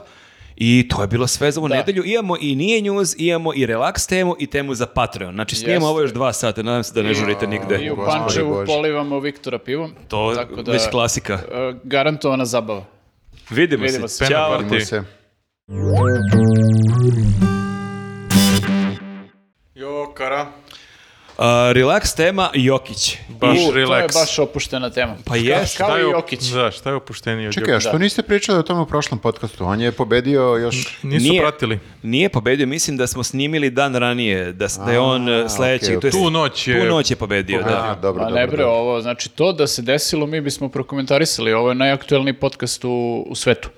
I to je bilo sve za ovu Mhm. Da. nedelju. Imamo i nije news, imamo i relaks temu i temu za Patreon. Znači, snijemo Jeste. ovo još dva sata, nadam se da ne žurite I nigde. u Gospode Pančevu Bože. polivamo Viktora pivom. To tako je da, već klasika. e, Garantovana zabava. Vidimo, vidimo se. se. Ćao. Penal Vidimo party. se. Jo, kara. A, relaks tema Jokić. Baš U, relax. To je baš opuštena tema. Pa jest. Kao, kao Šta i je op- Jokić. Da, šta je opušteniji od Čekaj, a Jokića? što niste pričali o tome u prošlom podcastu? On je pobedio još... Nisu Nije- pratili. Nije pobedio, mislim da smo snimili dan ranije, da, s- da je on e, sledećeg. okej, to jest- Tu noć je- Tu noć je pobedio, da. A, dobro, Pa dobro, ne bre, dobro. ovo, znači to da se desilo, mi bismo prokomentarisali. Ovo je najaktuelniji podcast u, u svetu.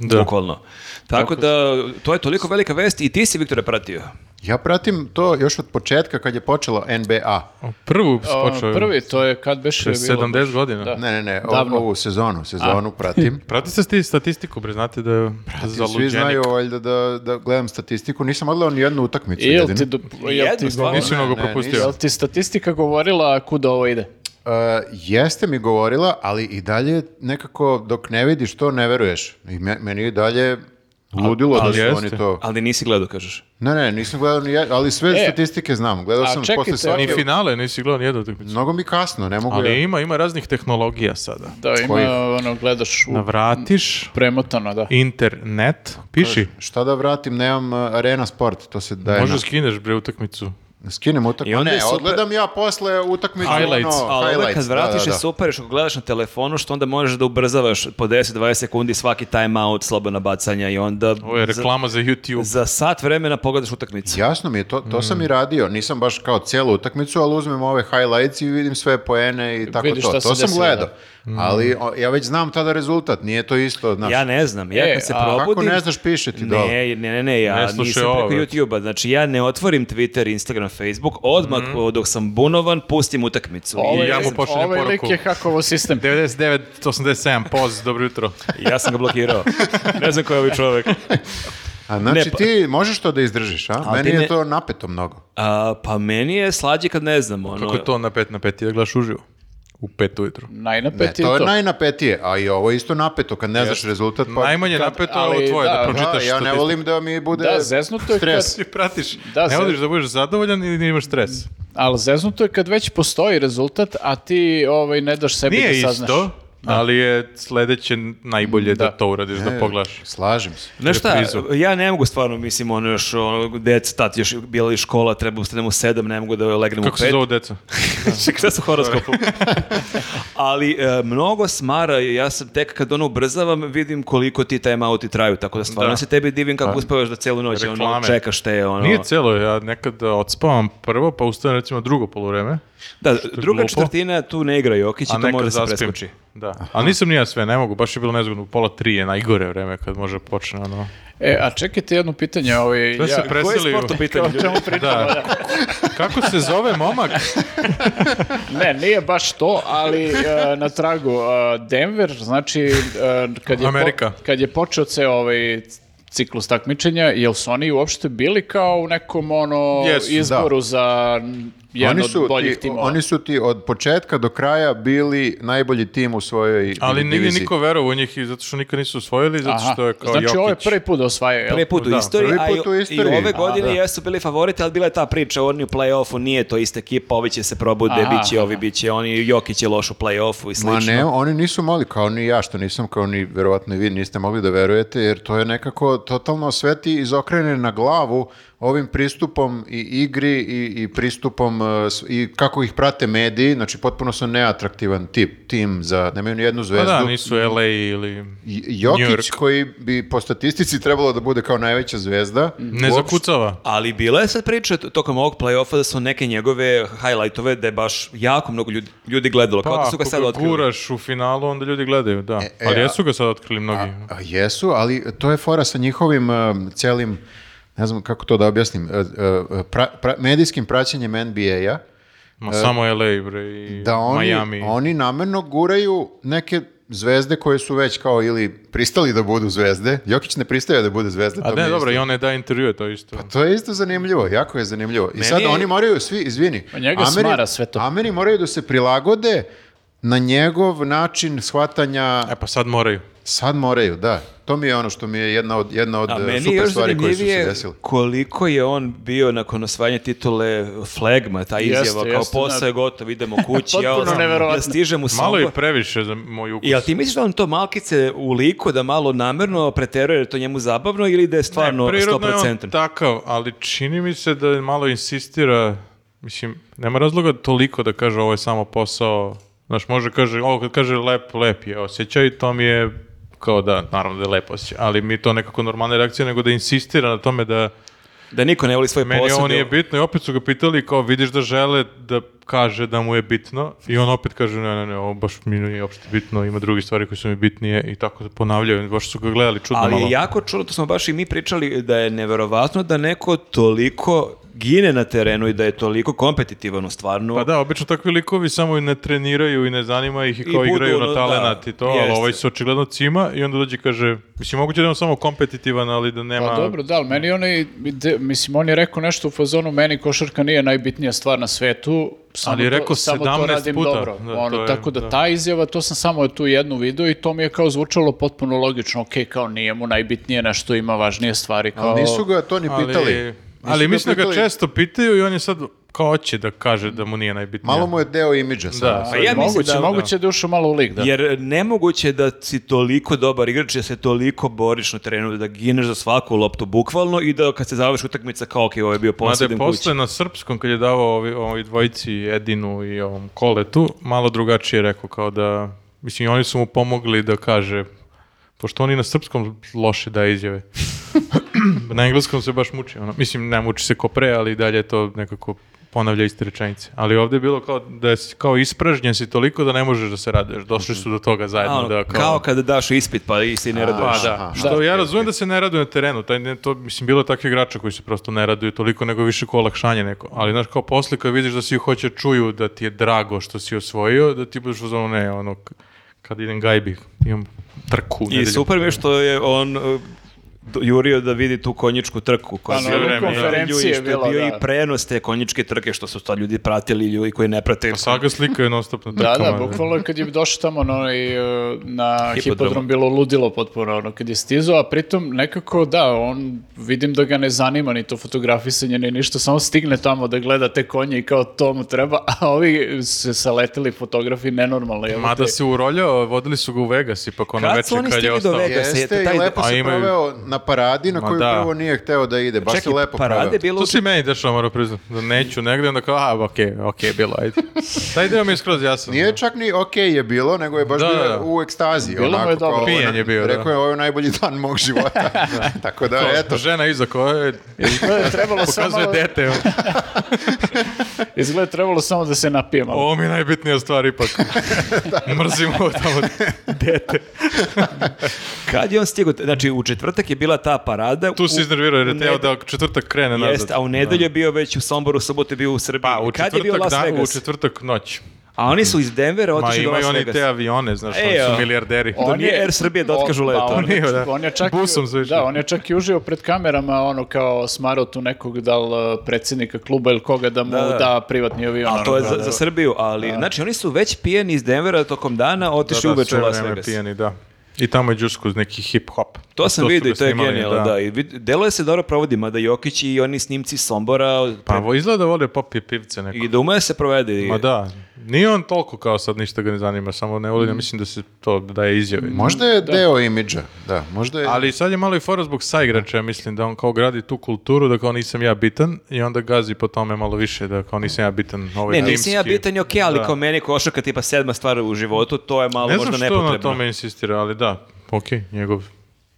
Da. bukvalno. Tako da, to je toliko velika vest i ti si, Viktore, pratio. Ja pratim to još od početka kad je počela NBA. Prvu Ono, počeo. prvi, to je kad beše Pre bilo. 70 godina. Da. Ne, ne, ne, o- Davno. ovu sezonu, sezonu pratim. Pratite sti statistiku, bre, znate da je Svi zaluđenik. znaju valjda da, da gledam statistiku, nisam odgledao ni jednu utakmicu. Jel jedinu. ti, do, jel, ti, Jednu stvar. Nisi Ne, mnogo ne, jel propustio. ti statistika govorila kuda ovo ide? Uh, jeste mi govorila, ali i dalje nekako dok ne vidiš to ne veruješ. I me- meni je i dalje ludilo da ali su jeste. oni to... Ali nisi gledao, kažeš. Ne, ne, nisam gledao ni jed- ali sve E, statistike znam. Gledao a sam čekajte, posle svake... Ni finale nisi gledao nijednu utakmicu. Mnogo mi kasno, ne mogu Ali ja. ima, ima raznih tehnologija sada. Da, ima, Kojih? ono, gledaš u Navratiš premotano, da. internet, piši. Šta da vratim, nemam uh, Arena Sport, to se daje Može na- skineš bre utakmicu. Skinem I utakmicu. onda Ne, je super- odgledam ja posle utakmicu. Highlights, ono, Ali uvek kad highlights, da, vratiš da, je da. super, što gledaš na telefonu, što onda možeš da ubrzavaš po 10-20 sekundi svaki timeout, slobodna bacanja i onda Ovo je za, reklama za YouTube. za sat vremena pogledaš utakmicu. Jasno mi je, to, to sam i radio. Nisam baš kao cijelu utakmicu, ali uzmem ove highlights i vidim sve poene i tako Vidiš to. šta se To sam desilo, gledao. Mm. Ali o, ja već znam tada rezultat, nije to isto. Znaš. Ja ne znam, ja E, kad se a probudim... Kako ne znaš, piše ti dole. Ne, ne, ne, ne, ja Ne slušaj nisam ovo, preko već. YouTube-a, znači ja ne otvorim Twitter, Instagram, Facebook, odmah Mhm. dok sam bunovan, pustim utakmicu. Ovo I ja mu je- pošaljem ovaj lik poruku. je hakovo sistem. 99, 87, poz, dobro jutro. I ja sam ga blokirao. ne znam ko je ovaj čovek. A znači Ne, pa- ti možeš to da izdržiš, a? Ali Meni ti je ne- to napeto mnogo. A, pa meni je slađe kad ne znam. Ono, Pa Kako je to na 5 na 5 da gledaš uživo? U 5 ujutru. Ne, Najnapetije E, to je to. najnapetije, a i ovo je isto napeto kad ne znaš rezultat. Pa, Najmanje kad- napeto je ovo ali tvoje, da, da, da, da, pročitaš ja ne statistiku. volim da mi bude Da, zeznuto je stres. kad- Ti pratiš. Da, ne se- voliš da budeš zadovoljan ili imaš stres. Ali zeznuto je kad već postoji rezultat, a ti ovaj, ne daš sebi Nije da saznaš. isto, ali je sledeće najbolje da, Da. to uradiš, da E, pogledaš. Slažem se. Znaš šta, reprizu. ja ne mogu stvarno, mislim, ono još, ono, djeca, tat, još bila i škola, treba ustanem u sedam, ne mogu da legnem Kako u se pet. zove deca? Čekaj, šta su horoskopu? Ali e, mnogo smara, ja sam tek kad ono ubrzavam, vidim koliko ti timeouti traju, tako da stvarno Da. Pa, se tebi divim kako uspavaš da celu noć ono, Reklame. čekaš te, ono... Nije celo, ja nekad a, odspavam prvo, pa ustanem recimo drugo polovreme. da, druga glupo. četvrtina tu ne igra Jokić i A Znači, to nekad može da se zaspim. preskoči. Da. Ali nisam nija sve, ne mogu, baš je bilo nezgodno. U Pola tri je najgore vreme kad može počne ono... E, a čekajte jedno pitanje, ovaj, Sve se ja, preseli... u- o čemu pričamo? Da. Kako se zove momak? Ne, nije baš to, ali e, na tragu e, Denver, znači e, kad je Amerika. kad je počeo ceo ovaj ciklus takmičenja, jel su oni uopšte bili kao u nekom ono Jesu, da. izboru za jedan Oni od su, boljih ti, timova? oni su ti od početka do kraja bili najbolji tim u svojoj Ali nije diviziji. niko verovao u njih i zato što nikad nisu osvojili, zato Aha, što je kao znači Jokić. ovo je prvi put da osvajaju, jel? Prvi put u Da, istoriji, prvi a i, put u istoriji. i ove A, godine jesu bili favoriti, ali bila je ta priča, oni u play-offu nije to ista ekipa, ovi će se probude, Aha, bit će aha. ovi, bit će oni, Jokić je loš u play-offu i slično. Ma ne, oni nisu mogli, kao ni ja što nisam, kao ni verovatno i vi niste mogli da verujete, jer to je nekako totalno sve ti izokrene na glavu ovim pristupom i igri i, i pristupom e, s- i kako ih prate mediji, znači potpuno su neatraktivan tip, tim za, nemaju ni jednu Pa zvezdu. da, nisu LA ili... J- New Jokić York. koji bi po statistici trebalo da bude kao najveća zvezda. Ne uopšte- zakucava. Ali bila je sad priča t- tokom ovog play-offa da su neke njegove highlightove da je baš jako mnogo ljudi, ljudi gledalo. Pa, Kao da su ga ako sad ga otkrili. guraš u finalu, onda ljudi gledaju, da. e, Ali a- jesu ga sad otkrili mnogi. A jesu, ali to je fora sa njihovim um, celim, ne znam kako to da objasnim, e, e, pra- pra- medijskim praćenjem NBA-a, Ma samo LA, bre, i da oni, Miami. oni namerno guraju neke zvezde koje su već kao ili pristali da budu zvezde. Jokić ne pristaje da bude zvezda. A to mi ne, je dobro, isto- i on ne da intervjue, to je isto. To je isto zanimljivo, jako je zanimljivo. I sad je- oni moraju svi, izvini. Pa njega smara sve to. Ameri moraju da se prilagode na njegov način shvatanja. E pa sad moraju. Sad moraju, da. To mi je ono što mi je jedna od, jedna od A e, meni je super još stvari koje su se zanimljivije desile. koliko je on bio nakon osvajanja titule flegma, ta izjava Jeste, kao jeste, posao da. je gotov, idemo kući, ja, Potpuno ono, neverovatno. ja stižem u Malo Sombor. je previše za moj ukus. Jel ti misliš da on to malkice u liku da malo namerno preteruje jer je to njemu zabavno ili da je stvarno Prirodno je on 100%? takav, ali čini mi se da malo insistira, mislim, nema razloga toliko da kaže ovo je samo posao, znaš, može kaže, ovo kad kaže lep, lep je osjećaj, to mi je kao da, naravno da je lep osjećaj, ali mi je to nekako normalna reakcija, nego da insistira na tome da Da niko ne voli svoj meni posao. ovo nije da- bitno i opet su ga pitali kao vidiš da žele da kaže da mu je bitno i on opet kaže ne, ne, ne, ovo baš mi nije opšte bitno, ima drugi stvari koje su mi bitnije i tako da ponavljaju, baš su ga gledali čudno Ali malo. je jako čudno, to smo baš i mi pričali, da je neverovatno da neko toliko gine na terenu i da je toliko kompetitivan u stvarno. Pa da, obično takvi likovi samo i ne treniraju i ne zanima ih i I kao budu igraju ono, na da, talenat i to, ali jeste. ovaj se očigledno cima i onda dođe i kaže, mislim moguće da je on samo kompetitivan, ali da nema... Pa dobro, da, ali meni onaj, de- mislim, on je rekao nešto u fazonu, meni košarka nije najbitnija stvar na svetu, samo, Ali je to, rekao samo to 17 radim puta. dobro. Da, ono, to je- tako da, da. ta izjava, to sam samo tu jednu video i to mi je kao zvučalo potpuno logično, ok, kao nije mu najbitnije nešto, ima važnije stvari. Kao... Ali nisu ga to ni pitali. Ali, Nisu ali mislim da ga pitali. često pitaju i on je sad kao hoće da kaže da mu nije najbitnije. Malo mu je deo imidža sada. Da. Pa ja mislim moguće, da- moguće da je ušao malo u lik, da. Jer nemoguće je da si toliko dobar igrač, da se toliko boriš na terenu, da gineš za svaku loptu bukvalno i da kad se završi utakmica kao ok, ovo je bio Mada je posljedin kući. posle na srpskom, kad je davao ovi, ovi dvojici Edinu i ovom Koletu, malo drugačije je rekao, kao da, mislim, oni su mu pomogli da kaže, pošto oni na srpskom loše daje izjave. na engleskom se baš muči, ono. mislim, ne muči se ko pre, ali i dalje to nekako ponavlja iste rečenice. Ali ovdje je bilo kao da je kao ispražnjen si toliko da ne možeš da se raduješ. Došli su do toga zajedno. A, ono, da kao... kada daš ispit pa i si ne raduješ. Pa da, Aha. što ja razumijem da se ne raduje na terenu, taj, ne, to, mislim, bilo je takvih igrača koji se prosto ne raduju toliko nego više kao olakšanje neko, ali znaš, kao posle kad vidiš da svi hoće čuju da ti je drago što si osvojio, da ti budeš uzmano ne, ono, k- kad idem gajbi, imam trku. u I nedelju. super mi je što je on uh, do- jurio da vidi tu konjičku trku koja Pa, se na vreme, da. konferenciji je što je bilo, bio da. i prenos te konjičke trke što su ta ljudi pratili i ljudi koji ne prate. Pa sad ga slikaju non stop na Da, trkama. da, bukvalno kad je došao tamo na, onaj, e, na Hipodromu. hipodrom bilo ludilo potpuno ono, kad je stizao, a pritom nekako da, on vidim da ga ne zanima ni to fotografisanje ni ništa, samo stigne tamo da gleda te konje i kao to mu treba, a ovi se saletili fotografi nenormalno. jel Mada te? se uroljao, vodili su ga u Vegas ipak ono Kad su večer oni kad je stigli do ostao. Vegasa? Jeste Jeste, taj- i lepo a se imaju- proveo na paradi na Ma koju da. prvo nije hteo da ide. Baš Čekaj, se lepo parade je proveo. bilo To se i meni dešava, moram priznat, da neću negdje, onda kao, a, okej, okej, bilo, ajde. Taj deo mi je skroz jasan. Nije čak ni okej je bilo, nego je baš Da, bio da. u ekstazi. Bilo mu je onako, kao, dobro. Pijen je bio, da. Rekao je, ovo je najbolji dan mog života. Tako da, To, eto, Žena iza koja je- To je trebalo samo... pokazuje dete. ono. Izgleda trebalo samo da se napijem. ali- Ovo mi je najbitnija stvar ipak. Mrzim ovo tamo. dete. Kad je on stigao? Znači, u četvrtak je bila ta parada. Tu se u- iznervirao jer u je teo ned- da četvrtak krene nazad. Jeste, a u nedelju je bio već u Somboru, u subotu je bio u Srbiji. Pa, u Kad je bio četvrtak, Las dan, u Vegas? četvrtak noć. A oni su iz Denvera Ma otišli do Las imaju oni Vegas. te avione, znaš, E, oni a- su milijarderi. To nije Air Srbije da otkažu o- let, pa ono. on je, Nije, da. on je čak, Busom su išli. Da, on je čak i užio pred kamerama, ono kao smarao tu nekog, da li eh, predsjednika kluba ili koga da mu Da, da. da, privatni avion. A to je Da, za, da. za Srbiju, ali znači oni su već pijeni iz Denvera tokom dana otišli Da, da, uveče sve u Las vreme Vegas. Pijeni, da. I tamo je džusko uz neki hip-hop. To sam su vidio i ga to je snimali, genijalno, da. I vid- deluje se dobro provodi, mada Jokić i oni snimci Sombora Pa vo- izgleda da vole popije pivce neko. i da ume se provede. i- Ma da, nije on toliko kao sad ništa ga ne zanima, samo ne volim, ja mislim da se to daje izjave. Možda je deo imidža, da, možda je... Ali sad je malo i fora zbog saigrača, ja mislim da on kao gradi tu kulturu da kao nisam ja bitan i onda gazi po tome malo više da kao nisam ja bitan ovaj Ne, nisam ja timski. bitan je okej, ali Da. kao meni košarka tipa sedma stvar u životu, to je malo Ne znam možda što nepotrebno. na tome insistira, ali da, okej, njegov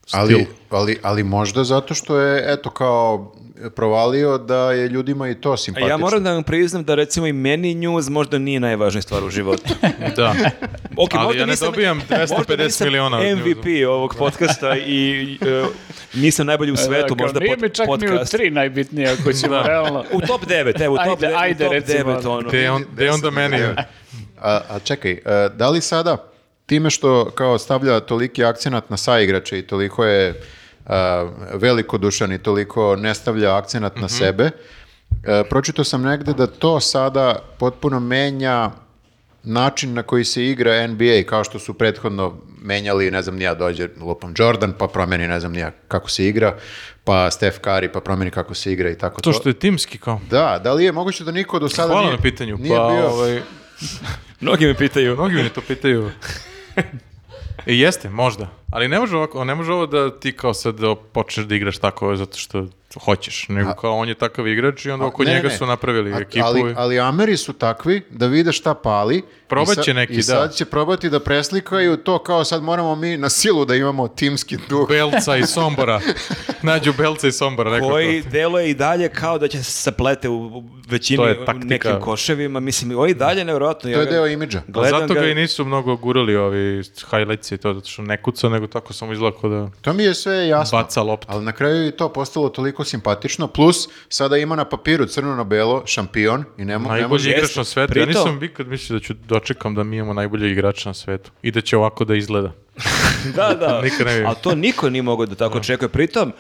stil. Ali, ali, ali možda zato što je, eto, kao provalio da je ljudima i to A simpatično. Ja moram da vam priznam da recimo i meni njuz možda nije najvažnija stvar u životu. Da. Ok, Ali možda ja ne nisam- dobijam možda 250 nisam miliona od njuza. MVP ovog podcasta i e, nisam E, najbolji u svetu, kao, možda nije pod- mi čak ni u podcast. tri najbitnije, ako ćemo realno. U top 9, evo, u top, Ajde, de- u ajde, top recimo. 9, ono. Gde je on, gde je onda meni? A, a čekaj, e, da li sada time što kao stavlja toliki akcenat na saigrače i toliko je a, velikodušan i toliko ne stavlja akcenat Mhm. na sebe, e, pročitao sam negde da to sada potpuno menja način na koji se igra NBA, kao što su prethodno menjali, ne znam, nija dođe lupam Jordan, pa promeni, ne znam, nija kako se igra, pa Steph Curry, pa promeni kako se igra i tako to. To što je timski kao. Da, da li je moguće da niko do sada Hvala nije, na pitanju. nije pa, bio... ovaj, Mnogi me pitaju. Mnogi mi to pitaju. I jeste, možda. Ali ne može, ovako, ne može ovo da ti kao sad počneš da igraš tako zato što hoćeš. Nego kao on je takav igrač i onda oko Ne, njega ne. su napravili A- ekipu. Ali, ali Ameri su takvi da vide šta pali. Probat i sa- će neki, I sad da. će probati da preslikaju to kao sad moramo mi na silu da imamo timski duh. Belca i Sombora. Nađu Belca i Sombora. Neko Koji deluje i dalje kao da će se saplete u u većini To je taktika. nekim koševima. Mislim, ovo je i dalje nevjerojatno. To je deo imidža. to. A Gledam zato ga... ga- i nisu mnogo gurali ovi highlights i to, zato što ne kuca, nego tako samo izlako da To mi je sve jasno. baca loptu. Ali na kraju je to postalo toliko simpatično. Plus, sada ima na papiru crno na belo, šampion i ne mo- ne Najbolji može... igrač na svetu. Ja Pritom- nisam nikad mislio da ću dočekam da mi imamo najboljeg igrača na svetu. I da će ovako da izgleda. Da, da. Nikad ne bi. A to niko nije mogao da tako očekuje. Pritom,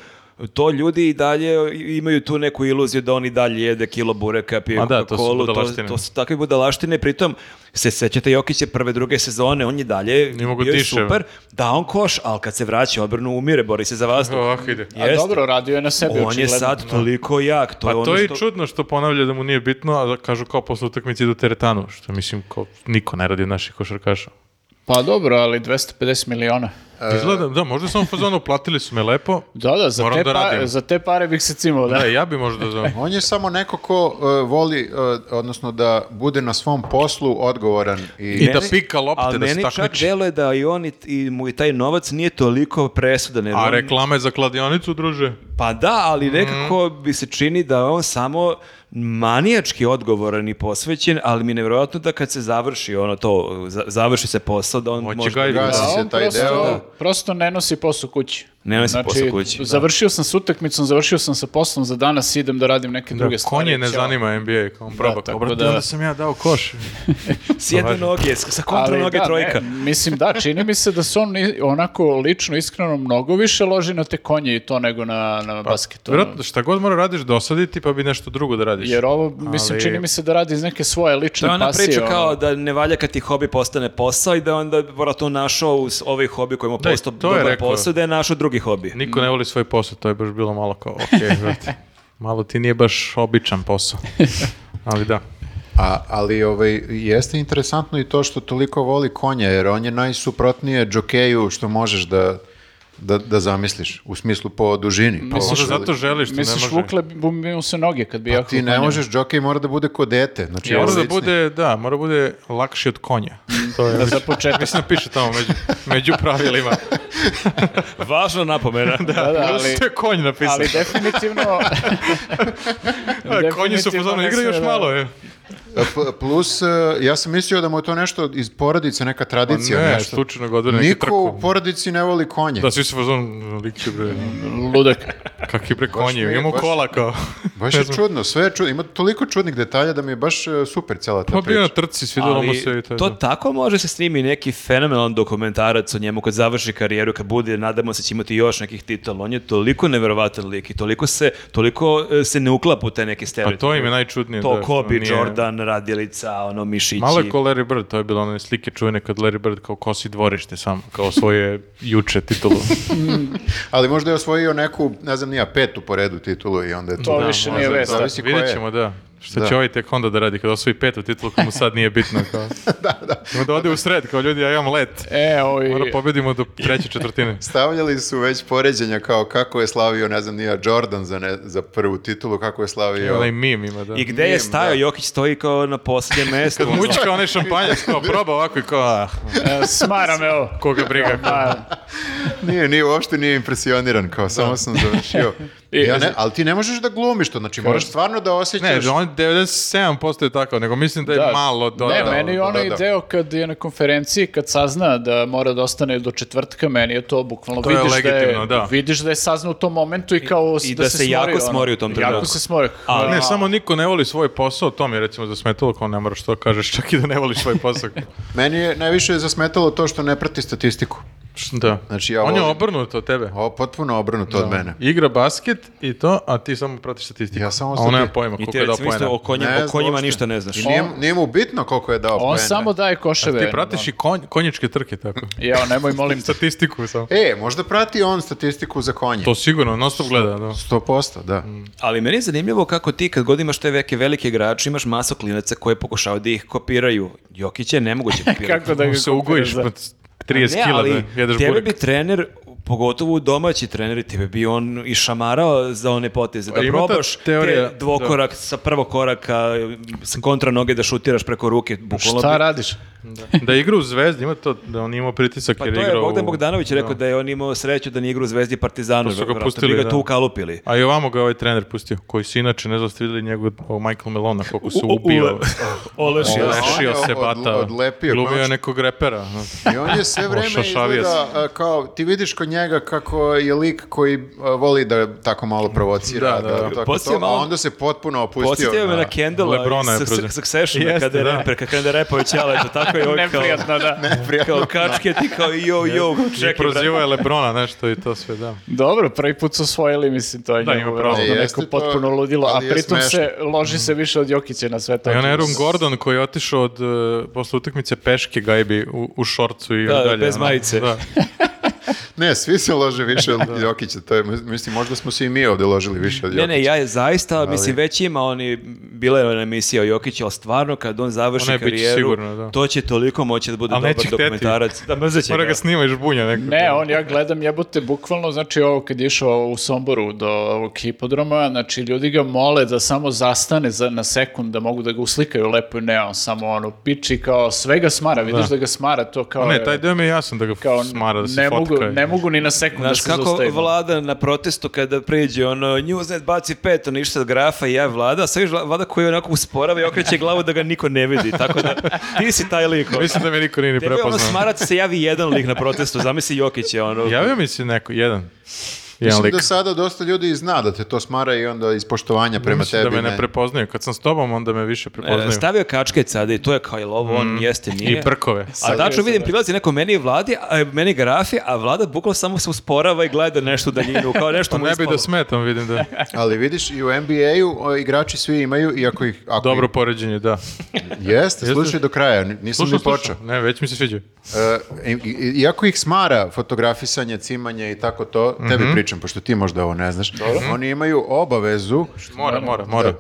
to ljudi i dalje imaju tu neku iluziju da oni dalje jede kilo bureka, pije Ma da, to su Coca-Colu, to, budalaštine. to su takve budalaštine. Pritom, se sećate Jokiće prve, druge sezone, on je dalje Nije mogao bio je diše. super. Da, on koš, ali kad se vraća u odbranu, umire, bori se za vas. Ovako ide. A dobro, radio je na sebi, On je očigledno. sad toliko jak. To Pa je to ono je i što... čudno što ponavlja da mu nije bitno, a da kažu kao posle utakmice idu u teretanu, što mislim kao niko ne radi od naših košarkaša. Pa dobro, ali 250 miliona. Izgleda, da, možda sam u fazonu, platili su me lepo, Da, da, za, Moram te, da pa- radim. za te pare bih se cimao, da. da, ja bi možda za... On je samo neko ko uh, voli, uh, odnosno da bude na svom poslu odgovoran i... I da pika lopte, Ali da se meni čak takmiči. deluje da i on i, i mu i taj novac nije toliko presudan. jer A Mhm. on- reklame za kladionicu, druže? Pa da, ali nekako bi se čini da je on samo manijački odgovoran i posvećen, ali mi je nevjerojatno da kad se završi ono to, za- završi se posao, da on Hoće možda... ga i- Gasi A se on taj prosto, deo. prosto ne nosi posao kući. Znači, Ne nosi posao kući, da. Završio sam s utakmicom, završio sam sa poslom za danas, idem da radim neke druge stvari. Konje ne Ćao. zanima NBA, kao on proba, Da, kao tako brate, da- onda sam ja dao koš. S jedne Važno. noge, s- sa kontra Ali noge da, trojka. ne, mislim da, čini mi se da se on i- onako lično, iskreno, mnogo više loži na te konje i to nego na, na basket. ono. Pa, Vjerojatno, šta god mora radiš, dosaditi, pa bi nešto drugo da radiš. Jer ovo, mislim, Ali- čini mi se da radi iz neke svoje To lične je ona pasije. priča ono. kao da ne valja kad ti hobi postane posao i da onda vora to našao uz ovaj hobi koji mu Da, i postao to je dobar rekao. posao, da je našao drugi hobi. Niko Mm. ne voli svoj posao, to je baš bilo malo kao, okej, brate, malo ti nije baš običan posao. Ali da. Pa A, ali ovaj, jeste interesantno i to što toliko voli konja, jer on je najsuprotnije džokeju što možeš da da, da zamisliš, u smislu po dužini. Pa Po, Možda Misliš- zato želiš, ne Misliš, može. Pa vukle bi bi mu se noge kad bi jako ti ne klanjao. možeš, džokej mora da bude ko dete. Znači, Mora da elasticni. bude, da, mora da bude lakši od konja. To je, Za početak. mislim da piše tamo među, među pravilima. Važna napomena. Da, da, ali, Što je konj napisao? ali definitivno... Da, Konji su definitivno pozorni, ne igra još sme da- malo je. A p- Plus, e, ja sam mislio da mu je to nešto iz porodice, neka tradicija, Pa Ne, nešto. slučajno godine neki Niko trku. u porodici ne voli konje. Da, svi su pozorni, lik će bre, Ludak. kak je bre konji, mi je, imamo baš- kola kao. Baš je čudno, sve je čudno. Ima toliko čudnih detalja da mi je baš e, super cela ta Pa bio na priča. trci, svidelo mu Ali se i to. Pa je to to. tako može se snimi neki fenomenalan dokumentarac o njemu kad završi karijeru, kad bude, nadamo se će imati još nekih titula. On je toliko neverovatan lik i toliko se, toliko e, se ne uklapa u te neke Pa stereotipe. to im je najčudnije. To da, što Kobe, nije- Jordan, Radjelica, ono, Mišići. Malo je ko Larry Bird, to je bilo one slike čuvene kad Larry Bird kao kosi dvorište sam, kao svoje juče titulu. Ali možda je osvojio neku, ne znam nija, petu po redu titulu i onda je To to... više nije možda, vest. da. Zavisi ko Vidjet je. ćemo, da. Šta Da. će ovaj tek onda da radi, kada osvoji petu titulu, koja mu sad nije bitno. Kao. Da, da. Ima da ode u sred, kao ljudi, ja imam let. E, ovi... Mora pobedimo do treće četvrtine. Stavljali su već poređenja kao kako je slavio, ne znam, nija Jordan za, ne- za prvu titulu, kako je slavio... Onaj mim ima, da. I gde je Mim, stajao, da. Jokić stoji kao na posljednjem mestu. ono. Mučka onaj šampanjac, kao proba ovako i kao, ah, E, smara me ovo. koga briga. kao. A, Nije, nije, uopšte nije impresioniran, kao samo sam završio. ja ne, ali ti ne možeš da glumiš to, znači moraš stvarno da Ne, osjećaš... on 97% je tako, nego mislim da je Da. malo dodao. ne, meni je da, onaj da. deo kad je na konferenciji, kad sazna da mora da ostane do četvrtka, meni je to bukvalno To je vidiš, da je, legitimno, da. vidiš da je sazna u tom momentu i kao I da, da se, se jako smorio, ono. smori u tom Jako trenutku. se smori. Ali- Ne, samo niko ne voli svoj posao, to mi je recimo zasmetalo, kao ne moraš to kažeš, čak i da ne voliš svoj posao. Meni je najviše zasmetalo to što ne prati statistiku. da. Znači, ja On je volim- obrnut od tebe. Ovo potpuno obrnuto od mene. Igra basket i to, a ti samo pratiš statistiku. Ja samo A on nema statistiku. pojma I koliko ti je dao recimo pojena. isto o, konjima- Ne o znam konjima uopšte. ništa ne znaš. I nije, nije mu bitno koliko je dao On poena. samo daje koševe. ono. Ti pratiš i konj, konjičke trke, tako. Jao, nemoj, molim te. Statistiku samo. E, možda prati on statistiku za konje. To sigurno, non stop gleda. Da. 100%, da. Ali meni je zanimljivo kako ti kad god imaš te veke velike igrače, imaš masu klinaca koje pokušavaju da ih kopiraju. Jokić je nemoguće kopirati. Kako da ga Mu se kopiraš, ugojiš da. pred 30 Ne, kila ali da jedeš tebe burek. bi trener, pogotovo domaći treneri, tebe bi on i šamarao za one poteze. Da Ima ta probaš teorija, te dvokorak sa prvog koraka, sa kontra noge da šutiraš preko ruke. bukvalno Šta bi- radiš? Da igra u Zvezdi, ima to da on imao pritisak Pa jer to je je igrao Bogdan u- Bogdanović rekao da. je on imao sreću da nije igra u Zvezdi i Partizanu. To su ga vjerojatno pustili, bi ga da. tu ukalupili. A i ovamo ga ovaj trener pustio, koji se inače, ne znam, ste vidjeli njegov ovog Michael Melona, koliko se U- u- ubio. Olešio. Olešio. Lešio On je se od- bata. odlepio, Glumio je konačno. nekog repera. no. I on je sve vreme Ošašavio se. izgleda a, kao, ti vidiš kod njega kako je lik koji a, voli da tako malo provocira, Da, da, da, da. tako to, Poslije je malo- a onda se potpuno opustio. Podsjetio me na Kendala Lebrona je iz preuzeo. Suc- Successiona Jeste, kada je da. reper, kada je repao Ćaletu, tako je ovaj kao, Neprijatno, da. kao kačke ti kao jo jo, I čekaj brate. prozivao je Lebrona nešto i to sve, da. Dobro, prvi put su osvojili, mislim, to je Da, njemu ima verovatno pravo. neko Jeste to, potpuno ludilo, a ali je pritom smešno. se loži se više od Jokića na sve to. I onaj Aaron Gordon koji je otišao od, e, posle utakmice peške gajbi u, u šorcu i Da, dalje. bez ono. majice. Da. Ne, svi se lože više od Jokića, to je, mislim, možda smo se i mi ovdje ložili više od Jokića. Ne, ne, ja je zaista, mislim, već ima oni, bila je ona emisija o Jokiću, ali stvarno kad on završi Ona je bit će karijeru, sigurno, da. to će toliko moći da bude Ali neće dobar hteti. dokumentarac. Da, mrzit će Mora ga. ga snima i žbunja nekako. Ne, on ja gledam jebote bukvalno, znači ovo kad je išao u Somboru do ovog hipodroma, znači ljudi ga mole da samo zastane za, na sekund da mogu da ga uslikaju lepo i ne, on samo ono piči kao sve ga smara, vidiš da ga smara to kao... Ne, je- taj deo mi je jasan da ga e, kao smara, da se ne mogu, fotka. i- ne mogu ni na sekund Znaš da se kako zaustavim. vlada na protestu kada priđe ono Newsnet baci pet, ono išta od grafa i ja vlada, a sve još vlada koji onako usporava i okreće glavu da ga niko ne vidi. Tako da ti si taj lik. ono. Mislim da me niko nije ni Tebe je ono prepoznao. smarac se javi jedan lik na protestu, zamisli Jokić je ono. Javio mi se neko, jedan. Jedan Mislim lik. da sada dosta ljudi i zna da te to smara i onda iz poštovanja prema Mislim da tebi. me ne ne. prepoznaju. Kad sam s tobom, onda me više prepoznaju. E, Stavio kačke sada i to je kao je ovo, on jeste, nije. I prkove. A tačno vidim, prilazi neko meni i vladi, a, meni grafi, a vlada bukvalo samo se usporava i gleda nešto u daljinu, kao nešto Pa mu ne bi ispalo. da smetam, vidim da. Ali vidiš, i u NBA-u o, igrači svi imaju, iako ih... Ako Dobro poređenje, da. Ih, jeste, slušaj do kraja, n- nisam Slušao, ni počeo. slušao. Ne, već mi se sviđa. E, i- i- iako ih smara fotografisanje, cimanje i tako to, tebi pričam, pričam, pošto ti možda ovo ne znaš. Mhm. Oni imaju obavezu... Mora, mora, mora.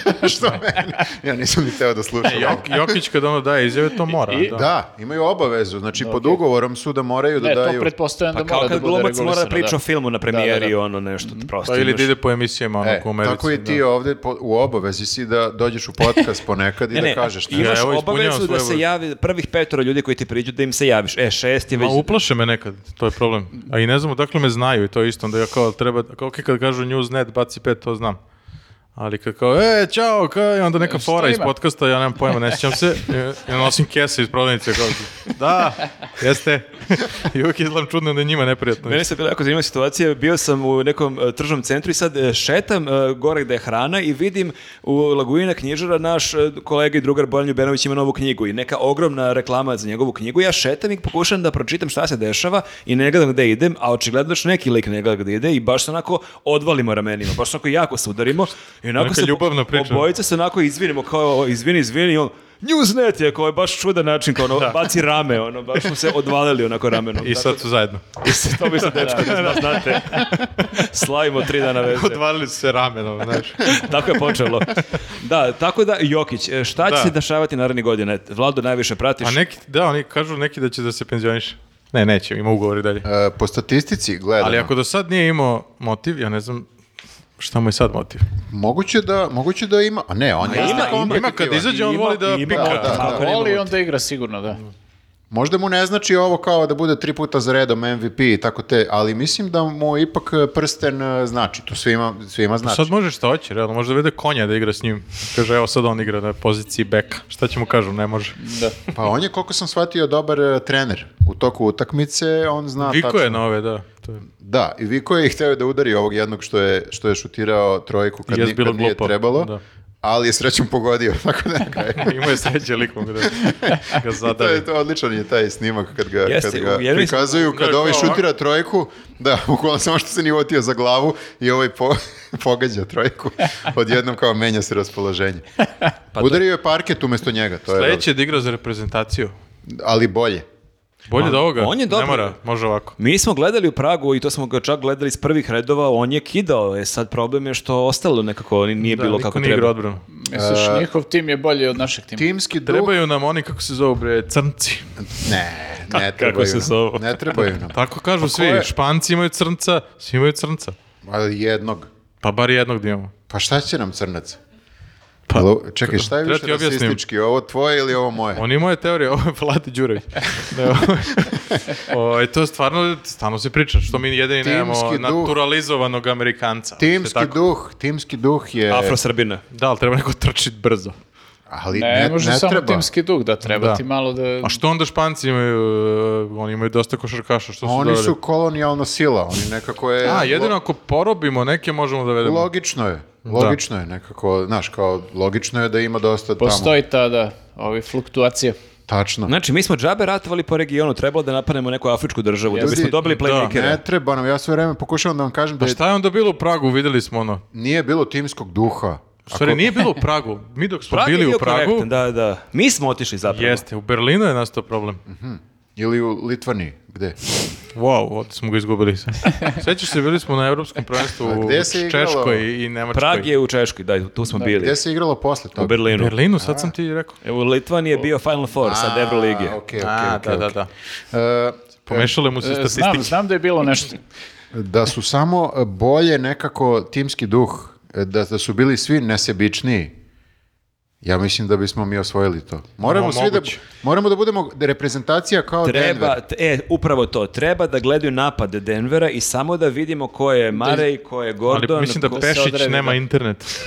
što meni? Ja nisam ni teo da slušam. ovo. Jok- Jokić kad ono daje izjave, to mora. I- da. Da, imaju obavezu. Znači, pod ugovorom su da moraju da Ne, E, to daju... pretpostavljam Pa da kao mora da kad bude regulisano. glumac mora da priča o filmu na premijeri, Da, da, da. ono nešto, prosto. Pa ili imaš- da ide po emisijama ono, E, ko u Americi. tako i ti da. ovdje po- u obavezi si da dođeš u podcast ponekad i Ne, ne, da kažeš nešto. Ja, imaš evo, ispunjavam obavezu da svoju se obavezu. javi prvih petoro ljudi koji ti priđu da im se javiš. E, šest je Ma već... uplaše me nekad, to je problem. A i ne znam odakle me znaju i to je isto. Onda ja kao treba, kao ok, kad kažu Newsnet, baci pet, to znam. Ali kad kao, e, čao, kao, i onda neka Šta fora iz ima? podcasta, ja nemam pojma, ne sjećam se. I, i nosim kese iz prodavnice, kao, da, jeste. I uvijek izgledam čudno da je njima neprijatno. Mene se bila jako zanimljiva situacija, bio sam u nekom e, tržnom centru i sad e, šetam e, gore gde je hrana i vidim u Lagujina knjižara naš e, kolega i drugar Bojan Ljubenović ima novu knjigu i neka ogromna reklama za njegovu knjigu. Ja šetam i pokušam da pročitam šta se dešava i ne gledam gde idem, a očigledno što neki lik ne gleda gde ide i baš se onako odvalimo ramenima, baš se onako jako se udarimo i onako Neka se po- ljubavna priča. obojica se onako izvinimo kao izvini, izvini i on Newsnet je kao je baš čudan način kao ono, baci rame, ono, baš smo se odvalili onako ramenom. I sad su zajedno. I s- to bi se dečko da zna, znate. Slavimo tri dana veze. Odvalili su se ramenom, znaš. Tako je počelo. Da, tako da, Jokić, e, šta će Da. Pa se dešavati narednih godina? Vlado najviše pratiš. A neki, da, oni kažu neki da će da se penzioniše. Ne, neće, ima ugovori dalje. E, po statistici gledano, Ali ako do sad nije imao motiv, ja ne znam šta mu je sad motiv. moguće, da, moguće da ima... A ne, on je ima, isto ima, Ima kad kompetitivan. izađe, on Ima- voli da ima, pika. da, da. kako nema Voli motiv. onda igra sigurno, da. Možda mu ne znači ovo kao da bude tri puta za redom MVP i tako te, ali mislim da mu ipak e, prsten e, znači, to svima, svima znači. Pa Sad može šta hoće, realno, može da vede konja da igra s njim. Kaže, evo sad on igra na poziciji beka. Šta će mu kažu, ne može. Pa on je, koliko sam shvatio, dobar e, trener. U toku utakmice on zna Viko tačno- je na ove, da. To je. Da, i Viko je hteo da udari ovog jednog što je, što je šutirao trojku kad, Jest ni- bilo kad nije glupo, trebalo, da. ali je srećom pogodio, tako da na kraju. Ima je sreće likom da ga To zadavi. je to odličan je taj snimak kad ga, Jeste, kad ga uvjerili smo- prikazuju, kad Da, ovaj kao šutira trojku, da, bukvalno samo što se nije otio za glavu i ovaj po- pogađa trojku, odjednom kao menja se raspoloženje. Pa Udario je parket umesto njega, to je, Sledeće je da igra za reprezentaciju. ali bolje. Bolje da ovoga. on je dobar. Ne mora, može ovako. Mi smo gledali u Pragu i to smo ga čak gledali iz prvih redova, on je kidao, e sad problem je što ostalo nekako ni- nije Da, bilo niko kako ne igra treba. odbranu. Misliš, E, njihov tim je bolji od našeg tima. Timski duh, Trebaju nam oni, kako se zove, bre, crnci. ne, ne trebaju se nam. zove? Ne trebaju nam, Tako kažu svi. Pa je? Španci imaju crnca, svi imaju crnca. ali jednog. Pa bar jednog da imamo. Pa šta će nam crnac? Alo, čekaj, šta je Pa- treba više ti objasnim. rasistički, ovo tvoje ili ovo moje? On ima moje teorije, ovo je Vlade Đurović. Ne, ovo je- ovo je- to je stvarno, stano se priča, što mi jedini Timski nemamo duh. naturalizovanog Amerikanca. Se Timski tako- duh, timski duh je... Afrosrbina. Da, ali treba neko trčit brzo. Ali Ne, ne, može ne samo treba. timski dug, da treba Da. ti malo da... A što onda Španci imaju, e, oni imaju dosta košarkaša, što su Pa Oni doveli? su kolonijalna sila, oni nekako je... A, jedino lo- ako porobimo neke možemo da vedemo. Logično je, logično je nekako, znaš, kao logično je da ima dosta Postoji ta, da, ovi fluktuacije. tamo. Tačno. Znači, mi smo džabe ratovali po regionu, trebalo da napadnemo neku afričku državu, da Ljudi, bismo dobili da, playmakera. Ne treba nam, ja sve vreme pokušavam da vam kažem da Pa je- šta je onda bilo u Pragu, videli smo ono. nije bilo timskog duha. U stvari, nije bilo u Pragu. Mi dok smo Prag je bili bio u Pragu, korektan, Da, da. Mi smo otišli zapravo. jeste, u Berlinu je nastao problem. Ili u Litvaniji, gde? Wow, ovdje smo ga izgubili. Sećaš se, bili smo na Evropskom prvenstvu A u gde se igralo? Češkoj i Nemačkoj. Prag je u Češkoj, da, tu smo bili. Gde se igralo posle U toga? Berlinu. Berlinu, sad sam ti rekao. E, U Litvaniji je bio Final Four, sad Evroligije. A, okej, A, okej, okej, da, okej. da, da. E, Pomešale mu se E, Znam, statistike. znam da je bilo nešto. da su samo e, bolje nekako timski duh, e, da, da su bili svi nesebičniji. Ja mislim da bismo mi osvojili to. Moramo Mo- svi da moguće. moramo da budemo reprezentacija kao Pa Denver. Treba, t- e, upravo to, treba da gledaju napade Denvera i samo da vidimo ko je Marej, ko je Ali Gordon. mislim da ko- Pešić odrevi, nema da. internet.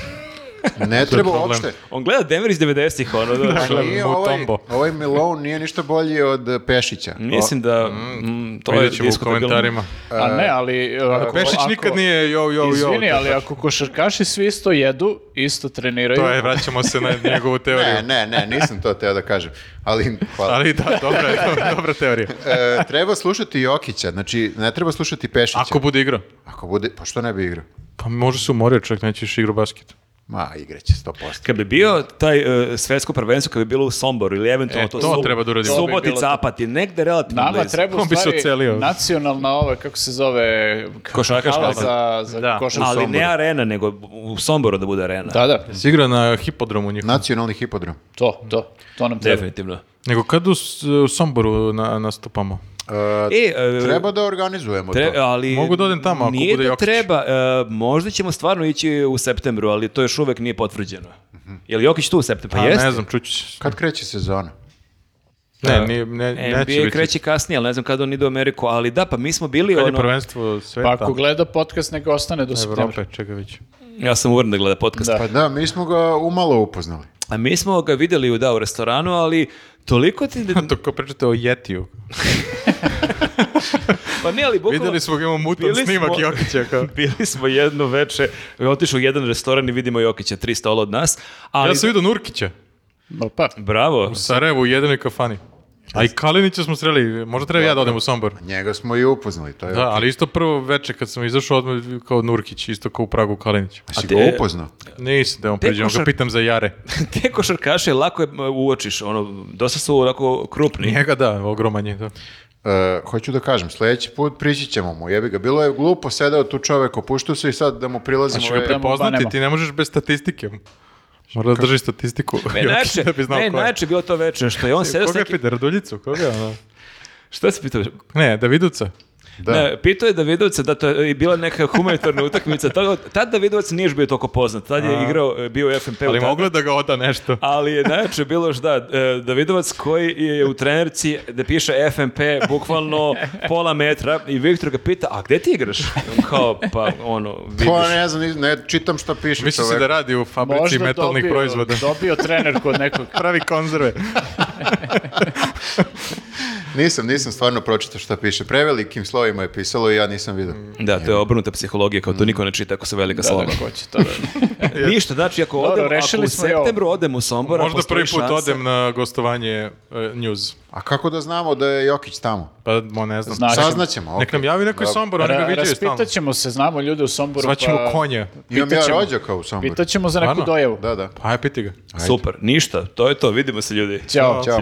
Ne treba problem. uopšte. On gleda Denver iz 90-ih, ono, da, Pa Nije ovaj, Mutombo. ovaj Milone nije ništa bolji od e, Pešića. Mislim da... mm, to je Vidjet ćemo u diskutabilno. komentarima. A ne, ali... e, Ako, Pešić ako- E, nikad nije jo, jo, jo. Izvini, to- ali ako košarkaši svi isto jedu, isto treniraju, znači. To je, vraćamo se na njegovu teoriju. Ne, ne, ne, nisam to teo da kažem. Ali, hvala. Ali da, dobra, je, dobra, dobra teorija. E, treba slušati Jokića, znači ne treba slušati Pešića. Ako bude igrao. Ako bude, pa što ne bi igrao? Pa može se umorio čovjek, neće još igrao basket. Ma, igraće 100%. Kad bi bio taj e, svetsko prvenstvo, kad bi bilo u Somboru ili eventualno E, to Sub- treba da uradimo. To bi bilo Subotica, to. Apatin, negde relativno Nama blizu. treba u On bi se stvari ocelio. nacionalna ova, kako se zove, Košarkaška hala baza. za, za Da. košarku. Ali ne arena, nego u Somboru da bude arena. Da, da, Se igra na hipodromu njihom. Nacionalni hipodrom. to, to, to nam treba. Definitivno. Nego kad u, S- u Somboru na, nastupamo? E, e, Treba da organizujemo Tre- to. ali Mogu da odem tamo ako nije bude da Jokić. treba, e, možda ćemo stvarno ići u septembru, ali to još uvek nije potvrđeno. Je li Jokić tu u septembru? Pa A, jeste. Ne znam, čući će se. Kad kreće sezona? Ne, nije- ne, neće NBA biti. kreće kasnije, ali ne znam kada on ide u Ameriku, ali da, pa mi smo bili Kad je ono... prvenstvo Pa sveta, ako gleda podcast, neka ostane do septembra. Evrope, čega već. Ja sam uveren da gleda podcast. Da. Pa da, mi smo ga umalo upoznali. A mi smo ga videli u, da, u restoranu, ali toliko ti... To kao pričate o Jetiju. Pa ne, ali bukvalno... Videli smo ga imamo mutan Bili smo- snimak Jokića. Kao. Bili smo jedno veče, otišli u jedan restoran i vidimo Jokića, tri stola od nas, ali... Ja sam vidio Nurkića. No, pa, Bravo. U Sarajevu u jedinoj kafani. A i Kalinića smo sreli, možda treba ja da odem u Sombor. Njega smo i upoznali, to je... Da, ali isto prvo veče kad sam izašao odmah kao Nurkić, isto kao u Pragu Kalinić. A si te- ga upoznao? Nisam da on Te priđe, on ga košar- pitam za Jare. Te košarkaše lako je m, uočiš, ono, dosta su onako krupni. Njega da, ogroman je. Da. E, hoću da kažem, sljedeći put prići ćemo mu, jebi ga. Bilo je glupo, sedao tu čovek, opuštao se i sad da mu prilazimo... Hoće ga e, pre- Poznati banemo. ti ne možeš bez statistike. Mora da drži statistiku. Jokić, Najče, da bi znao E, ne, ko je. najče bilo to večer, što je on sedao s Koga je nekim... pita, Raduljicu? Koga? ono? Šta si pitao? Ne, Daviduca. da. Ne, pitao je Davidovca da to je i bila neka humanitarna utakmica. Tad, tad Davidovac nije još bio toliko poznat. Tad je igrao, e, bio u FNP. Ali mogla da ga oda nešto. Ali je najjače bilo još da, e, Davidovac koji je u trenerci da piše FNP bukvalno pola metra i Viktor ga pita, a gde ti igraš? On Kao, pa ono, vidiš. Pa ne znam, ni- ne čitam šta piše Misli se čovek. da radi u fabrici možda metalnih dobio, proizvoda. dobio trener kod nekog. Pravi konzerve. Nisam, nisam stvarno pročitao šta piše. Prevelikim slovima je pisalo i ja nisam vidio. Mm. Da, to je obrnuta psihologija, kao to niko ne čita ako se velika Da, slova. da, ko će to da- Ništa, znači ako, Dobro, odem, ako rešili u smo i ovo. septembru odem u Sombor, a Možda postoji prvi put šansa- odem na gostovanje e, news. A kako da znamo da je Jokić tamo? Pa, mo, ne znam. Znaš, Saznaćemo. okej. Nek nam javi neko iz Sombora, oni ga Ra- viđaju stalno. Raspitat ćemo se, znamo ljude u Somboru. Zvaćemo pa konja. Imam ja pitaćemo. rođaka u Somboru. Pitat ćemo za neku Stvarno? dojavu. Da, da. Pa, aj piti ga. Super, ništa, to je to, vidimo se ljudi. Ćao. Ćao.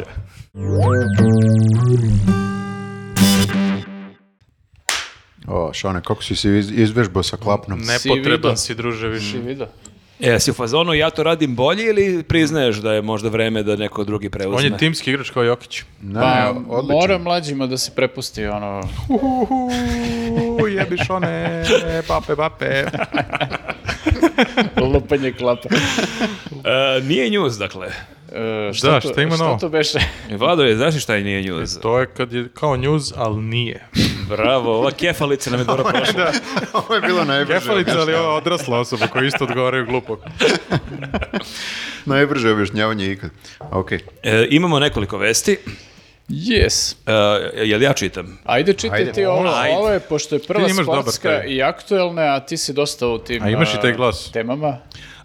O, Šone, kako si se iz- izvežbao sa klapnom? vidio? Nepotreban si, druže, više. Ti vidio? Pa, E, si u fazonu, ja to radim bolje ili priznaješ da je možda vreme da neko drugi preuzme? On je timski igrač kao Jokić. Ne, Pa, odlično. mora mlađima da se prepusti, ono... Uhuhu, jebiš one, pape, pape. Lupanje klapa. E, nije news, dakle. E, Da, šta ima novo? Što to beše? Vlado, je, znaš li šta je nije news? To je kad je kao news, ali nije. Bravo, ova kefalica nam je dobro prošla. Ovo je bilo najbrže. Kefalica, ali ova odrasla osoba koja isto odgovaraju glupo. Najbrže objašnjavanje ikad. Ok. E, imamo nekoliko vesti. Yes. E, jel ja čitam? Ajde, čitaj Ajde. ti ovo, Ajde. ovo je, pošto je prva Ti imaš dobar sportska taj. i aktuelna, a ti si dosta u tim A imaš i taj a, glas. temama.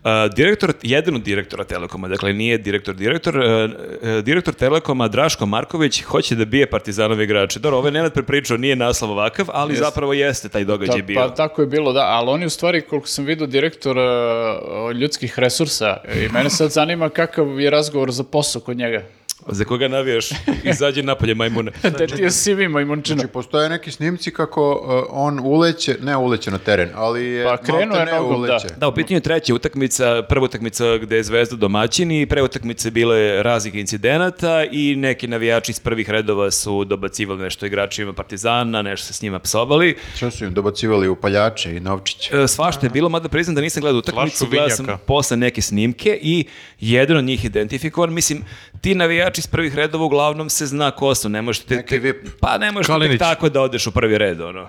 E, direktor, jedan od direktora Telekoma, dakle nije direktor direktor, e, e, direktor Telekoma Draško Marković hoće da bije Partizanove igrače. Dobro, ovo je Nenad prepričao, nije naslov ovakav, ali zapravo jeste taj događaj Ta- bio. pa tako je bilo, da, ali on je u stvari, koliko sam vidio, direktor e, o, ljudskih resursa e, i mene sad zanima kakav je razgovor za posao kod njega. Za koga navijaš? Izađi napolje majmune. Te ti je sivi majmunčina. Znači, postoje neki snimci kako uh, on uleće, ne uleće na teren, ali je Pa, krenuo maltene je nogom, da. uleće. Da, u pitanju je treća utakmica, prva utakmica gde je Zvezda domaćin i pre utakmice bile raznih incidenata i neki navijači iz prvih redova su dobacivali nešto igračima Partizana, nešto se s njima psovali. Što su im dobacivali upaljače i novčiće? E, Svašta je bilo, mada priznam da nisam gledao utakmicu, Flašu gledao sam vinjaka. posle neke snimke i jedan od njih je identifikovan. Mislim, ti navijači iz prvih redova uglavnom se zna ko su, ne možeš te- Neki vip. Pa ne možeš tek Kalinić. tako da odeš u prvi red, ono.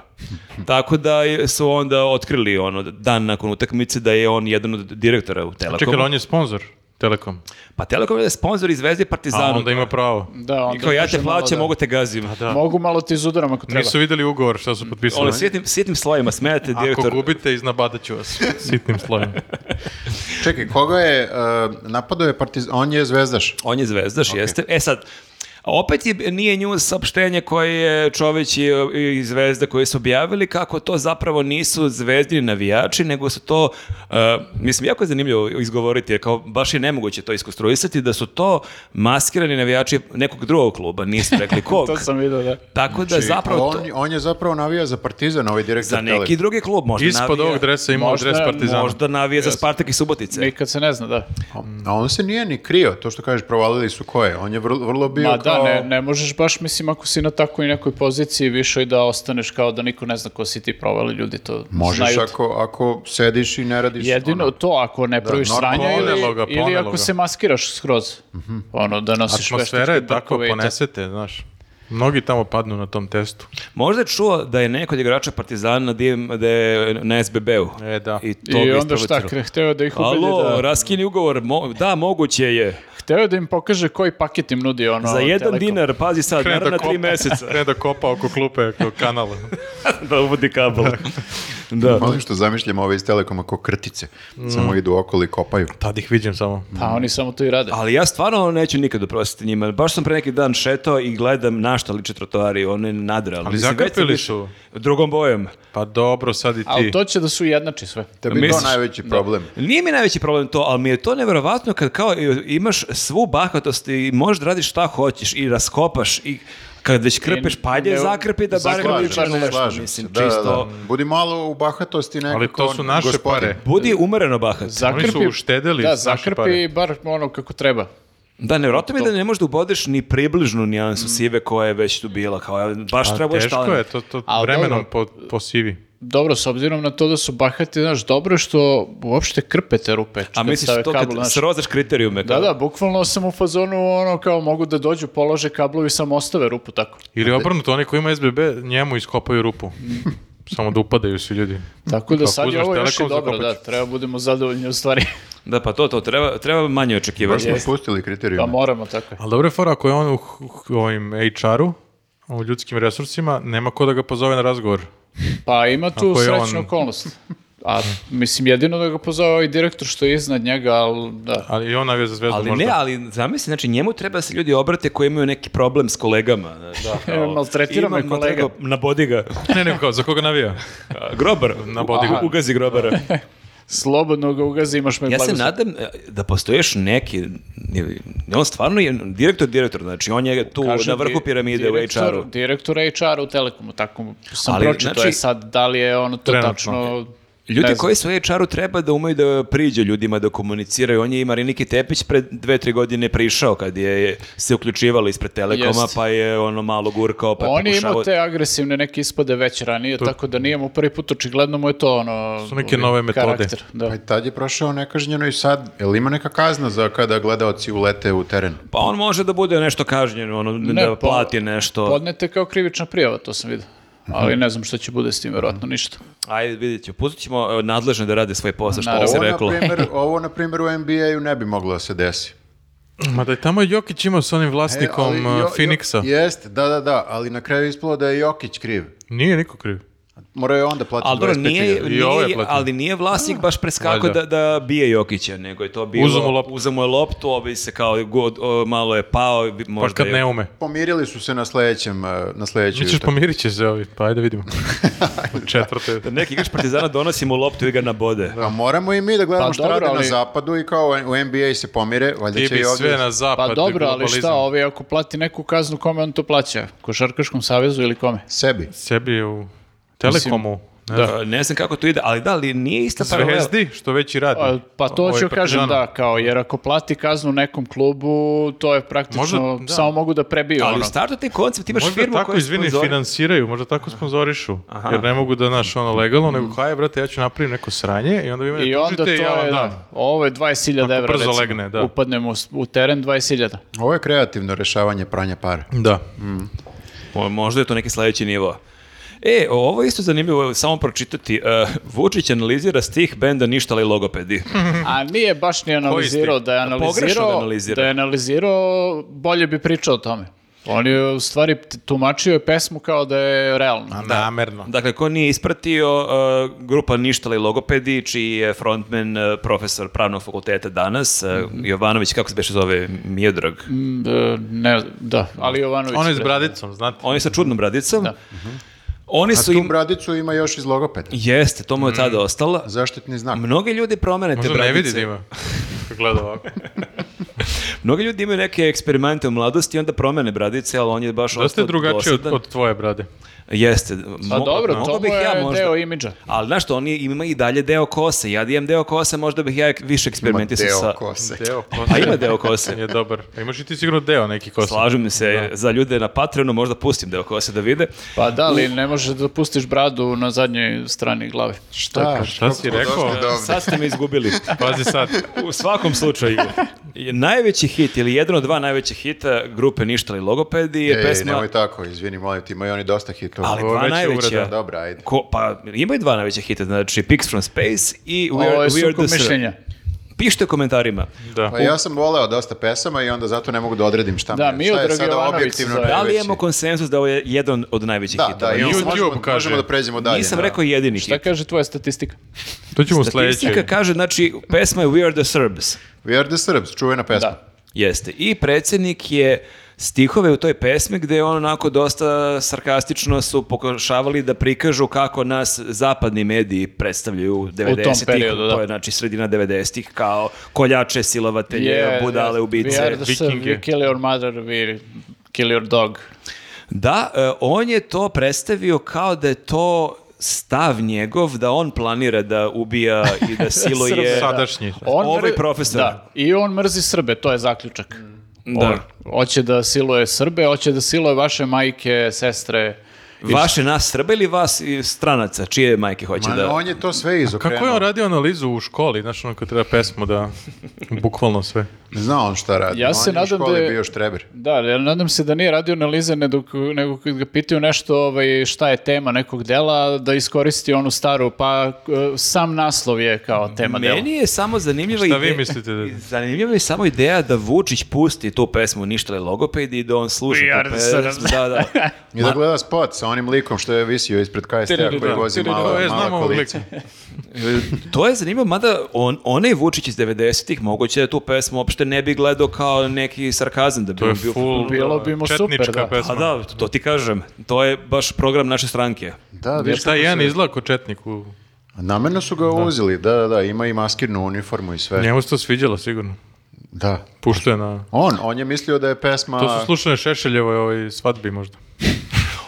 Tako da je- su onda otkrili, ono, dan nakon utakmice da je on jedan od direktora u Telekomu. Čekaj, ali on je sponsor Telekom. Pa Telekom je sponsor i Zvezde i A Partizanu. onda ima pravo. Da, onda I kao ja kaže te malo plaćam, da- mogu te gazim. Da. Mogu malo ti izudaram ako treba. Nisu vidjeli ugovor šta su potpisali. Ono, sitnim, sitnim slojima, smete Ako direktor. gubite, iznabadat ću vas sitnim slojem. eh, Čekaj, koga je, uh, napadao je Partizan, on je zvezdaš. On je zvezdaš, jeste. E sad, A Opet je, nije news saopštenje koje je Čović i, i Zvezda koji su objavili kako to zapravo nisu zvezdini navijači, nego su to, e, mislim, jako je zanimljivo izgovoriti, jer kao baš je nemoguće to iskonstruisati, da su to maskirani navijači nekog drugog kluba, nisu rekli kog. To sam vidio, da. Tako da Znači, zapravo to, On, on je zapravo navija za Partizan, ovaj direktor za neki Tele. drugi klub možda Ispod navija. ovog dresa ima Možda- dres Partizana. Možda navija za Spartak i Subotice. Nikad se ne zna, da. A on se nije ni krio, to što kažeš, provalili su ko je. On je vrlo, vrlo bio Ma kao... da, ne, ne možeš baš, mislim, ako si na takvoj nekoj poziciji više i da ostaneš kao da niko ne zna ko si ti provali ljudi, to Možeš znaju. ako, ako sediš i ne radiš... Jedino ono. to, ako ne praviš normalno. Mhm. sranja ili, Poneloga, ili poneloga. ako se maskiraš skroz. Ono, da nosiš Atmosfera je veštačke tako, brkove i to. ponesete, znaš. Mnogi tamo padnu na tom testu. Možda je čuo da je neko od igrača Partizana da je, da je na SBB-u. E, da. I, to I bi onda šta, isprovociralo. kre- hteo da ih ubedi Alo, da... raskini ugovor, mo- da, moguće je. Hteo je da im pokaže koji paket im nudi ono... Za jedan Telekom. dinar, pazi sad, Krene naravno da na tri kopa. meseca. Krene da kopa oko klupe, oko kanala. da uvodi kabel. da. Molim što zamišljam ove iz Telekoma ko krtice. Samo idu okolo i kopaju. Tad ih vidim samo. Pa oni samo to i rade. Ali ja stvarno neću nikad oprostiti njima. Baš sam pre neki dan šetao i gledam na šta liče trotoari, one nadrealne. Ali Mislim, već sam zakrpili više- su. Drugom bojem. Pa dobro, sad i ti. Ali to će da su jednači sve. Tebi je to Misliš- najveći problem. Nije mi najveći problem to, ali mi je to nevjerovatno kad kao imaš svu bahatost i možeš da radiš šta hoćeš i raskopaš i kad već krpeš I palje, ne- zakrpi da barem Slažem Slažem liči na se, se, nešto, slažem mislim, se, da, da, čisto. da. Budi malo u bahatosti nekako. Ali to su naše gospodin. pare. Budi umereno bahat. Oni su uštedeli da, naše zakrpi pare. bar ono kako treba. Da, nevjerojatno mi je da ne možeš da ubodeš ni približnu nijansu Mm. sive koja je već tu bila. Kao, baš treba je Pa Teško je, to, to Ali vremenom po, po sivi. Dobro, s obzirom na to da su bahati, znaš, dobro je što uopšte krpe te rupe. A kad misliš stave to kabel, kad znaš. srozaš kriterijume? Da, kao- da, bukvalno sam u fazonu ono kao mogu da dođu, polože kablovi, samo ostave rupu tako. Ili obrnuto, onaj koji ima SBB, njemu iskopaju rupu. Samo da upadaju svi ljudi. Tako da Kako sad je uzmeš ovo još i Telekom, dobro, da, zakopat ćeš. treba budemo zadovoljni u stvari. Da, pa to, to, treba, treba manje Baš očekivati. smo pustili kriteriju. Pa moramo tako. Ali dobro je fora, ako je on u h- h- ovim HR-u, u ljudskim resursima, nema ko da ga pozove na razgovor. Pa ima tu Ako je srećnu on- okolnost. A mislim jedino da ga pozove ovaj direktor što je iznad njega, ali da. Ali i on navija za zvezdu Ali možda. ne, ali zamisli, znači njemu treba da se ljudi obrate koji imaju neki problem s kolegama. Da, E, maltretira me kolega. Nabodi ga. ne, ne, kao, za koga navija? A, Grobar. Nabodi ga. Ugazi grobara. Slobodno ga ugazi, imaš me Ja se blagoslov. nadam e, da postoji još neki, ili- on stvarno je direktor, direktor, znači on je tu Kažem na ti, vrhu piramide u direktor- HR-u. Direktor HR-a u Telekomu, tako sam Ali, pročito znači- je sad, da li je ono to Trenutno. tačno... ne Ljudi znam. koji su u HR-u treba da umeju da priđe ljudima da komuniciraju. On je i Mariniki Tepić pred dve, tri godine prišao kad je se uključivala ispred Telekoma, Jeste. pa je ono malo gurkao, pa je On je imao pokušavao- te agresivne neke ispade već ranije, tako da nije mu prvi put, očigledno mu je to ono... Su neke nove metode. karakter, da. Pa i tad je prošao nekažnjeno i sad. Je li ima neka kazna za kada gledaoci ulete u teren? Pa on može da bude nešto kažnjen, ono, Ne, da pa- po- plati nešto. Podnete kao krivična prijava, to sam vidio. Ali ne znam što će bude s tim, verovatno ništa. Ajde, vidjet ćemo. Pustit ćemo e, nadležne da rade svoj posao, što bi Naravno. se Ovo, na reklo. primjer, ovo, na primjer, u NBA-u ne bi moglo da se desi. Ma da je tamo Jokić imao s onim E, vlasnikom ali Jo- Jo- uh, Phoenixa. Jeste, da, da, da, ali na kraju je ispalo da je Jokić kriv. Nije niko kriv. Morao je onda platiti Ali dobro, 25.000. nije, I ovo je nije, platio. ali nije vlasnik baš preskako da, Valjda. da bije Jokića, nego je to bilo... Uzeo mu loptu. uzeo mu je loptu, ovaj se kao god, o, malo je pao, bi- Pa možda kad je... ne ume. Pomirili su se na sledećem, eh, na sledećoj Mi ćeš utakmici. pomirit će se ovi, pa ajde vidimo. Četvrte. Da neki igrač Partizana donosi mu loptu i ga nabode. A moramo i mi da gledamo Pa šta dobro, rade na ali- zapadu i kao u NBA se pomire, valjda Ti će i bi ovdje... sve na zapad. Pa dobro, ali šta, globalizam. ovi ako plati neku kaznu, kome on to plaća? Košarkaškom savezu ili kome? Sebi. Sebi u Telekomu. ne znam. E, Ne znam kako to ide, ali da, ali nije ista paralela. Zvezdi, što već i radi. Pa, pa to Ovaj ću kažem Partizanu. da, kao, jer ako plati kaznu nekom klubu, to je praktično, Možda, da. samo mogu da prebiju Ali u ono. startu taj koncept imaš Možda firmu tako, koja izvini, sponzori- finansiraju, možda tako sponzorišu, jer ne mogu da naš ono legalno, nego kaj, brate, ja ću napravim neko sranje i onda vi mene I onda to tužite i ja vam je, dam. da, ovo je 20.000 evra, brzo recimo. legne, da. Upadnemo u, s- u teren 20.000. Ovo je kreativno rešavanje pranja para. Da. Mo- Možda je to neki sledeći nivo. E, ovo je isto zanimljivo, samo pročitati. Uh, Vučić analizira stih benda Ništala i logopedi. A nije baš ni analizirao, da je analizirao, Pogrešno ga da, analizira. je analizirao, bolje bi pričao o tome. On je u stvari t- tumačio je pesmu kao da je realno. Namerno. Dakle, ko nije ispratio, uh, grupa Ništala i Logopedi, čiji je frontman uh, profesor pravnog fakulteta danas, uh, Mhm. Jovanović, kako se beše zove, Miodrag. Mm, e, ne, da, ali Jovanović... Ono je s pre- bradicom, znate. On je sa čudnom bradicom. Da. Oni A su tu im... bradicu ima još iz logopeda. Jeste, to mu je tada ostalo. Zaštitni znak. Mnogi ljudi promene te Mhm. Možda bradice. ne vidi da ima. Kako gleda ovako. Mnogi ljudi imaju neke eksperimente u mladosti i onda promene bradice, ali on je baš Dosta ostao je drugačije od, dosadan. od tvoje brade. Jeste. Pa mo- dobro, mogao to mu bih je ja možda. deo imidža. Ali znaš što, on je- ima i dalje deo kose. Ja da imam deo kose, možda bih ja više Ima eksperimentisao deo sa... kose. Deo kose. Pa ima deo kose. Je dobar. Pa imaš i ti sigurno deo neki kosa. Slažem se, za ljude na Patreonu možda pustim deo kose da vide. Pa da, ali ne može da pustiš bradu na zadnjoj strani glave. Šta? Šta si Kako smo rekao? došli do ovde? E, Sad ste me izgubili. Pazi sad. U svakom slučaju. Najveći hit ili jedan od dva najvećih hita grupe Ništali logopedi je Ej, pesma... nemoj tako, izvini, molim ti, imaju oni dosta hitova. Ali Ovo je dva veća najveća. uvreda. Dobro, ajde. Ko, pa imaju dva najveća hita, znači Pix from Space i We Ovo Are, je We Are sukob the Sun. mišljenja. Pišite u komentarima. Da. Pa ja sam voleo dosta pesama i onda zato ne mogu da odredim šta mi Da, je. Šta je Miodrag sada Jovanović objektivno se zove. Da li najveći? imamo konsenzus da ovo je jedan od najvećih Da, da, hitova? i onda YouTube možemo, kaže. možemo da pređemo dalje. Nisam na- rekao jedini Šta hit. kaže tvoja statistika? To ćemo u Statistika sledećoj. kaže, znači, pesma je We Are the Serbs. We are the Serbs, čuvena pesma. Da. Jeste. I predsjednik je stihove u toj pesmi gdje on onako dosta sarkastično su pokušavali da prikažu kako nas zapadni mediji predstavljaju 90-ih, periodu, da. to je znači sredina 90-ih kao koljače, silovatelje, Yeah, budale, yes. ubice. We are the Serb, vikinge. we kill your mother, we kill your dog. Da, e, on je to predstavio kao da je to stav njegov, da on planira da ubija i da siluje. Sadašnji. Ovaj profesor. Da, i on mrzi Srbe, to je zaključak. Da. On hoće da siluje Srbe, hoće da siluje vaše majke, sestre. Vaše nas Srba ili vas i stranaca, čije majke hoće Ma, da... on je to sve izokrenuo. Kako je on radio analizu u školi? Znaš, ono kad treba pesmu da... Bukvalno sve. Ne zna on šta radi. Ja se on je u nadam da školi je- bio štreber. Da, ja nadam se da nije radio analize, ne dok- nego kad ga pitaju nešto ovaj, šta je tema nekog dela, da iskoristi onu staru, pa e, sam naslov je kao tema dela. Meni je samo zanimljiva Šta ideja... vi mislite da- Zanimljiva je samo ideja da Vučić pusti tu pesmu Ništa je logoped i da on sluša We tu are the pesmu. Serbs. Da, da. I da gleda spot sa onim likom što je visio ispred KST-a koji vozi Pa, mala, E, mala znamo ovog kolica. lika. To je zanimljivo, mada on, onaj Vučić iz 90-ih moguće da tu pesmu uopšte ne bi gledao kao neki sarkazam da bi To je on bio... full Bilo bi mu super, četnička da. A pesma. Pa da, to ti kažem. To je baš program naše stranke. Da, Jer viš taj kako jedan se- izgleda ko četnik u... Namerno su ga uzeli, da, da, da, ima i maskirnu uniformu i sve. Njemu se to sviđalo sigurno. Da. Pušto je na... On, on je mislio da je pesma... To su slušane Šešeljevoj ovoj svadbi možda.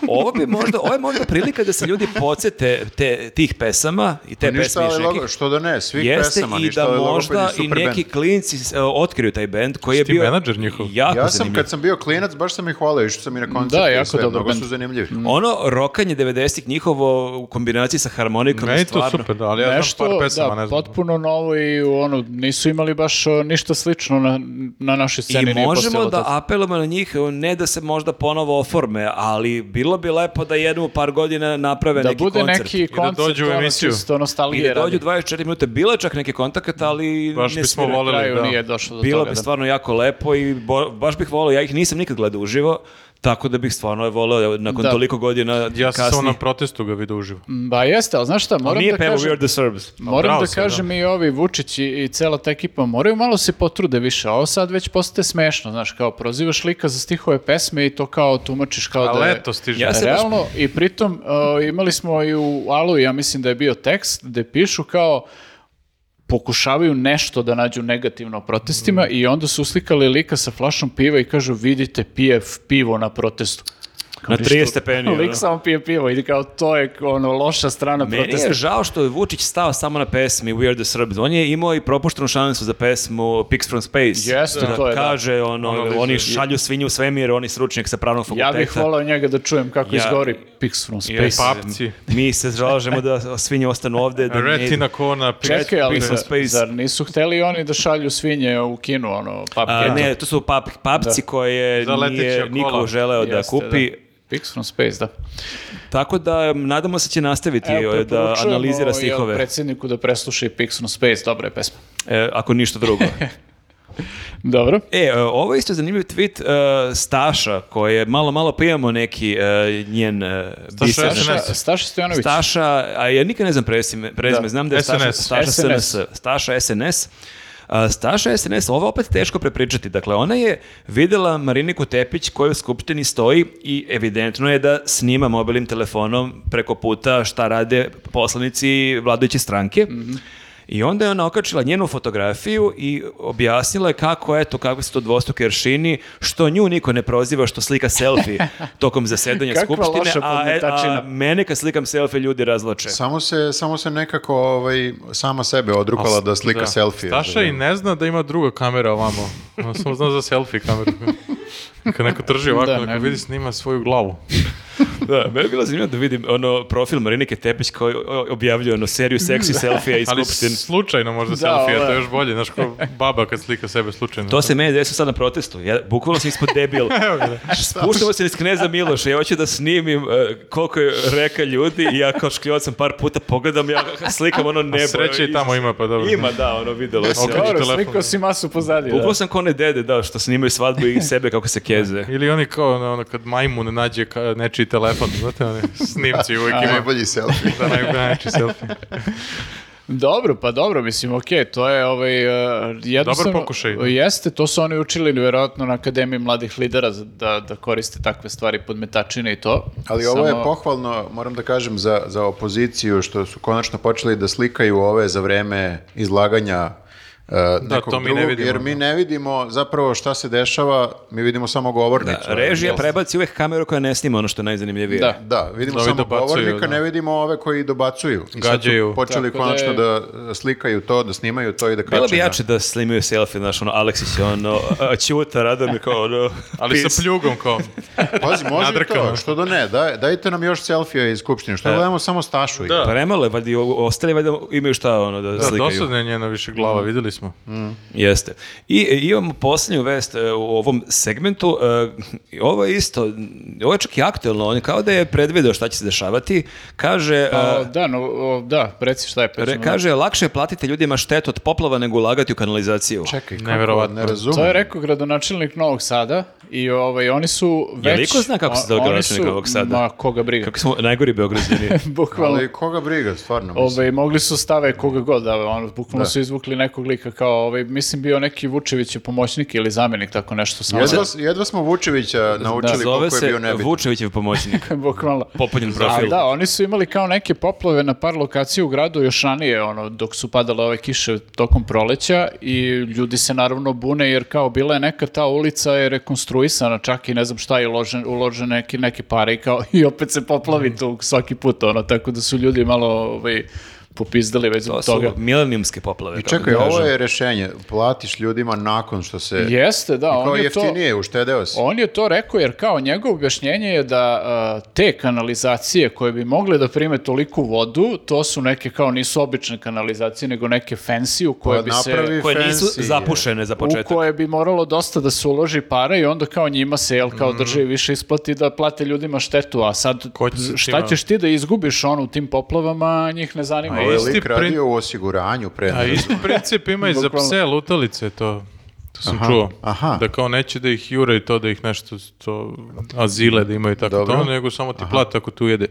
Ovo bi možda, ovo je možda prilika da se ljudi podsjete te, tih pesama i te Pa ništa, pesme ali još nekih. logo- što da ne, svih Jeste pesama, i ništa, pa da ali logopedi možda su i super neki band. klinci e, otkriju taj bend koji je ti bio menadžer njihov? jako Ja sam, zanimljiv. kad sam bio klinac, baš sam ih hvalio, išao sam i na koncert. Da, jako dobar Mnogo band. su zanimljivi. Ono rokanje 90-ih njihovo u kombinaciji sa harmonikom Meni je je to stvarno. super, da, ali ja Nešto, znam par pesama, da, ne znam. potpuno novo i ono, nisu imali baš o, ništa slično na, na našoj sceni. I nije možemo postojalo da tad. apelujemo na njih, e, ne da se možda ponovo oforme, ali bilo bi lepo da jednom u par godina naprave da neki bude koncert. neki da koncert, dođu u ono, emisiju. čisto I nostalgije da dođu radi. 24 minute, bilo je čak neki kontakata, ali Baš ne bismo svira. Na kraju voleli, da. nije došlo do Bilo toga, bi da. stvarno jako lepo i bo- baš bih volio, ja ih nisam nikad gledao uživo, tako da bih stvarno je volio evo, nakon Da. toliko godina Ja sam samo kasnije. na protestu ga vidio uživo. Ba jeste, ali znaš šta, moram Nije da pevao We kažem... Are The Serbs. Moram bravo da si, da. kažem i ovi Vučić i, i cela ta ekipa moraju malo se potrude više. a Ovo sad već postaje smešno, znaš, kao prozivaš lika za stihove pesme i to kao tumačiš kao A da je... leto stiže. Ja se- baš- Realno, i pritom uh, imali smo i u Alu, ja mislim da je bio tekst, gde pišu kao pokušavaju nešto da nađu negativno o protestima Mm. i onda su uslikali lika sa flašom piva i kažu vidite pije f- pivo na protestu. Na 30 stepeni. ono. Lik samo pije pivo i kao to je ono loša strana Meni protesta. je žao što je Vučić stao samo na pesmi We Are The Serbs. On je imao i propuštenu šansu za pesmu Pix From Space. Jeste, da to je, da. kaže, ono, Analizu. oni šalju svinju u svemir, oni stručnjak sa Ja pravnog fakulteta. bih volao njega da čujem kako Ja- izgori Pix from Jer Space. pa- Papci. Mi se zalažemo da svinje ostanu ovde. Da ne- Retina Kona, Čekaj, ali Pix from za- Space. zar nisu hteli oni da šalju svinje u kinu, ono, papke? A, ne, to su pap, papci koje Za leteća nije kola. niko želeo da Jeste, kupi. Pix from Space, da. Tako da m, nadamo se će nastaviti Evo, e, da preporučujemo analizira jel, stihove. predsjedniku da presluša i Pix from Space, dobra je pesma. E, ako ništa drugo. Dobro. E, e, ovo je isto zanimljiv tweet e, Staša, koji je malo, malo pijamo neki e, njen e, biser. SNS. Staša, Staša Stojanović. Staša, a ja nikad ne znam prezime, prezime. Da. znam da je Staša, SNS. Staša SNS. SNS. Staša SNS. A, Staša SNS, ovo je opet teško prepričati. Dakle, ona je videla Mariniku Tepić koja u skupštini stoji i evidentno je da snima mobilnim telefonom preko puta šta rade poslanici vladajuće stranke. Mhm. I onda je ona okačila njenu fotografiju i objasnila je kako, eto, kako su to dvostruki aršini, što nju niko ne proziva, što slika selfie tokom zasedanja Kakva skupštine, loša a, e, a podmetačina. mene kad slikam selfie ljudi razlače. Samo se, samo se nekako ovaj, sama sebe odrukala da slika selfie. znači, ono. Staša i ne zna da ima druga kamera ovamo. Ona samo zna za selfie kameru. Kad neko drži ovako, Da, neko ne- vidi snima svoju glavu. Da, meni je bilo zanimljivo da vidim ono profil Marinike Tepić koji objavljuje ono seriju seksi selfija iz Ali Skupštine. slučajno možda selfie, a ovo to je. je još bolje. Znaš, kao baba kad slika sebe slučajno. To se meni desilo sad na protestu. Ja bukvalno sam ispod debil. Spuštamo se iz Kneza Miloša. Ja hoću da snimim e, koliko je reka ljudi i ja kao škljivac sam par puta pogledam, ja slikam ono nebo. A sreće i tamo ima, pa dobro. Ima, da, ono videlo se. Ok. Ono, Dobro, telefon. slikao si masu pozadnje. Bukvalno sam kone dede, da, što snimaju svadbu i sebe kako se keze. Ili oni kao ono, ono, kad majmun nađe ka- nečiji telefon, znate, oni snimci uvijek Ima ima najbolji selfie. da naj- najjači selfie. Dobro, pa dobro, mislim, okej, to je ovaj, uh, jednostavno... pokušaj, da. Jeste, to su oni učili vjerovatno na Akademiji mladih lidera za- da, da koriste takve stvari, podmetačine i to. Ali ovo je Samo- pohvalno, moram da kažem, za, za opoziciju, što su konačno počeli da slikaju ove za vreme izlaganja uh, nekog to mi ne drugog, vidimo, jer mi ne vidimo zapravo šta se dešava, mi vidimo samo govornicu. Režija prebaci uvek kameru koja ne snima ono što je najzanimljivije. Da. Da, vidimo Ovi samo dobacuju, da. govornika, ne vidimo ove koji dobacuju. I sad su Gađaju. počeli Tako da konačno je- da, e, slikaju to, da snimaju to i da Bilo kače. bi na- jače da snimaju selfie, znaš, ono, Aleksić je ono, a, Ćuta, Radomir kao ono, Ali pis. sa pljugom kao. Pazi, može i Nadrkano. to, što da ne, daj, dajte nam još selfije iz Skupštine, što da gledamo samo Stašu. Da. Premalo je, Pa valjda i o- ostali valjda imaju šta ono da, Da, slikaju. dosadna je njena više glava, videli smo. Jeste. I e, imamo posljednju vest e, u ovom segmentu. E, i Ovo je isto, ovo je čak i aktualno, on je kao da je predvideo šta će se dešavati. Kaže... A, e, da, no, o, Pa, da, reci šta je. pa re- ćemo- kaže, lakše je platiti ljudima štetu od poplava nego ulagati u kanalizaciju. Čekaj, kako, Neverovatno. ne razumem. To je rekao gradonačelnik Novog Sada i ovaj, oni su već... Je li iko zna kako se zove o- oni gradonačelnik su- Novog Sada? Ma, koga briga. Kako smo najgori beograđani. Bukvalno. Ali koga briga, stvarno, mislim. Ovaj, mogli su stave koga god, da, ono, bukvalno su izvukli nekog lika kao, ovaj, mislim bio neki Vučević je pomoćnik ili zamjenik, tako nešto samo. Jedva, jedva smo Vučevića Zove naučili koliko je se bio nebitan. Vučevićev pomoćnik. bukvalno. Popunjen A profil. da, oni su imali kao neke poplave na par lokacija u gradu još ranije, ono, dok su padale ove kiše tokom proleća i ljudi se naravno bune jer kao bila je neka ta ulica je rekonstruisana čak i ne znam šta je uložen, uložen neki, neke pare i kao i opet se Mm. poplavi tu svaki put, ono, tako da su ljudi malo ovaj, popizdali već To zbog su toga. milenijumske poplave. I kako čekaj, kažu. ovo je rešenje. Platiš ljudima nakon što se... Jeste, da, Kao on je to... jeftinije, uštedeo si. On je to rekao jer kao njegovo objašnjenje je da a, te kanalizacije koje bi mogle da prime toliku vodu, to su neke kao nisu obične kanalizacije, nego neke fancy u koje Pa bi napravi se koje nisu fancy, je. zapušene za u početak. koje bi moralo dosta da se uloži para i onda kao njima se jel kao drže više isplati da plate ljudima štetu, a sad Mhm. Ko će se šta tima- ćeš ti da izgubiš ono u tim poplavama, njih ne zanima. Ovo je isti Ovaj lik prin- radio u osiguranju pre. A isti princip ima i za Bukvalno. pse lutalice to. To sam čuo. aha. Da kao neće da ih jure i to da ih nešto to azile da imaju i tako Dobro. to, nego samo ti plate ako tu jede.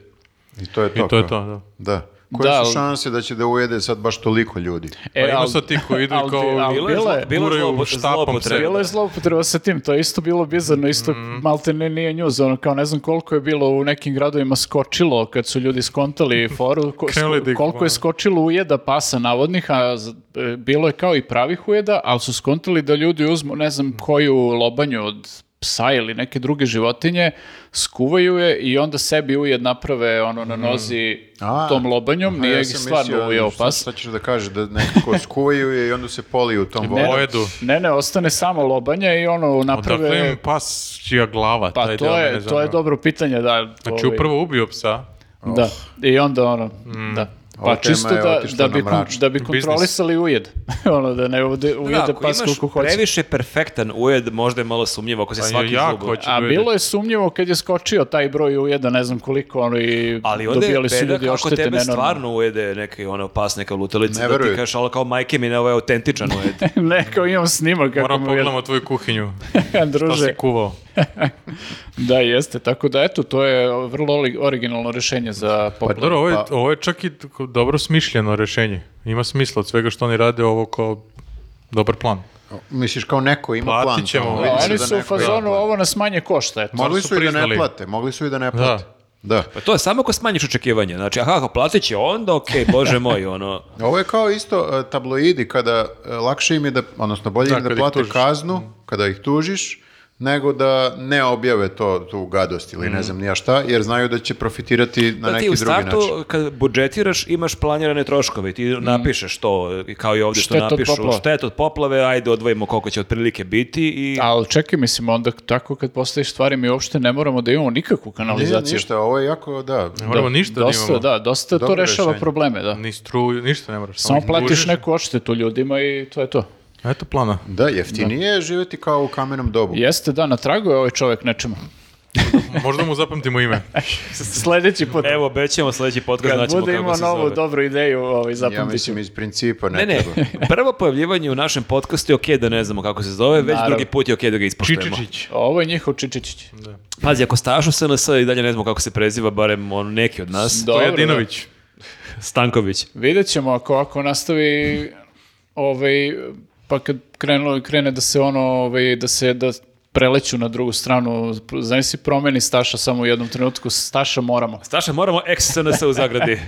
I to je to. I to je kao. to, da. Da. Koje Da, su ali- šanse da će da ujede sad baš toliko ljudi? E, pa ima al- sad ti koji idu al- kao al- Bilo Bilo je, je- zlo- bilo je guraju zlopo- štapom zloupotreba. sebe. Bilo je zloupotreba sa tim, to je isto bilo bizarno, isto Mm. malte ne nije njuz, ono kao ne znam koliko je bilo u nekim gradovima skočilo kad su ljudi skontali foru, ko- Krenuli da ih- koliko je skočilo ujeda pasa navodnih, a z- e, bilo je kao i pravih ujeda, ali su skontali da ljudi uzmu ne znam koju lobanju od psa ili neke druge životinje, skuvaju je i onda sebi ujed naprave ono Mm. na nozi A, tom lobanjom, aha, nije ja ih sam stvarno mislio, ujeo šta- pas. Šta ćeš da kaže, da nekako skuvaju je i onda se poliju tom vodom. Pojedu. Ne, ne, ostane samo lobanje i ono naprave... Odakle im Pa pas čija glava? Pa taj to deo je, mene to je zanima. dobro pitanje, da. Znači ovaj, upravo ubio psa, Da, i onda ono, da. Ova Pa tema čisto je da, otišla da, na bi, kon- mračno. da bi Biznis. kontrolisali ujed. ono, da ne ujede, ujede ako pas imaš koliko hoće. previše perfektan ujed, možda je malo sumnjivo ako se Pa je svaki jako zub... hoće A da bilo ujede. je sumnjivo kad je skočio taj broj ujeda, ne znam koliko, ono i Ali onda je dobijali su beda ljudi kako oštete tebe nenormalno. stvarno ujede neki ono pas, neka lutalica, da Ne ti verujem. kažeš, ali kao majke mi ne, ovo je autentičan ujed. ne, kao imam snimak kako Moram mu je- pogledamo tvoju kuhinju. Šta druže. si kuvao? Da, jeste. Tako da, eto, to je vrlo oli- originalno rješenje za Pa poplave. dobro, ovo je, Pa- ovo je čak i tako dobro smišljeno rešenje. Ima smisla od svega što oni rade ovo kao dobar plan. Misliš kao neko ima Platit plan. ćemo. tamo, Pa, Pa, vidi se Oni da su u neko ima fazonu, plan. ovo nas manje košta, eto. Mogli su su, i da ne priznali. plate, mogli su i da ne plate. Da. Pa to je samo ako smanjiš očekivanje. Znači, aha, ako platit će onda, okej, bože moj, ono... Ovo je kao isto e, tabloidi kada e, lakše im je da, odnosno bolje Da, im je da kada ih plate tužiš. Mm. kaznu kada ih tužiš nego da ne objave to, tu gadost ili Mm. ne znam ni ja šta, jer znaju da će profitirati na Da neki ti u drugi startu, način. kad budžetiraš, imaš planirane troškove. Ti napišeš to, kao i ovdje što Štetu od napišu. poplava. Štet od poplave, ajde odvojimo koliko će otprilike biti i... Ali čekaj, mislim, onda tako kad postaviš stvari, mi uopšte ne moramo da imamo nikakvu Nije kanalizaciju. ništa, ovo je jako, da. Ne moramo ništa da dosta, imamo. Da, dosta to Dobro rešava rešenje. probleme, da. Ni struju, ništa ne moraš. Samo ih platiš dužiš. neku odštetu ljudima i to je to. Eto plana. Da, jeftinije je živjeti kao u kamenom dobu. Jeste, da, na tragu je ovaj čovjek nečemu. Možda mu zapamtimo ime. Sljedeći put. Evo, obećamo sljedeći podcast, Kad znaćemo bude kako imao se novu zove. dobru ideju, ovaj, Ja zapamtit ću. mislim iz principa ne, Ne, ne, treba. prvo pojavljivanje u našem podcastu je okej da ne znamo kako se zove, već Naravno. drugi put je okej da ga ispoštujemo. Čičičić. Ovo je njihov čičičić. Pazi, ako stažu SNS i dalje ne znamo kako se preziva, barem on, neki od nas, Dobro, Stojadinović. Stanković. Vidjet ćemo ako ako nastavi ovaj pa kad krenulo krene da se ono ovaj da se da preleću na drugu stranu, znači si promeni Staša samo u jednom trenutku, Staša moramo. Staša, moramo ex SNS u zagradi.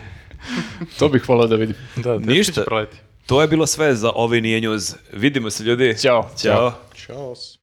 To bih volao da vidim. Da, teško Ništa. će proleti. to je bilo sve za ovaj Nije News. Vidimo se, ljudi. Ćao. Ćao. Ćao.